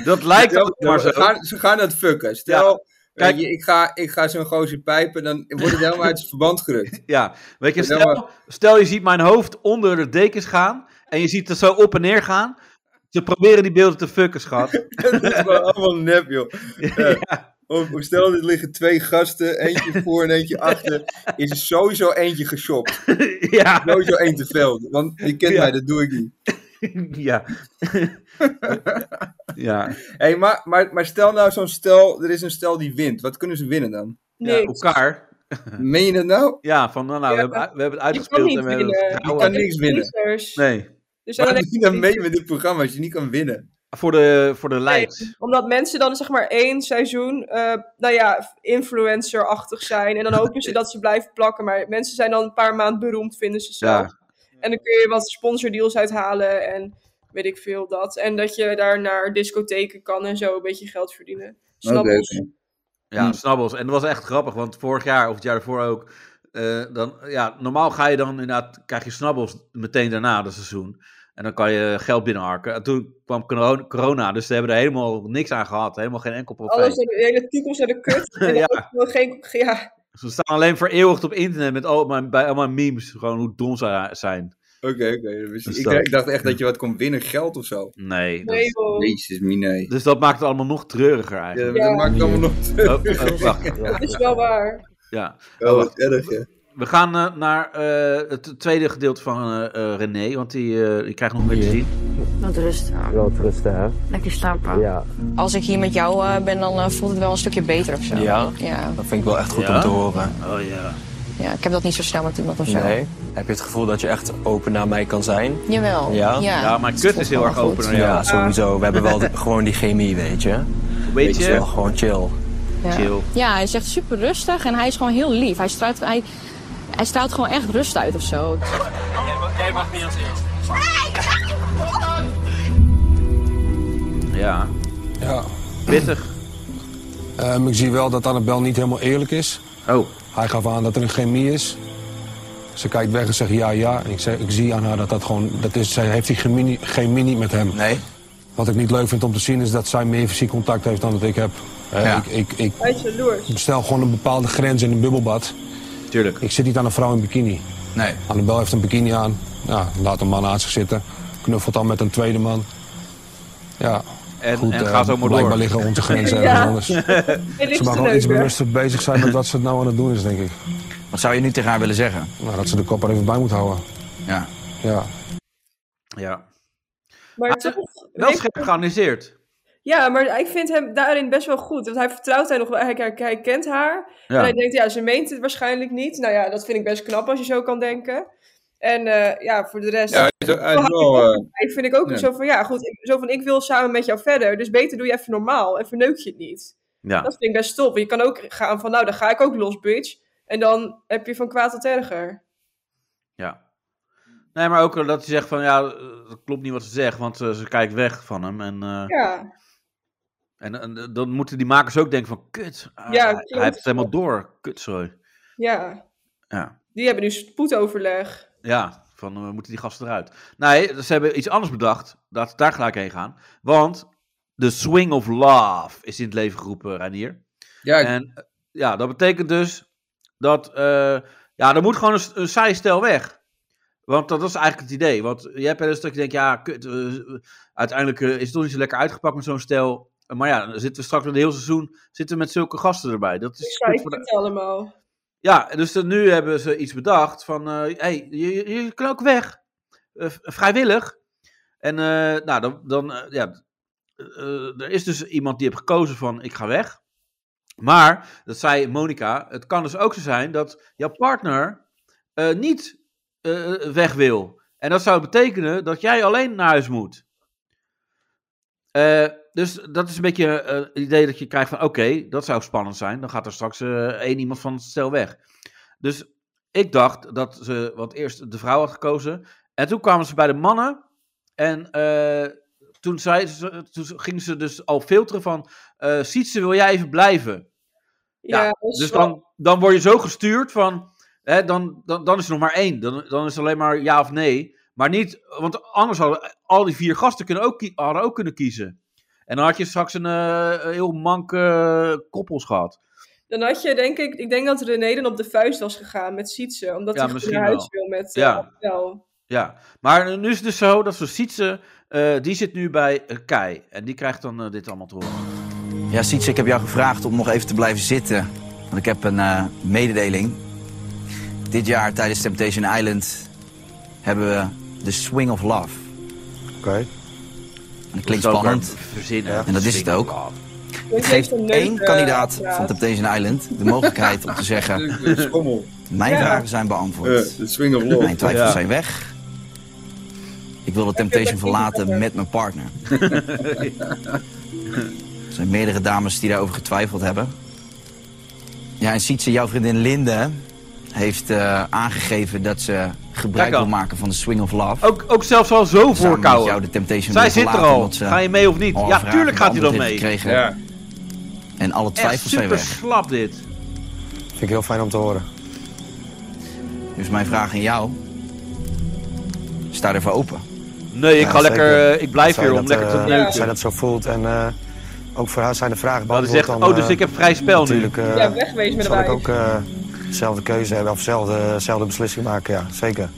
A: dat [LAUGHS] lijkt ook maar zo.
C: Ze gaan, ze gaan dat fucken. Stel,
A: Kijk-
C: weet je, ik ga, ik ga zo'n gozer pijpen, dan wordt het helemaal uit zijn verband gerukt.
A: Ja, weet je,
C: Dat is
A: stel, stel je ziet mijn hoofd onder de dekens gaan en je ziet het zo op en neer gaan. Ze proberen die beelden te fucken, schat. [LAUGHS]
C: [LAUGHS] dat is gewoon allemaal nep, [LAUGHS] joh. Eh, of, of stel, er liggen twee gasten, [LAUGHS] eentje voor en eentje achter. Is er sowieso eentje geshopt.
A: ja. [LAUGHS]
C: Sowieso één te veel. Want je kent
A: Ja.
C: mij, dat doe ik niet.
A: ja. ja.
C: Hey, maar, maar, maar stel nou zo'n stel, er is een stel die wint. Wat kunnen ze winnen dan?
A: Ja, elkaar.
C: Meen je dat nou?
A: Ja, van nou, nou we,
C: Ja.
A: hebben, we hebben het
C: Je kan
A: uitgespeeld
C: niet
A: en we hebben
C: winnen.
A: het
C: Je
A: gehouden.
C: kan niks winnen.
A: Nee,
B: Dus
C: Waarom
B: alleen-
C: doe je dan mee met dit programma als je niet kan winnen?
A: voor de, voor de likes.
B: Omdat mensen dan zeg maar één seizoen, eh, nou ja, influencer-achtig zijn. En dan
A: [LAUGHS]
B: hopen ze dat ze blijven plakken. Maar mensen zijn dan een paar maanden beroemd, vinden ze zelf.
A: Ja.
B: En dan kun je wat sponsordeals uithalen en weet ik veel dat. En dat je daar naar discotheken kan en zo een beetje geld verdienen. Snap je?
A: Ja, snabbels. En dat was echt grappig, want vorig jaar of het jaar daarvoor ook. eh, dan, ja, normaal ga je dan inderdaad, krijg je snabbels meteen daarna dat seizoen. En dan kan je geld binnenharken. En toen kwam corona, corona, dus ze hebben er helemaal niks aan gehad. Helemaal geen enkel
B: Alles,
A: profijt.
B: de hele toekomst naar
A: [LAUGHS]
B: de kut. En
A: Ja.
B: ook wel geen, ja,
A: Ze staan alleen vereeuwigd op internet met al mijn, bij al mijn memes. Gewoon hoe dom ze zijn.
C: Oké, oké. dat wist ik.
A: Dus
C: Ik,
A: dat-
C: ik dacht echt dat je wat kon winnen, geld of zo.
A: Nee. dat-
B: nee joh.
C: Jezus, mine.
A: Dus dat maakt het allemaal nog treuriger eigenlijk.
C: Ja, dat maakt het allemaal nog
A: Oh, oh, wacht.
B: Dat is wel waar.
A: Ja.
C: Oh, wat erg, hè?
A: We gaan eh, naar eh, het tweede gedeelte van eh, eh, René, want die, eh die krijgt nog meer te zien.
K: Wat rust.
N: Wel rusten, hè?
K: Lekker slapen.
N: Ja.
K: Als ik hier met jou eh, ben, dan eh, voelt het wel een stukje beter of zo.
N: Ja?
K: ja.
N: Dat vind ik wel echt goed
K: Ja?
N: om te horen.
A: Oh ja.
K: Ja, ik heb dat niet zo snel met iemand of zo.
N: Nee? Heb je het gevoel dat je echt open naar mij kan zijn?
K: Jawel.
N: Ja?
K: Ja.
N: maar
A: mijn kut is heel erg open naar jou.
N: Ja, sowieso. We hebben [LAUGHS] wel de- gewoon die chemie, weet je. Weet
A: je?
N: Het is wel gewoon chill.
K: Ja. Ja, hij is echt super rustig en hij is gewoon heel lief. Hij straalt, hij, hij straalt gewoon echt rust uit of zo.
N: Jij mag niet als eerst.
A: Ja.
M: Ja.
A: Pittig.
M: Ehm, ik zie wel dat Annabel niet helemaal eerlijk is.
A: Oh.
M: Hij gaf aan dat er een chemie is. Ze kijkt weg en zegt ja, ja. En ik, zeg, ik zie aan haar dat dat gewoon... Dat is, zij heeft die chemie, niet- chemie niet met hem.
N: Nee.
M: Wat ik niet leuk vind om te zien is dat zij meer fysiek contact heeft dan dat ik heb. Eh,
N: Ja.
M: ik, ik, ik
B: Hij is jaloers.
M: stel gewoon een bepaalde grens in een bubbelbad.
A: Tuurlijk.
M: Ik zit niet aan een vrouw in bikini.
N: Nee.
M: Annabel heeft een bikini aan. Ja, laat een man naast zich zitten. Knuffelt dan met een tweede man. Ja.
A: En,
M: Goed,
A: en
M: eh,
A: ga zo maar door.
M: Blijkbaar liggen onze grenzen
A: Ja.
M: ergens anders.
B: niks
M: Ze
B: te
M: mag wel iets
B: leuk, hè?
M: bewuster bezig zijn met wat ze nou aan het doen is, denk ik.
L: Wat zou je nu tegen haar willen zeggen?
M: Nou, dat ze de kop er even bij moet houden.
L: Ja.
M: Ja.
A: Ja.
B: Maar toch,
A: Wel scherp geanalyseerd.
B: Ja, maar ik vind hem daarin best wel goed. Want hij vertrouwt haar nog wel. Hij, hij, hij kent haar.
A: Ja.
B: En hij denkt, ja, ze meent het waarschijnlijk niet. Nou ja, dat vind ik best knap als je zo kan denken. En eh, ja, voor de rest...
C: Ja, hij is- hij is
B: Zo
C: wel,
B: hou ik
C: eh,
B: ook- ik vind ik ook
C: ja.
B: zo van, ja, goed. ik- Zo van, ik wil samen met jou verder. Dus beter doe je even normaal. En verneuk je het niet.
A: Ja.
B: Dat vind ik best top. Je kan ook gaan van, nou, dan ga ik ook los, bitch. En dan heb je van kwaad tot erger.
A: Ja. Nee, maar ook eh, dat hij zegt van ja, eh, dat klopt niet wat ze zegt, want eh, ze kijkt weg van hem. En, eh,
B: Ja,
A: en, en dan moeten die makers ook denken van kut, ah,
B: Ja,
A: hij,
B: klopt.
A: hij heeft het helemaal door, kutzooi.
B: ja.
A: Ja.
B: Die hebben nu spoedoverleg.
A: Ja, van eh, we moeten die gasten eruit. Nee, ze hebben iets anders bedacht, laten we daar gelijk heen gaan. Want de swing of love is in het leven geroepen, Reinier.
C: Ja, ik-
A: En eh, ja, dat betekent dus dat, eh, ja, er moet gewoon een, s- een zijstel weg. Want dat is eigenlijk het idee. Want je hebt wel eens dat je denkt, ja, kut, eh, uiteindelijk eh, is het toch niet zo lekker uitgepakt met zo'n stel. Maar ja, dan zitten we straks het hele seizoen zitten we met zulke gasten erbij. Dat is
B: Ik zei
A: kut
B: het
A: voor de-
B: niet allemaal.
A: ja, dus dan nu hebben ze iets bedacht van, hé, hey, je, je, je kan ook weg. Eh, v- vrijwillig. En eh, nou, dan, dan eh, ja, eh, er is dus iemand die heeft gekozen van, ik ga weg. Maar, dat zei Monica, het kan dus ook zo zijn dat jouw partner eh, niet eh, weg wil. En dat zou betekenen dat jij alleen naar huis moet. Eh, dus dat is een beetje eh, het idee dat je krijgt van oké, dat zou spannend zijn. Dan gaat er straks eh, één iemand van het stel weg. Dus ik dacht dat ze wat eerst de vrouw had gekozen. En toen kwamen ze bij de mannen. En eh, toen, zei ze, toen ging ze dus al filteren van... eh Sietse, wil jij even blijven? Ja,
B: Ja, dat is
A: dus
B: wel-
A: dan, dan word je zo gestuurd van... Hè, dan, dan, dan is er nog maar één. Dan, dan is het alleen maar ja of nee. Maar niet... Want anders hadden al die vier gasten kunnen ook, kie- hadden ook kunnen kiezen. En dan had je straks een eh, heel mank eh, koppels gehad.
B: Dan had je, denk ik, ik denk dat René dan op de vuist was gegaan met Sietse. Omdat
A: Ja,
B: hij gewoon
A: misschien
B: naar huis
A: wel.
B: wil met eh,
A: Ja.
B: ja. wel.
A: Ja, maar nu is het dus zo dat zo'n Sietse, eh, die zit nu bij eh, Kai. En die krijgt dan eh, dit allemaal te horen.
L: Ja, Siets, ik heb jou gevraagd om nog even te blijven zitten. Want ik heb een eh, mededeling. Dit jaar tijdens Temptation Island hebben we de Swing of Love. Oké. Dat klinkt
A: Dat is ook
L: spannend.
A: weer verzinnen, hè?
L: En dat is het
A: Swing
L: ook.
B: Het
L: geeft
B: een
L: één
B: leuke- eh,
L: kandidaat
B: ja.
L: van Temptation Island de mogelijkheid om te
A: [LAUGHS]
L: zeggen...
C: [LAUGHS]
L: Mijn
B: Ja.
L: vragen zijn beantwoord.
A: Eh,
C: Ja, Eh, de swing of love.
L: Mijn twijfels
C: Ja.
L: zijn weg. Ik wil de Temptation verlaten met mijn
A: [LAUGHS]
L: partner. Er zijn meerdere dames die daarover getwijfeld hebben. Ja, en Sietse, jouw vriendin Linde heeft eh, aangegeven dat ze gebruik
A: Kijk al.
L: wil maken van de Swing of Love.
A: Ook, ook zelfs al zo
L: Samen met
A: voorkouwen.
L: jou de Temptation
A: Zij
L: wil
A: zit er
L: verlaten,
A: al.
L: omdat ze
A: Ga je mee of niet?
L: alle
A: Ja,
L: vragen
A: tuurlijk gaat hij dan
L: beantwoord heeft
A: mee.
L: gekregen.
A: Ja.
L: En alle
A: Echt
L: twijfels zijn
A: super
L: weg.
A: slap dit.
L: Vind ik heel fijn om te horen. Dus mijn vraag aan jou. Sta ervoor open.
A: Nee, ik
L: Ja,
A: ga
L: zeker.
A: lekker, eh, ik blijf
L: Zij
A: hier om
L: dat,
A: lekker te
L: eh,
A: neuken.
L: zij
J: dat zo voelt. En eh, ook voor haar zijn de vragen
A: Dat is
J: beantwoord.
A: echt,
J: dan,
A: oh, dus
J: eh,
A: ik heb vrij spel nu.
J: natuurlijk, eh,
B: Ja, wegwezen met de
J: zal ik
B: wijk.
J: ook eh, dezelfde keuze hebben of dezelfde, dezelfde beslissing maken. Ja, zeker.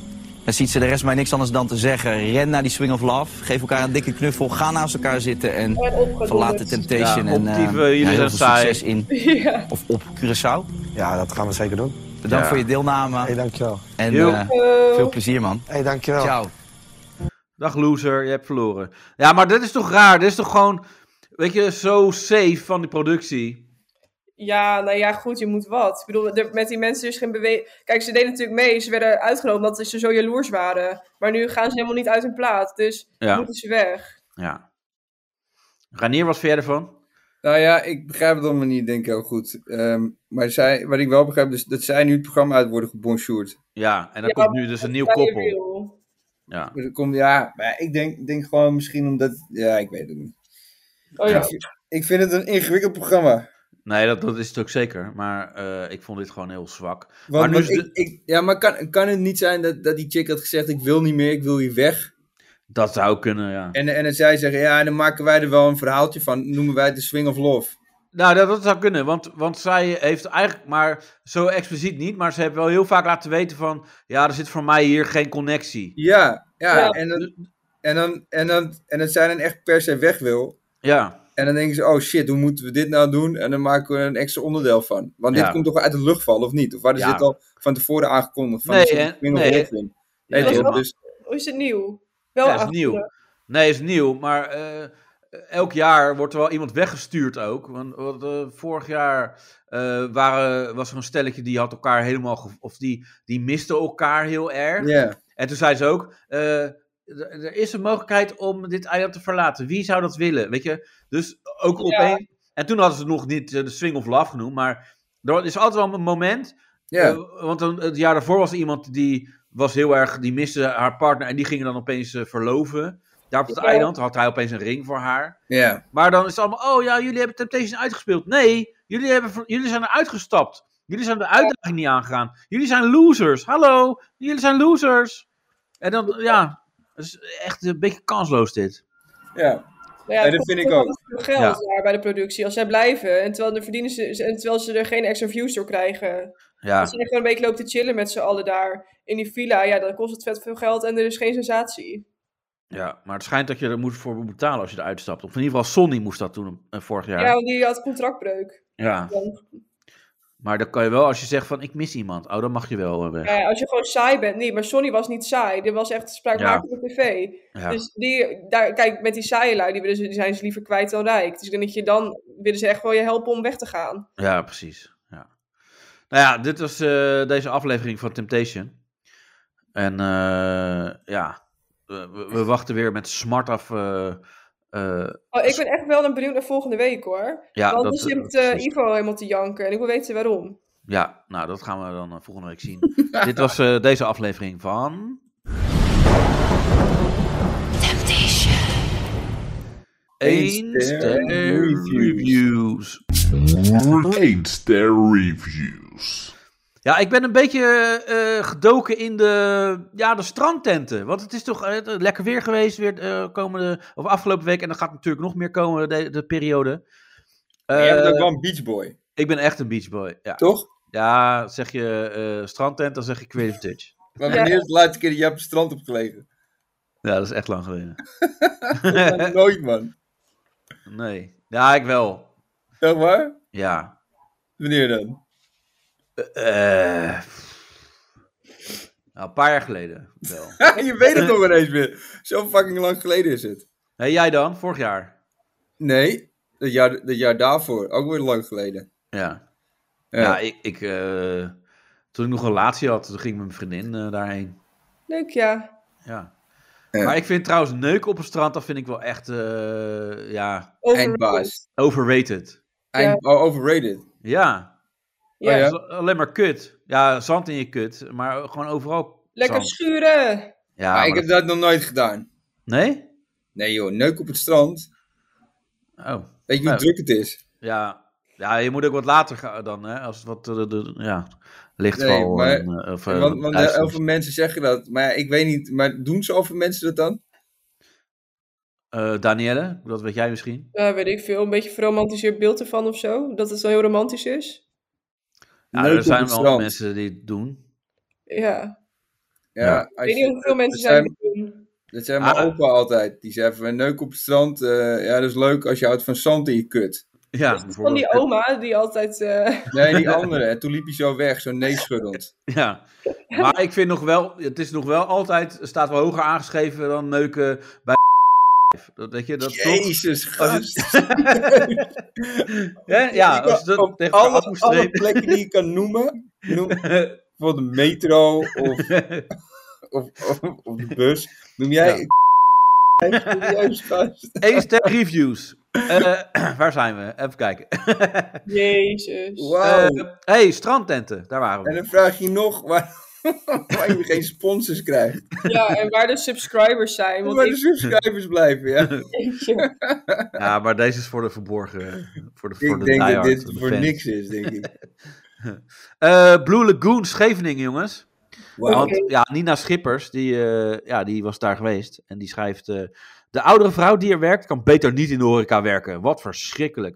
L: Dan ziet ze de rest mij niks anders dan te zeggen. Ren naar die swing of love. Geef elkaar een dikke knuffel. Ga naast elkaar zitten. En
B: opgedonderd.
L: verlaat de temptation.
A: Ja,
L: en eh,
A: optieven, jullie
L: ja, heel
A: zijn
L: veel
A: saai.
L: succes in
B: Ja.
L: of op Curaçao.
J: Ja, dat gaan we zeker doen.
L: Bedankt
A: Ja.
L: voor je deelname. Hey,
J: dankjewel.
L: En
A: Joep.
L: eh,
B: Yo.
L: veel plezier man.
J: Hey, dankjewel.
L: Ciao.
A: Dag loser, je hebt verloren. Ja, maar dit is toch raar? Dit is toch gewoon, weet je, zo safe van die productie.
B: Ja, nou ja, goed, je moet wat. Ik bedoel, er- met die mensen is geen beweging. Kijk, ze deden natuurlijk mee. Ze werden uitgenodigd omdat ze zo jaloers waren. Maar nu gaan ze helemaal niet uit hun plaat. Dus
A: Ja.
B: moeten ze weg.
A: Ja. Ranier, wat vind jij ervan?
C: Nou ja, ik begrijp het allemaal niet, denk ik heel goed. Ehm, maar zij, wat ik wel begrijp, is dat zij nu het programma uit worden gebonsjoerd.
A: Ja, en dan
C: Ja,
A: komt nu dus een nieuw
C: dat is
A: koppel. Ja.
C: Dus er komt, ja, maar ik denk, denk gewoon misschien omdat. Ja, ik weet het niet.
B: Oh ja.
C: Ik, ik vind het een ingewikkeld programma.
A: Nee, dat, dat is het ook zeker. Maar eh, ik vond dit gewoon heel zwak.
C: Want,
A: maar nu
C: want
A: is de-
C: ik, ik, ja, maar kan, kan het niet zijn dat, dat die chick had gezegd: Ik wil niet meer, ik wil hier weg.
A: dat zou kunnen, ja.
C: En, en dat zij zeggen: Ja, dan maken wij er wel een verhaaltje van. Noemen wij het de Swing of Love.
A: Nou, dat, dat zou kunnen, want, want zij heeft eigenlijk, maar zo expliciet niet, maar ze heeft wel heel vaak laten weten van, ja, er zit voor mij hier geen connectie.
C: Ja, ja.
A: Ja.
C: En, dan, en, dan, en, dan, en dat zij dan echt per se weg wil.
A: Ja,
C: En dan denken ze: Oh shit, hoe moeten we dit nou doen? En dan maken we er een extra onderdeel van. Want
A: Ja.
C: dit komt toch uit de lucht vallen, of niet? Of waar is
A: Ja.
C: dit al van tevoren aangekondigd? Van
A: Nee,
C: de
A: hè?
C: Swing of
A: Nee.
C: Love thing? Nee,
A: Ja,
C: toch?
A: helemaal.
C: Dus-
B: Hoe Oh, is het nieuw? Wel
A: ja is
B: achter.
A: nieuw. Nee, is nieuw, maar eh, elk jaar wordt er wel iemand weggestuurd ook. Want, want, eh, vorig jaar eh, waren, was er een stelletje die had elkaar helemaal, ge- of die, die miste elkaar heel erg.
C: Ja.
A: En toen zei ze ook, eh, er- er is een mogelijkheid om dit eiland te verlaten. Wie zou dat willen? Weet je, dus ook
C: Ja.
A: opeens. En toen hadden ze het nog niet eh, de swing of love genoemd, maar er is altijd wel een moment.
C: Ja.
A: eh, want dan, het jaar daarvoor was er iemand die was heel erg, die miste haar partner en die ging dan opeens eh, verloven. Daar op het
C: Ja.
A: eiland had hij opeens een ring voor haar.
C: Ja.
A: Maar dan is het allemaal, oh ja, jullie hebben Temptation uitgespeeld. Nee, jullie, hebben, ver- jullie zijn er uitgestapt. Jullie zijn de uitdaging niet aangegaan. Jullie zijn losers. Hallo, jullie zijn losers. En dan, ja, het is echt een beetje kansloos dit.
C: Ja.
B: Nou ja,
C: Ja, dat
B: het
C: vind
B: kost
C: ik ook.
B: altijd veel geld daar bij de productie. Als zij blijven. En terwijl, de verdienen ze, en terwijl ze er geen extra views door krijgen.
A: Ja.
B: Als je gewoon een week loopt te chillen met z'n allen daar. In die villa. Ja, dan kost het vet veel geld. En er is geen sensatie.
A: Ja, maar het schijnt dat je er moet voor moet betalen als je eruit stapt. Of in ieder geval Sonny moest dat doen eh, vorig
B: Ja,
A: jaar.
B: want die had contractbreuk.
A: Ja.
B: Dan-
A: Maar dan kan je wel, als je zegt van ik mis iemand, oh dan mag je wel eh, weg.
B: nou Ja, als je gewoon saai bent, niet. Maar Sonny was niet saai. Dit was echt spraakmakende tv.
A: Ja.
B: Dus die, daar, kijk, met die saaie lui, die, willen ze- die zijn ze liever kwijt dan rijk. Dus ik denk dat je dan willen ze echt wel je helpen om weg te gaan.
A: Ja, precies. Ja. Nou ja, dit was eh, deze aflevering van Temptation. En eh, ja, we, we- we wachten weer met smart af. eh, eh,
B: Oh, ik ben echt wel eh, een benieuwd naar volgende week hoor.
A: Ja,
B: Want
A: dat-
B: dan zit
A: dat-
B: eh, Ivo helemaal te janken en ik wil weten waarom.
A: Ja, nou dat gaan we dan eh, volgende week
B: [LAUGHS]
A: zien. Dit was eh, deze aflevering van... Temptation. Eén ster reviews.
O: Eén ster reviews.
A: Ja, ik ben een beetje eh, gedoken in de, ja, de strandtenten. Want het is toch eh, lekker weer geweest weer, eh, komende, of afgelopen week. En er gaat natuurlijk nog meer komen de, de periode.
C: Maar jij bent
A: Eh,
C: ook wel een beachboy.
A: Ik ben echt een beachboy. Ja.
C: Toch?
A: Ja, zeg je eh, strandtent, dan zeg je Creative Touch.
C: Maar wanneer is de laatste keer dat jij op het strand hebt gelegen?
A: Ja, dat is echt lang [LAUGHS] geleden. Eh.
C: Nog Nooit, man.
A: Nee. Ja, ik wel.
C: Zeg maar?
A: Ja.
C: Wanneer dan? [LAUGHS]
A: Eh, nou, een paar jaar geleden wel.
C: je weet het nog ineens weer. Zo fucking lang geleden is het.
A: Hey, jij dan? Vorig jaar?
C: Nee, het jaar, het jaar daarvoor. Ook weer lang geleden.
A: Ja.
C: Ja.
A: Ja, ik... ik eh, toen ik nog een relatie had, toen ging mijn vriendin eh, daarheen.
B: Leuk, ja.
A: Ja. Maar ik vind trouwens neuken op een strand, dat vind ik wel echt, eh, ja...
B: Overrated. Eindbaas.
A: Overrated.
C: Eind- oh, overrated.
A: Ja.
B: Ja.
A: Oh Ja. dat is alleen maar kut. Ja, zand in je kut, maar gewoon overal
B: Lekker
A: zand.
B: schuren.
A: Ja,
C: maar Ah, ik
A: maar
C: heb dat nog nooit gedaan.
A: Nee?
C: Nee joh, neuk op het strand.
A: Oh.
C: Weet je hoe
A: Ja.
C: druk het is?
A: Ja. ja, je moet ook wat later gaan dan, hè, als het wat eh, de, de- ja, lichtval...
C: Nee, maar-
A: en, eh, of, eh,
C: Want, want
A: duister
C: heel
A: is.
C: veel mensen zeggen dat. Maar ja, ik weet niet, maar doen zoveel mensen dat dan?
A: Eh, Danielle, dat weet jij misschien.
B: Ja, weet ik veel. Een beetje verromantiseerd beeld ervan of zo. Dat het wel heel romantisch is.
A: Ja,
C: Neuken
A: Nou, er
C: op
A: zijn
C: het
A: wel
C: strand.
A: mensen die het doen.
B: Ja.
C: Ja,
B: Ik weet niet hoeveel mensen zijn die het doen.
C: Dat zei
A: Ah.
C: mijn opa altijd. Die zei van neuk op het strand. eh, ja, dat is leuk als je houdt van zand in je kut.
A: Ja,
B: Van die oma die altijd... eh,
C: Nee, die andere. En toen liep hij zo weg,
A: [LAUGHS]
C: zo
A: [LAUGHS]
C: neeschuddend.
A: Ja, maar ik vind nog wel, het is nog wel altijd, staat wel hoger aangeschreven dan neuken bij [LAUGHS] dat, weet je, dat toch-
C: Jezus, gast.
A: Hè?
C: [LAUGHS]
A: ja, als je dat
C: op
A: tegen elkaar af
C: alle,
A: moest
C: alle
A: strepen.
C: plekken die je kan noemen. Noem, bijvoorbeeld de metro of,
A: [LAUGHS]
C: of, of, of de bus. Noem jij... [LAUGHS]
A: Eén ster reviews. Eh, [CLEARS THROAT] waar zijn we? Even kijken.
B: Jezus.
A: Eh, hey, strandtenten, daar waren
C: En
A: we.
C: dan vraag je nog waar, [LAUGHS] waar je geen sponsors krijgt.
B: Ja, en waar de subscribers zijn. Want
C: Waar
B: ik-
C: de subscribers blijven,
A: [LAUGHS]
C: ja.
A: Ja, maar deze is voor de verborgen. Voor de, voor
C: eh, Ik
A: de
C: denk dat
A: diehards,
C: dit
A: de
C: voor
A: fans.
C: niks is, denk ik.
A: Eh, Blue Lagoon Scheveningen, jongens.
C: Wauw.
A: Want ja, Nina Schippers, die, eh, ja, die was daar geweest. En die schrijft... eh, de oudere vrouw die er werkt, kan beter niet in de horeca werken. Wat verschrikkelijk.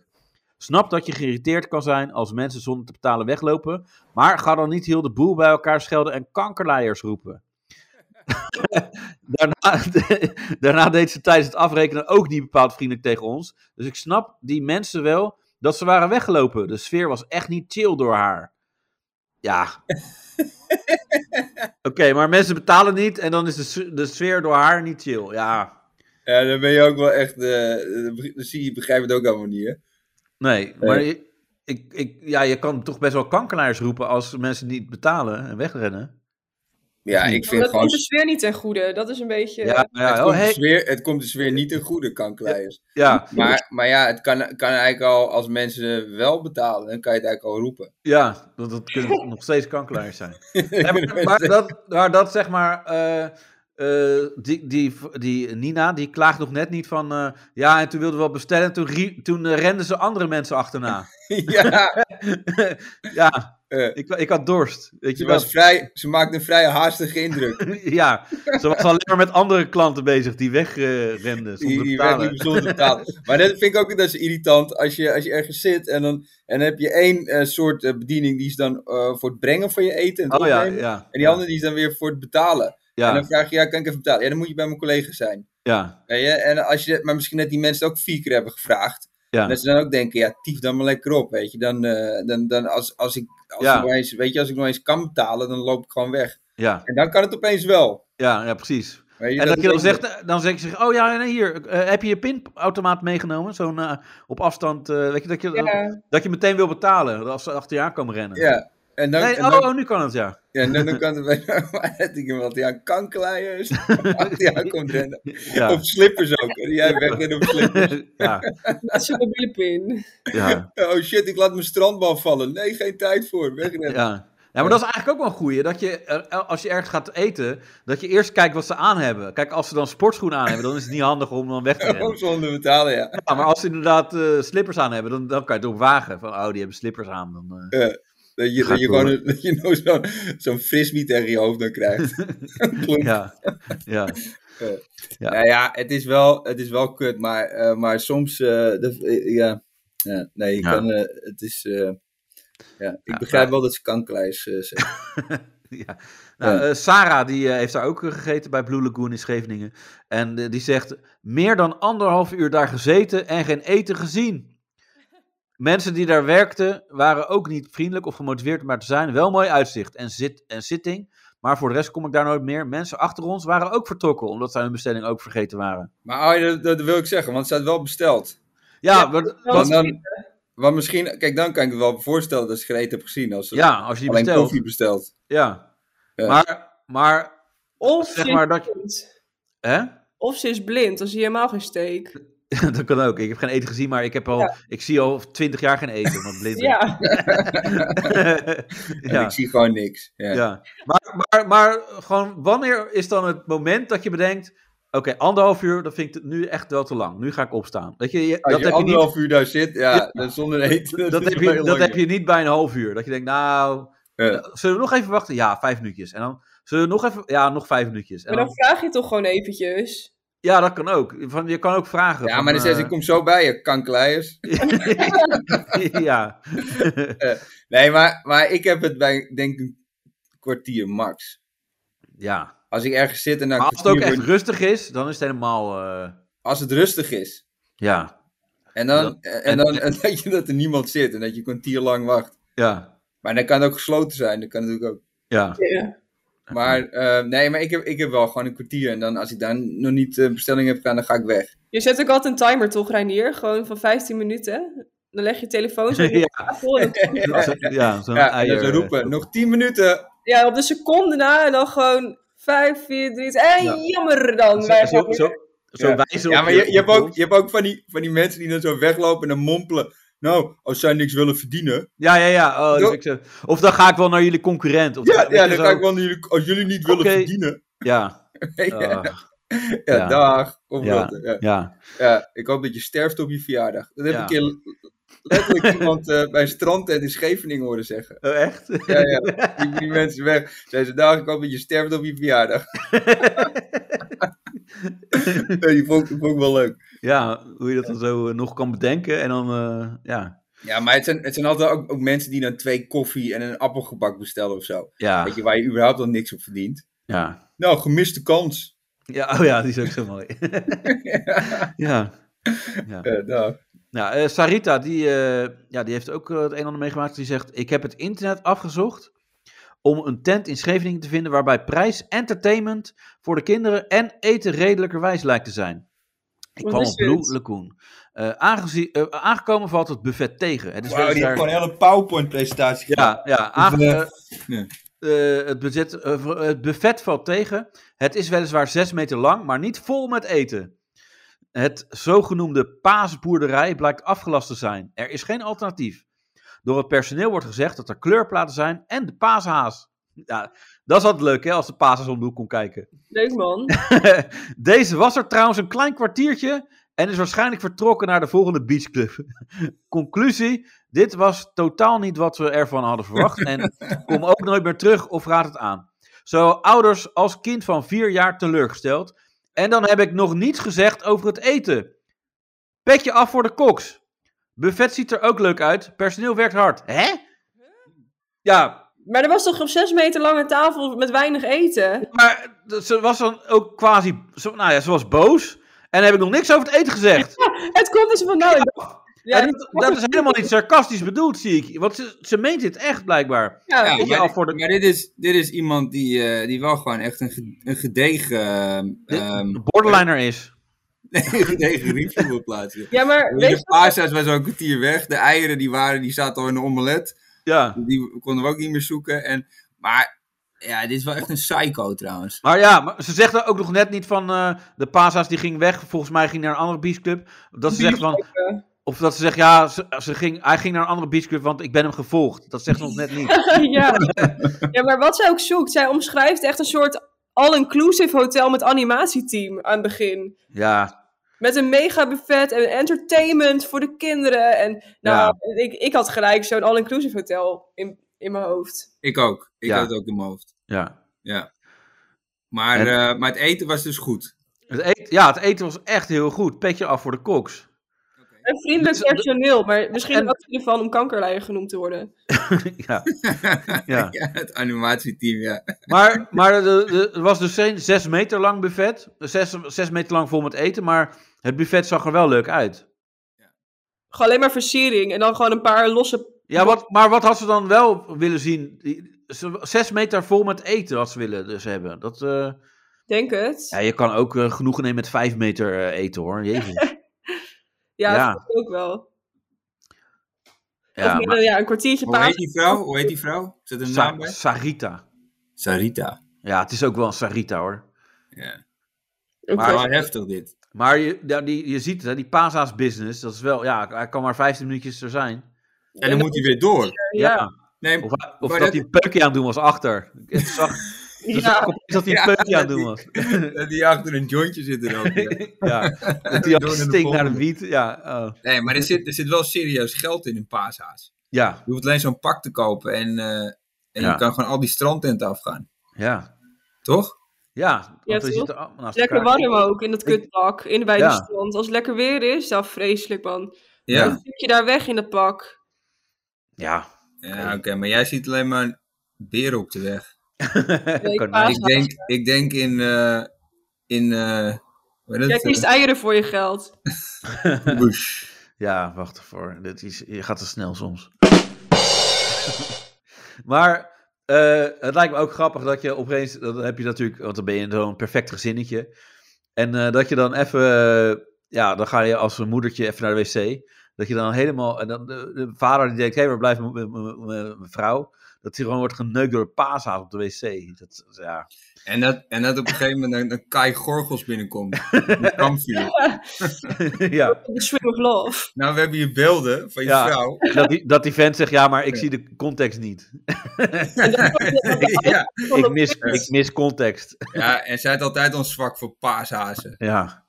A: Snap dat je geïrriteerd kan zijn als mensen zonder te betalen weglopen. Maar ga dan niet heel de boel bij elkaar schelden en kankerleiers roepen. [LAUGHS] daarna, [LAUGHS] daarna deed ze tijdens het afrekenen ook niet bepaald vriendelijk tegen ons. Dus ik snap die mensen wel dat ze waren weggelopen. De sfeer was echt niet chill door haar. Ja. Oké, maar mensen betalen niet en dan is de, s- de sfeer door haar niet chill. Ja,
C: Ja, dan ben je ook wel echt... eh, dan zie je, begrijp het ook allemaal niet, hè.
A: nee. Maar
C: Nee.
A: je- ik, ik, ja, je kan toch best wel kankernaars roepen als mensen niet betalen en wegrennen.
C: Ja, ik vind
B: dat
C: gewoon...
B: komt dus weer niet ten goede. Dat is een beetje...
A: Ja, Hmm. ja,
C: het,
A: oh,
C: komt
A: hey.
C: dus weer, het komt dus weer niet ten goede, kankleiers.
A: Ja.
C: Maar, maar ja, het kan, kan eigenlijk al... Als mensen wel betalen, dan kan je het eigenlijk al roepen. [LAUGHS]
A: Ja, dat, dat [LAUGHS] kunnen nog steeds kankernaars [LAUGHS] zijn. Ja, maar, maar dat, maar dat zeg maar. eh, eh, die, die, die Nina, die klaagt nog net niet van. eh, ja, en toen wilden we wat bestellen. en Toen, rie- toen eh, renden ze andere mensen [LAUGHS] achterna.
C: ja.
A: ja, ik, ik had dorst. Weet
C: Ze,
A: je
C: was
A: Eh. was
C: vrij, ze maakte een vrij haastige indruk.
A: [LAUGHS] Ja, ze was alleen maar met andere klanten bezig die wegrenden.
C: Die,
A: zonder
C: die werd niet
A: betalen.
C: bijzonder betaald. Maar dat vind ik ook dat is irritant. Als je, als je ergens zit en dan, en dan heb je één eh, soort eh, bediening die is dan eh, voor het brengen van je eten. En, het
A: Oh ja,
C: opnemen.
A: ja,
C: en die andere die is dan weer voor het betalen.
A: Ja.
C: En dan vraag je, ja, kan ik even betalen? Ja, dan moet je bij mijn collega zijn.
A: Ja,
C: Weet je? En als je, maar misschien dat die mensen het ook vier keer hebben gevraagd.
A: Ja.
C: En dat ze dan ook denken, ja, tief dan maar lekker op, weet je. Dan, eh, dan, dan als, als ik, als
A: Ja.
C: ik nog eens, weet je, als ik nog eens kan betalen, dan loop ik gewoon weg.
A: ja.
C: En dan kan het opeens wel.
A: Ja, ja precies.
C: Weet je,
A: en
C: dat
A: dat je dan
C: is ook-
A: zegt, eh, dan zeg je zich, oh ja, nee, hier, eh, heb je je pinautomaat meegenomen? Zo'n eh, op afstand, eh, weet je, dat je,
B: Ja.
A: dat je meteen wil betalen, als ze achter je aan komen rennen.
C: Ja. En dan,
A: Nee,
C: en
A: oh,
C: dan-
A: oh, nu kan het, ja.
C: Ja, en dan, dan kan het bijna maar dat hij aan kankerlijn [LAUGHS] is. Dat hij aan komt rennen.
A: Ja.
C: [LAUGHS] Op slippers ook. En jij wegrennen op slippers.
A: [LAUGHS] Ja.
B: Dat is een wielenpin.
A: Ja.
C: Oh shit, ik laat mijn strandbal vallen. Nee, geen tijd voor. Wegrennen.
A: Ja. Ja, maar dat is eigenlijk ook wel een goeie. Dat je, er- als je ergens gaat eten, dat je eerst kijkt wat ze aan hebben. Kijk, als ze dan sportschoenen aan hebben, dan is het niet handig om dan weg te
C: Ook
A: rennen.
C: zonder betalen, Oh, ja.
A: Ja, maar als ze inderdaad eh, slippers aan hebben, dan, dan kan je het ook wagen. Van, oh, die hebben slippers aan. Dan, eh.
C: Ja, dat je,
A: Gaat
C: dat je
A: door.
C: gewoon een- dat je nou zo'n zo'n frisbee tegen je hoofd dan krijgt. Klonk.
A: Ja, ja.
C: Eh,
A: Ja.
C: Nou ja, het is wel, het is wel kut, maar, eh, maar soms. eh, de, eh, ja, ja, nee, je
A: Ja.
C: kan. eh, het is. eh, ja, ik
A: Ja,
C: begrijp
A: ja.
C: wel dat ze kanklijs eh zijn.
A: [LAUGHS] Ja. Nou,
C: Ja.
A: eh, Sarah die, eh, heeft daar ook eh, gegeten bij Blue Lagoon in Scheveningen. En eh, die zegt, meer dan anderhalf uur daar gezeten en geen eten gezien. Mensen die daar werkten waren ook niet vriendelijk of gemotiveerd om daar te zijn. Wel mooi uitzicht en, zit, en zitting, maar voor de rest kom ik daar nooit meer. Mensen achter ons waren ook vertrokken, omdat zij hun bestelling ook vergeten waren.
C: Maar oh, dat, dat wil ik zeggen, want het staat wel besteld.
A: Ja, maar,
C: Want, dan, want misschien, kijk, dan kan ik het wel voorstellen dat ze geen eten hebben gezien. Als ze
A: Ja, als je die
C: alleen
A: bestelt.
C: koffie bestelt.
A: ja. Maar, maar,
B: Of
A: Zeg
B: ze
A: maar
B: is
A: dat
B: blind.
A: hè? [LAUGHS]
B: Of ze is blind, dan zie je helemaal geen steek.
A: dat kan ook. Ik heb geen eten gezien, maar ik, heb al,
B: Ja.
A: ik zie al twintig jaar geen eten. omdat ik blind ben.
B: Ja.
C: En ik zie gewoon niks. Ja.
A: Ja. Maar, maar, maar gewoon, wanneer is dan het moment dat je bedenkt... Oké, anderhalf uur, dat vind ik nu echt wel te lang. Nu ga ik opstaan. Weet je, je-
C: Als
A: dat
C: je
A: heb
C: anderhalf
A: je niet,
C: uur daar zit, ja,
A: Ja.
C: dan zonder eten.
A: dat,
C: is
A: heb
C: wel
A: je,
C: heel
A: dat
C: lang.
A: heb je niet bij een half uur. Dat je denkt, nou,
C: Ja.
A: eh, zullen we nog even wachten? Ja, vijf minuutjes. En dan zullen we nog even... Ja, nog vijf minuutjes. En
B: Maar dan
A: dan,
B: vraag je toch gewoon eventjes.
A: ja, dat kan ook. Van, je kan ook vragen.
C: Ja,
A: van,
C: maar dan zegt
A: eh,
C: ze, ik kom zo bij je, kankleiers.
A: [LAUGHS] ja.
C: Eh, nee, maar, maar ik heb het bij, denk ik, een kwartier max.
A: ja.
C: Als ik ergens zit en dan...
A: Maar als het ook echt rustig is, dan is het helemaal... eh,
C: Als het rustig is.
A: ja,
C: En dan,
A: Dat-
C: en,
A: en-
C: dan [LAUGHS] en dat, je, dat er niemand zit en dat je een kwartier lang wacht.
A: ja,
C: Maar dan kan het ook gesloten zijn, dat kan natuurlijk ook.
A: ja. [LAUGHS]
C: Maar eh, nee, maar ik heb, ik heb wel gewoon een kwartier. En dan als ik daar nog niet eh, bestelling heb gedaan, dan ga ik weg.
B: Je zet ook altijd een timer toch, Reinier? Gewoon van 15 minuten. Dan leg je telefoon zo op
A: [LAUGHS] Ja.
B: de tafel. en dan-
A: Ja, zo'n
C: Ja, en
A: eier,
C: dan zo
A: eh,
C: roepen, nog 10 minuten.
B: Ja, op de seconde na en dan gewoon 5, 4, 3. En
A: Ja.
B: jammer dan. wij gaan
A: Zo,
B: weer-
A: zo, zo
C: ja.
A: wijzen
C: Ja,
A: op
C: maar je, je, hebt ook, je hebt ook van die, van die mensen die dan zo weglopen en dan mompelen. Nou, als zij niks willen verdienen.
A: Ja, ja, ja. Oh, dat vind ik zo- Of dan ga ik wel naar jullie concurrent. Of
C: Ja,
A: weet
C: ja
A: je
C: dan
A: zo.
C: ga ik wel naar jullie, als jullie niet willen
A: Oké.
C: verdienen.
A: Ja.
C: [LAUGHS] ja,
A: Ah, ja.
C: ja, dag. Of
A: ja,
C: wat, ja.
A: ja.
C: Ja, ik hoop dat je sterft op je verjaardag. Dat heb
A: Ja.
C: ik een keer letterlijk
A: [LAUGHS]
C: iemand eh, bij een strandtent in Scheveningen horen zeggen.
A: Oh, [LAUGHS] echt?
C: Ja, ja. [LAUGHS] Die, die mensen weg. Zeiden ze, dag, ik hoop dat je sterft op je [LAUGHS] verjaardag. Ja, die vond, die vond ik wel leuk.
A: Ja, hoe je dat dan zo eh, nog kan bedenken. En dan, eh, ja.
C: Ja, maar het zijn, het zijn altijd ook, ook mensen die dan twee koffie en een appelgebak bestellen of zo.
A: Ja.
C: Weet je, waar je überhaupt al niks op verdient.
A: ja.
C: Nou, gemiste kans.
A: Ja, oh ja, die is ook zo mooi. [LAUGHS] ja. ja.
C: Ja, dag.
A: Nou, eh, Sarita, die, eh, ja, die heeft ook eh, het een en ander meegemaakt. Die zegt, ik heb het internet afgezocht om een tent in Scheveningen te vinden waarbij prijs, entertainment voor de kinderen en eten redelijkerwijs lijkt te zijn. Ik
C: Wat
A: kwam
C: is
A: op Blue
C: dit?
A: Lagoon. Eh, aangezien, eh, aangekomen valt het buffet tegen.
B: Dus
A: Het is
C: Wauw,
A: weliswaar-
C: die heeft gewoon een hele PowerPoint-presentatie
A: ja, ja. aange-
C: eh,
A: eh, eh, het, budget, eh, v- het buffet valt tegen. Het is weliswaar 6 meter lang, maar niet vol met eten. Het zogenoemde paasboerderij blijkt afgelast te zijn. Er is geen alternatief. Door het personeel wordt gezegd dat er kleurplaten zijn en de paashaas. Ja, dat is altijd leuk hè, als de paashaas om de hoek komt kijken.
B: Leuk man.
A: Deze was er trouwens een klein kwartiertje en is waarschijnlijk vertrokken naar de volgende beachclub. [LAUGHS] Conclusie, dit was totaal niet wat we ervan hadden verwacht en kom ook nooit meer terug of raad het aan. Zowel ouders als kind van vier jaar teleurgesteld. En dan heb ik nog niets gezegd over het eten. Petje af voor de koks. Buffet ziet er ook leuk uit, personeel werkt hard. Hè? Ja,
B: Maar er was toch op 6 meter lange tafel met weinig eten?
A: maar ze was dan ook quasi, ze- nou ja, ze was boos. En heb ik nog niks over het eten gezegd.
B: Het komt dus van nou. Ja,
A: En dat, dat is helemaal niet sarcastisch bedoeld, zie ik. Want ze, ze meent dit echt, blijkbaar.
B: Ja,
A: Weet je,
D: maar,
A: af voor
D: dit, maar dit is, dit is iemand die, eh, die wel gewoon echt een, ge- een gedegen... ehm,
C: [LAUGHS]
D: ehm,
A: borderliner is.
D: een gedegen review wil plaatsen.
B: Ja, maar
D: de
B: weet je
D: paashaas was al een kwartier weg. De eieren die waren, die zaten al in de omelet.
A: Ja.
C: Die konden we ook niet meer zoeken. En, maar ja, dit is wel echt een psycho trouwens.
A: Maar ja, maar ze zegt dan ook nog net niet van eh, de Pasa's die ging weg. Volgens mij ging naar een andere beachclub. Dat ze zegt van... Of dat ze zegt, ja, ze, ze ging, hij ging naar een andere beachclub, want ik ben hem gevolgd. Dat zegt ze nog net
B: [LAUGHS]
A: niet.
B: ja. ja, maar wat zij ook zoekt, zij omschrijft echt een soort all-inclusive hotel met animatieteam aan het begin.
A: Ja,
B: Met een mega buffet en entertainment voor de kinderen. En nou, ik, ik had gelijk zo'n all-inclusive hotel in, in mijn hoofd.
C: Ik ook. Ik
A: Ja.
C: had het ook in mijn hoofd.
A: ja.
C: Ja. Maar,
A: En-
C: eh, maar het eten was dus goed.
A: Het eten, ja, het eten was echt heel goed. Petje af voor de koks. [LAUGHS]
B: En vriendelijk
C: Dus-
B: personeel, maar misschien ook van om kankerleier genoemd te worden.
A: ja.
C: [LAUGHS]
A: ja.
C: het animatieteam, ja.
A: Maar, maar de, de, er was dus geen zes meter lang buffet. Zes, zes meter lang vol met eten, maar het buffet zag er wel leuk uit.
B: Gewoon alleen maar versiering en dan gewoon een paar losse...
A: Ja, wat, maar wat had ze dan wel willen zien? Die- ze- Zes meter vol met eten had ze willen dus hebben. Dat, eh,
B: Denk het.
A: ja, je kan ook genoeg genoegen nemen met vijf meter eh, eten hoor. [LAUGHS] Jezus.
B: Ja,
A: Ja.
B: dat vond ik ook wel.
A: Ja,
B: of meer
A: maar-
B: dan, ja, een kwartiertje
C: Hoe
B: paas.
C: heet die vrouw? Hoe heet die vrouw? Zit er een
A: Sa-
C: naam bij?
A: Sarita.
C: Sarita.
A: Ja, het is ook wel een Sarita hoor.
C: Ja.
B: Oké.
C: Maar wel heftig dit.
A: Maar je, ja, die, je ziet het, hè, die Pasa's business, dat is wel, ja, hij kan maar 15 minuutjes er zijn.
C: En dan moet hij weer door.
A: Ja.
C: Nee,
A: Of, hij- of
C: maar
A: dat,
C: dat-
A: hij een peukje aan het doen was achter. Ik zag,
B: Ja.
A: dus zag ik opeens dat hij een
C: Ja,
A: peukje aan het
C: dat
A: doen
C: die-
A: was.
C: Dat [LAUGHS] die achter een jointje zit er ook.
A: [LAUGHS] Ja, dat hij ook stinkt naar de wiet. Ja, oh.
C: Nee, maar er zit, er zit wel serieus geld in in Paashaas.
A: ja,
C: Je hoeft alleen zo'n pak te kopen en, eh, en
A: Ja.
C: je kan gewoon al die strandtenten afgaan.
A: ja.
C: Toch?
A: Ja,
B: Ja,
A: want we
B: toch?
A: zitten allemaal naast
B: Lekker
A: elkaar.
B: warm ook in dat kutpak, in, bij
A: Ja.
B: de strand. Als het lekker weer is, dan vreselijk man.
C: Ja.
B: Dan zit je daar weg in dat pak.
A: Ja,
C: Ja, oké, maar jij ziet alleen maar beren op de weg.
A: [LAUGHS]
B: Nee, Kan paashaas.
C: ik, denk, ik denk in. eh, in eh, hoe heet
B: Jij
C: het? Eh,
B: kiest
A: eh,
B: eieren voor je geld.
C: Bush.
A: Ja, wacht ervoor. Dit is, je gaat te snel soms. [LAUGHS] maar eh, het lijkt me ook grappig dat je opeens, dan heb je natuurlijk, want dan ben je in zo'n perfect gezinnetje. En eh, dat je dan even, eh, ja, dan ga je als een moedertje even naar de wc. Dat je dan helemaal, en dan de, de vader die denkt, hé, waar blijft mijn- mijn mijn- mijn vrouw? Dat hij gewoon wordt geneukt door de paashaas op de wc. Dat, ja. [LAUGHS]
C: En dat, en dat op een gegeven moment een, een Kai Gorgels binnenkomt. Een kampvuur.
A: ja.
B: The swing of love.
C: Nou, we hebben hier beelden van je
A: Ja,
C: vrouw. [LAUGHS]
A: dat, die, dat die vent zegt, ja, maar ik zie de context niet.
C: ja.
A: Ik mis, ik mis context.
C: ja, en zij had altijd ons zwak voor paashazen.
A: Ja.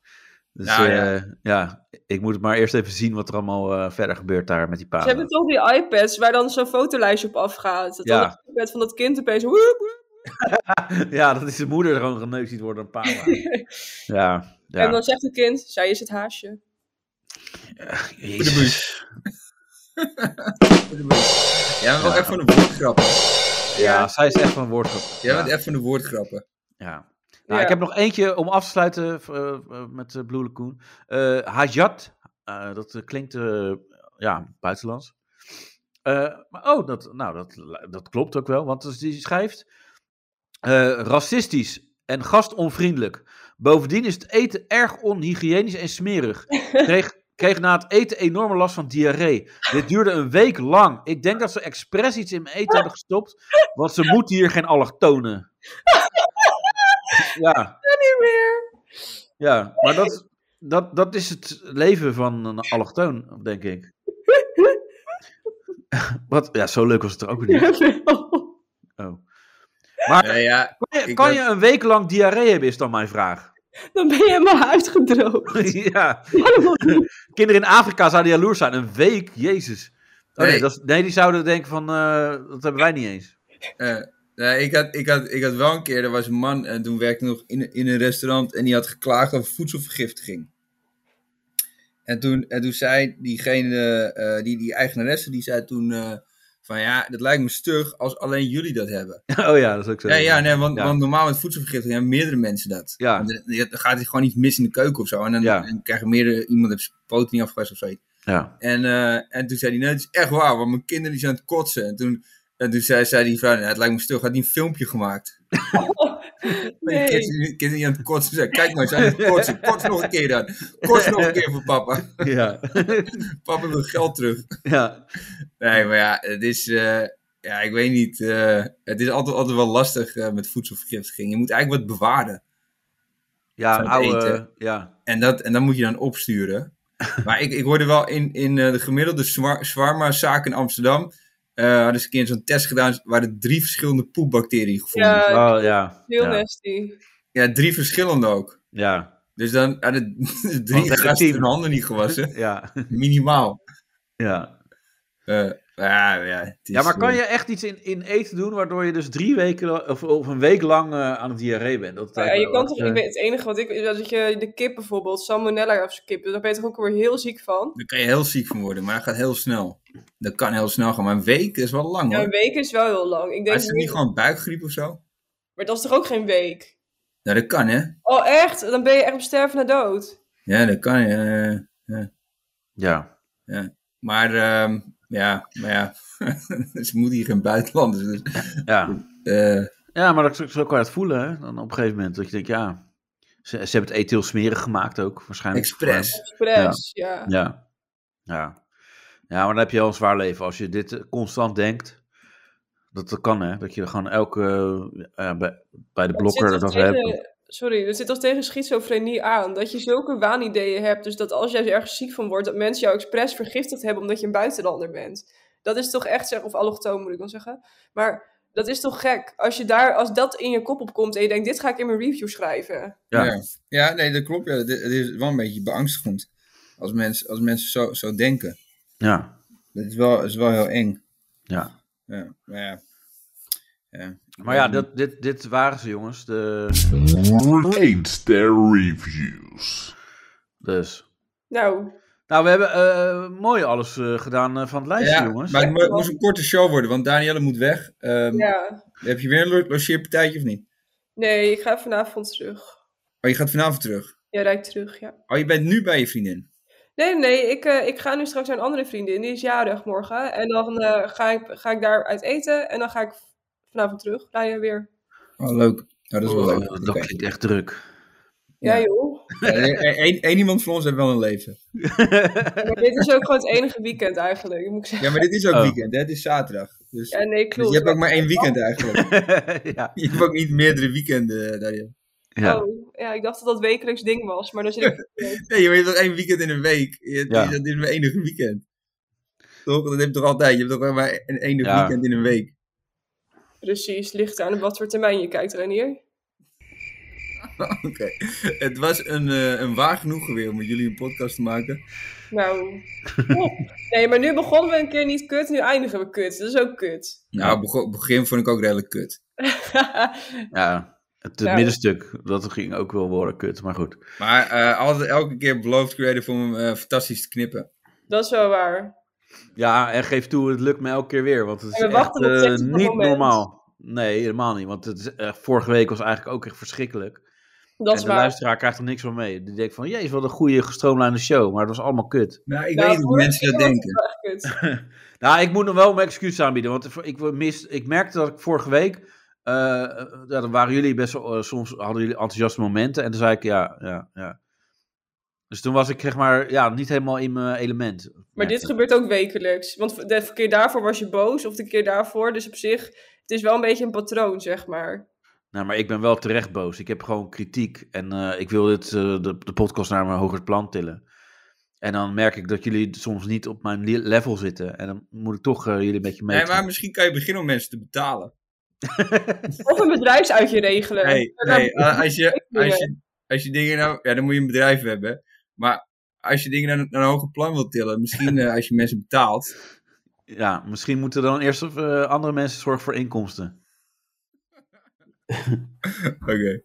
A: Dus
C: Nou, ja.
A: ja. ja, ik moet maar eerst even zien wat er allemaal eh, verder gebeurt daar met die
B: Ze
A: paden.
B: hebben toch die iPads waar dan zo'n fotolijstje op afgaat. Dat
A: Ja.
B: dan de iPad van dat kind opeens... woep, woep.
A: [LAUGHS] Ja, dat is de moeder gewoon geneukt ziet worden
B: [LAUGHS]
A: door een paar. ja,
B: En
A: ja.
B: dan zegt het kind, zij is het
A: [LAUGHS]
B: haasje. [LAUGHS]
A: Jezus.
C: [LAUGHS] Jij bent wel echt van de woordgrappen.
A: Ja, zij is echt van woordgrap.
C: Jij
A: Ja,
C: bent echt van de woordgrappen.
A: ja. Nou,
B: Ja.
A: Ik heb nog eentje om af te sluiten eh, eh, met eh, Blue Lagoon. Eh, Hajat, eh, dat eh, klinkt eh, ja, buitenlands. Eh, maar, oh, dat, nou, dat, dat klopt ook wel, want dus die schrijft... eh, racistisch en gastonvriendelijk. Bovendien is het eten erg onhygiënisch en smerig. Kreeg, kreeg na het eten enorme last van diarree. Dit duurde een week lang. Ik denk dat ze expres iets in mijn eten hebben gestopt, want ze moet hier geen allochtonen. Ja,
B: Ja, niet meer.
A: ja, maar dat, dat, dat is het leven van een allochtoon, denk ik. Wat, ja, zo leuk was het er ook weer niet. Oh. Maar
C: Ja, Eh, ja,
A: kan, je,
C: ik
A: kan
C: had-
A: je een week lang diarree hebben, is dan mijn vraag.
B: Dan ben je helemaal uitgedroogd.
A: [LAUGHS]
B: [LAUGHS]
A: ja. Kinderen in Afrika zouden jaloers zijn. Een week, jezus. Oh, nee.
C: Nee.
A: dat is- nee, die zouden denken van, eh, dat hebben wij niet eens. [LAUGHS]
C: Eh, nee, ik, had, ik, had, ik had wel een keer, er was een man, en toen werkte ik nog in, in een restaurant, en die had geklaagd over voedselvergiftiging. En toen, en toen zei diegene, eh, die, die eigenaresse, die zei toen eh, van ja, dat lijkt me stug als alleen jullie dat hebben.
A: Oh ja, dat is ook zo.
C: Ja, ja, nee, want,
A: Ja.
C: want normaal met voedselvergiftiging hebben meerdere mensen dat.
A: Ja.
C: Want er- Dan gaat er gewoon iets mis in de keuken of zo. En dan,
A: Ja.
C: dan krijg je meerdere, iemand heeft zijn poot niet afgewassen of zoiets.
A: Ja. [LAUGHS]
C: En, eh, en toen zei hij, nee, het is echt waar, want mijn kinderen die zijn aan het kotsen. En toen, en toen zei, zei die vrouw, nou, het lijkt me stil, had die een filmpje gemaakt.
B: Nee.
C: Kinderen kind niet aan het kotsen zijn. Kijk maar, ze zijn aan het kotsen. Kots nog een keer dan. Kots nog een keer voor papa.
A: Ja. [LAUGHS]
C: papa wil geld terug.
A: Ja.
C: Nee, maar ja, het is... eh, ja, ik weet niet. eh, het is altijd, altijd wel lastig eh, met voedselvergiftiging. Je moet eigenlijk wat bewaren.
A: Ja,
C: van het
A: oude...
C: eten.
A: Ja.
C: En, dat, en dat moet je dan opsturen.
A: [LAUGHS]
C: maar ik, ik hoorde wel in, in eh, de gemiddelde zwa- shawarma-zaak in Amsterdam... eh hadden ze een keer zo'n test gedaan... waar er drie verschillende poepbacteriën gevonden
B: Ja,
A: Oh, ja.
B: eh, Heel
A: ja.
B: nasty. Oh,
C: Ja, drie verschillende ook.
A: Ja.
C: Dus dan [LAUGHS] hadden
A: Want
C: drie
A: echt
C: gasten
A: tien.
C: hun handen niet gewassen. [LAUGHS]
A: ja.
C: Minimaal. Eh,
A: Ja.
C: ja, ja, het
A: Ja,
C: is,
A: maar kan
C: eh,
A: je echt iets in, in eten doen waardoor je dus drie weken la- of, of een week lang eh, aan het diarree bent? Dat
B: Ja, je kan toch,
A: eh,
B: ik weet, het enige wat ik weet, is dat je de kip bijvoorbeeld, salmonella of zo kip, dus daar ben je toch ook weer heel ziek van.
C: Daar kan je heel ziek van worden, maar dat gaat heel snel. Dat kan heel snel gaan, maar een week is wel lang
B: Ja,
C: hoor.
B: een week is wel heel lang. Ik
C: Maar
B: denk,
C: is het niet gewoon buikgriep of zo?
B: Maar dat is toch ook geen week?
C: Nou, dat kan hè.
B: Oh echt? Dan ben je echt op sterven na dood.
C: Ja, dat kan eh, ja.
A: Ja.
C: ja. Maar, ehm, ja, maar ja, [LAUGHS] ze moeten hier geen buitenlanders. Dus,
A: Ja.
C: eh,
A: Ja, maar dat, zo kan je het voelen, hè? Dan op een gegeven moment dat je denkt, ja, ze, ze hebben het eten heel smerig gemaakt ook, waarschijnlijk.
C: Expres.
B: Express,
A: Ja.
B: ja.
A: ja. Ja. Ja, maar dan heb je wel een zwaar leven. Als je dit eh, constant denkt, dat, dat kan, hè? Dat je gewoon elke, eh, eh, bij, bij de
B: Het zit
A: blokker
B: toch
A: dat we
B: tegen-
A: hebben.
B: Sorry, dat zit toch tegen schizofrenie aan. Dat je zulke waanideeën hebt. Dus dat als jij ergens ziek van wordt, dat mensen jou expres vergiftigd hebben omdat je een buitenlander bent. Dat is toch echt, zeg, of allochtoon moet ik dan zeggen. Maar dat is toch gek. Als, je daar, als dat in je kop opkomt en je denkt, dit ga ik in mijn review schrijven.
C: Ja. Ja. nee, dat klopt. Ja. Het het is wel een beetje beangstigend als, mensen als mensen zo, zo denken.
A: Ja.
C: Dat is wel, is wel heel eng.
A: Ja.
C: Ja, maar ja. ja.
A: Maar ja, dat, dit, dit waren ze, jongens. De...
O: Rate their reviews.
A: Dus.
B: Nou,
A: Nou, we hebben eh, mooi alles eh, gedaan eh, van het lijstje,
C: Ja,
A: jongens.
C: maar het mo- moest een korte show worden, want Danielle moet weg. Ehm,
B: ja.
C: Heb je weer een lo- logeerpartijtje of niet?
B: Nee, ik ga vanavond terug.
C: Oh, je gaat vanavond terug.
B: Ja, rijk terug, ja.
C: Oh, je bent nu bij je vriendin.
B: Nee, nee, nee, ik, eh, ik ga nu straks naar een andere vriendin. Die is jarig morgen. En dan eh, ga, ik, ga ik daar uit eten. En dan ga ik vanavond terug. Rijden weer.
C: Oh, leuk. Ja, dat is wel
A: Oh,
C: leuk.
A: dat klinkt echt druk. [LAUGHS]
B: ja joh.
C: Eén e-, één iemand van ons heeft wel een leven.
B: Maar dit is ook gewoon het enige weekend eigenlijk, moet ik zeggen.
C: Ja, maar dit is ook
A: Oh.
C: weekend, hè? Dit is zaterdag. Dus,
B: Ja, nee, klopt.
C: dus je hebt ook maar één weekend eigenlijk.
A: ja.
C: Je hebt ook niet meerdere weekenden, eh, Danielle.
A: Ja.
B: Oh, ja, ik dacht dat dat wekelijks ding was, maar dan zit
C: [LAUGHS]
B: ik...
C: Nee, je hebt toch één weekend in een week? Je,
A: Ja.
C: Dat is mijn enige weekend. Toch? Dat heb je toch altijd? Je hebt toch maar een enige
A: Ja.
C: weekend in een week? [LAUGHS]
B: Precies, ligt aan op wat voor termijn je kijkt, Renier.
C: Oké. Het was een, eh, een waar genoegen weer om met jullie een podcast te maken.
B: Nou... oh. Nee, maar nu begonnen we een keer niet kut, nu eindigen we kut. Dat is ook kut. [LAUGHS]
C: Nou, bego- begin vond ik ook redelijk kut.
A: Ja, het, het
B: Ja.
A: middenstuk, dat ging ook wel worden kut, maar goed.
C: Maar eh, altijd, elke keer beloofd creative om hem eh, fantastisch te knippen.
B: Dat is wel waar.
A: Ja, en geef toe, het lukt me elke keer weer, want het is
B: En we
A: echt
B: wachten op het
A: eh,
B: zesde
A: niet
B: moment.
A: normaal. Nee, helemaal niet, want het is, eh, vorige week was eigenlijk ook echt verschrikkelijk.
B: Dat
A: en
B: is
A: de
B: waar.
A: luisteraar krijgt er niks van mee. Die denkt van, jezus, wat een goede gestroomlijnde show, maar het was allemaal kut.
C: Nou, ik
B: Nou,
C: weet niet hoe
B: vorige
C: mensen dat
B: keer was het
C: denken.
B: wel echt
A: [LAUGHS]
B: kut.
A: Nou, ik moet nog wel mijn excuus aanbieden, want voor- ik, mis, ik merkte dat ik vorige week, eh, ja, dan waren jullie best wel, eh, soms hadden jullie enthousiaste momenten en toen zei ik, ja, ja, ja. Dus toen was ik, zeg maar, ja, niet helemaal in mijn element.
B: Maar dit gebeurt ook wekelijks. Want de keer daarvoor was je boos, of de keer daarvoor. Dus op zich, het is wel een beetje een patroon, zeg maar.
A: Nou, maar ik ben wel terecht boos. Ik heb gewoon kritiek en eh, ik wil dit, eh, de, de podcast naar mijn hoger plan tillen. En dan merk ik dat jullie soms niet op mijn le- level zitten. En dan moet ik toch eh, jullie een beetje mee.
C: Nee, maar misschien kan je beginnen om mensen te betalen.
B: Of een bedrijfsuitje regelen. [LAUGHS]
C: Nee, nee eh, als, je,
B: meer.
C: als, je, als je dingen nou... Ja, dan moet je een bedrijf hebben. Maar als je dingen naar, naar een hoger plan wilt tillen, misschien eh, als je mensen betaalt... [LAUGHS]
A: Ja, misschien moeten dan eerst eh, andere mensen zorgen voor inkomsten.
C: Oké.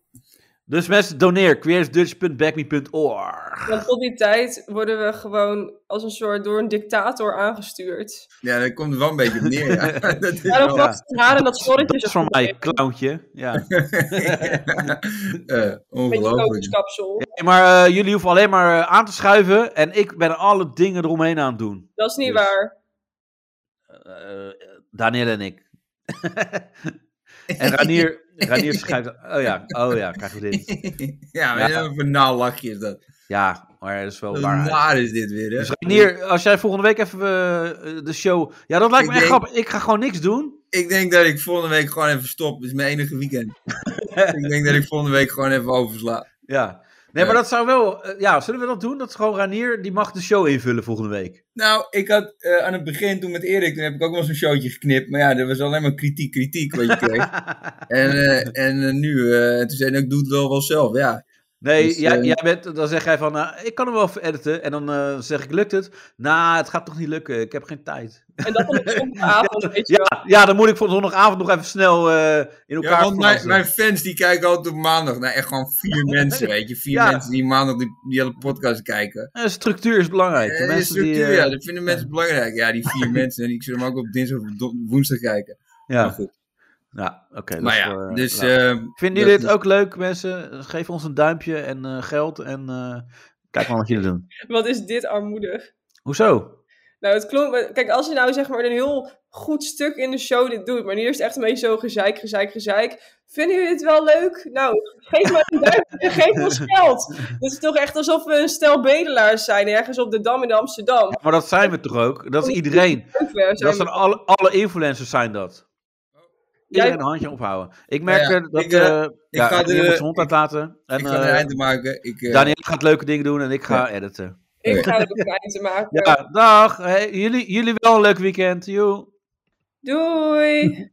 A: Dus mensen, doneer. queersdutch.backme.org
B: Want tot die tijd worden we gewoon als een soort door een dictator aangestuurd.
C: Ja, dat komt er wel een beetje op neer, ja. [LAUGHS] Dat is
B: Daarom
C: wel...
B: was het haar en dat
A: Dat
B: schorretje
A: is
B: zo
A: van
B: goed
A: mij,
B: in,
A: clowntje.
C: [LAUGHS]
A: Ja.
C: Eh,
B: Met je
C: ongelooflijk.
B: kokerskapsel.
A: Nee, maar eh, jullie hoeven alleen maar eh, aan te schuiven. En ik ben alle dingen eromheen aan het doen.
B: Dat is niet
A: Dus-
B: waar.
A: [LAUGHS] Eh Daniel en ik. En Ranier, Ranier schrijft, oh ja, oh ja, krijg je dit.
C: Ja, maar
A: Ja.
C: een banaal lachje is dat.
A: Ja, maar dat is wel
C: Wat
A: waar.
C: naar is dit weer, hè?
A: Dus Ranier, als jij volgende week even eh, de show... Ja, dat lijkt me echt
C: denk-
A: grappig. Ik ga gewoon niks doen.
C: Ik denk dat ik volgende week gewoon even stop. Dit is mijn enige weekend. ik denk dat ik volgende week gewoon even oversla.
A: Ja. Nee, maar dat zou wel... eh, ja, zullen we dat doen? Dat is gewoon Ranier, die mag de show invullen volgende week.
C: Nou, ik had eh, aan het begin toen met Erik, toen heb ik ook wel eens een showtje geknipt. Maar ja, er was alleen maar kritiek, kritiek wat je kreeg.
A: [LAUGHS]
C: en eh, en eh, nu, eh, toen zei hij, ik doe het wel wel zelf, ja.
A: Nee,
C: Dus,
A: jij,
C: eh,
A: jij bent, dan zeg jij van, nou, ik kan hem wel even editen. En dan eh, zeg ik, lukt het? Nou, het gaat toch niet lukken. Ik heb geen tijd.
B: En dat op zondagavond, weet je wel.
A: [LAUGHS] Ja, ja, dan moet ik voor zondagavond nog even snel eh, in elkaar
C: Ja, want mijn,
A: flansen.
C: mijn fans die kijken altijd op maandag. Nou, echt gewoon vier mensen, weet je. Vier
A: Ja.
C: mensen die maandag die, die hele podcast kijken.
A: Eh, structuur is belangrijk. De
C: Eh,
A: mensen
C: structuur,
A: die, eh,
C: ja, dat vinden mensen belangrijk. Ja, die
A: [LAUGHS]
C: vier mensen. En ik zullen hem ook op dinsdag of do- woensdag kijken.
A: Ja.
C: Maar goed.
A: Nou, oké. dat
C: Maar
A: is
C: ja,
A: wel, eh,
C: dus,
A: nou.
C: ehm,
A: Vinden jullie
C: dat-
A: dit ook leuk, mensen? Geef ons een duimpje en eh, geld. En eh, kijk maar wat jullie doen.
B: Wat is dit armoedig?
A: Hoezo?
B: Nou, het klonk... Kijk, als je nou zeg maar een heel goed stuk in de show dit doet, maar nu is het echt een beetje zo gezeik, gezeik, gezeik. Vinden jullie het wel leuk? Nou, geef maar een duimpje
A: [LAUGHS]
B: en geef ons geld. Dat is toch echt alsof we een stel bedelaars zijn ergens op de Dam in Amsterdam.
A: Maar dat zijn we toch ook? Dat is iedereen.
B: Leuk weer, zijn
A: Dat zijn
B: we.
A: alle, alle influencers zijn dat. Iedereen een handje ophouden. Ik merk
C: Nou ja,
A: eh, dat
C: ik, eh,
A: eh,
C: ik
A: ja,
C: ga
A: Ranier
C: de-
A: moet zijn hond uitlaten. En,
C: ik ga er
A: eh,
C: eind aan maken. Ik, eh,
A: Daniel gaat leuke dingen doen en ik ga editen.
B: Ik ga er ook een eind aan maken.
A: Ja, dag. Hey, jullie, jullie wel een leuk weekend. Joe.
B: Doei!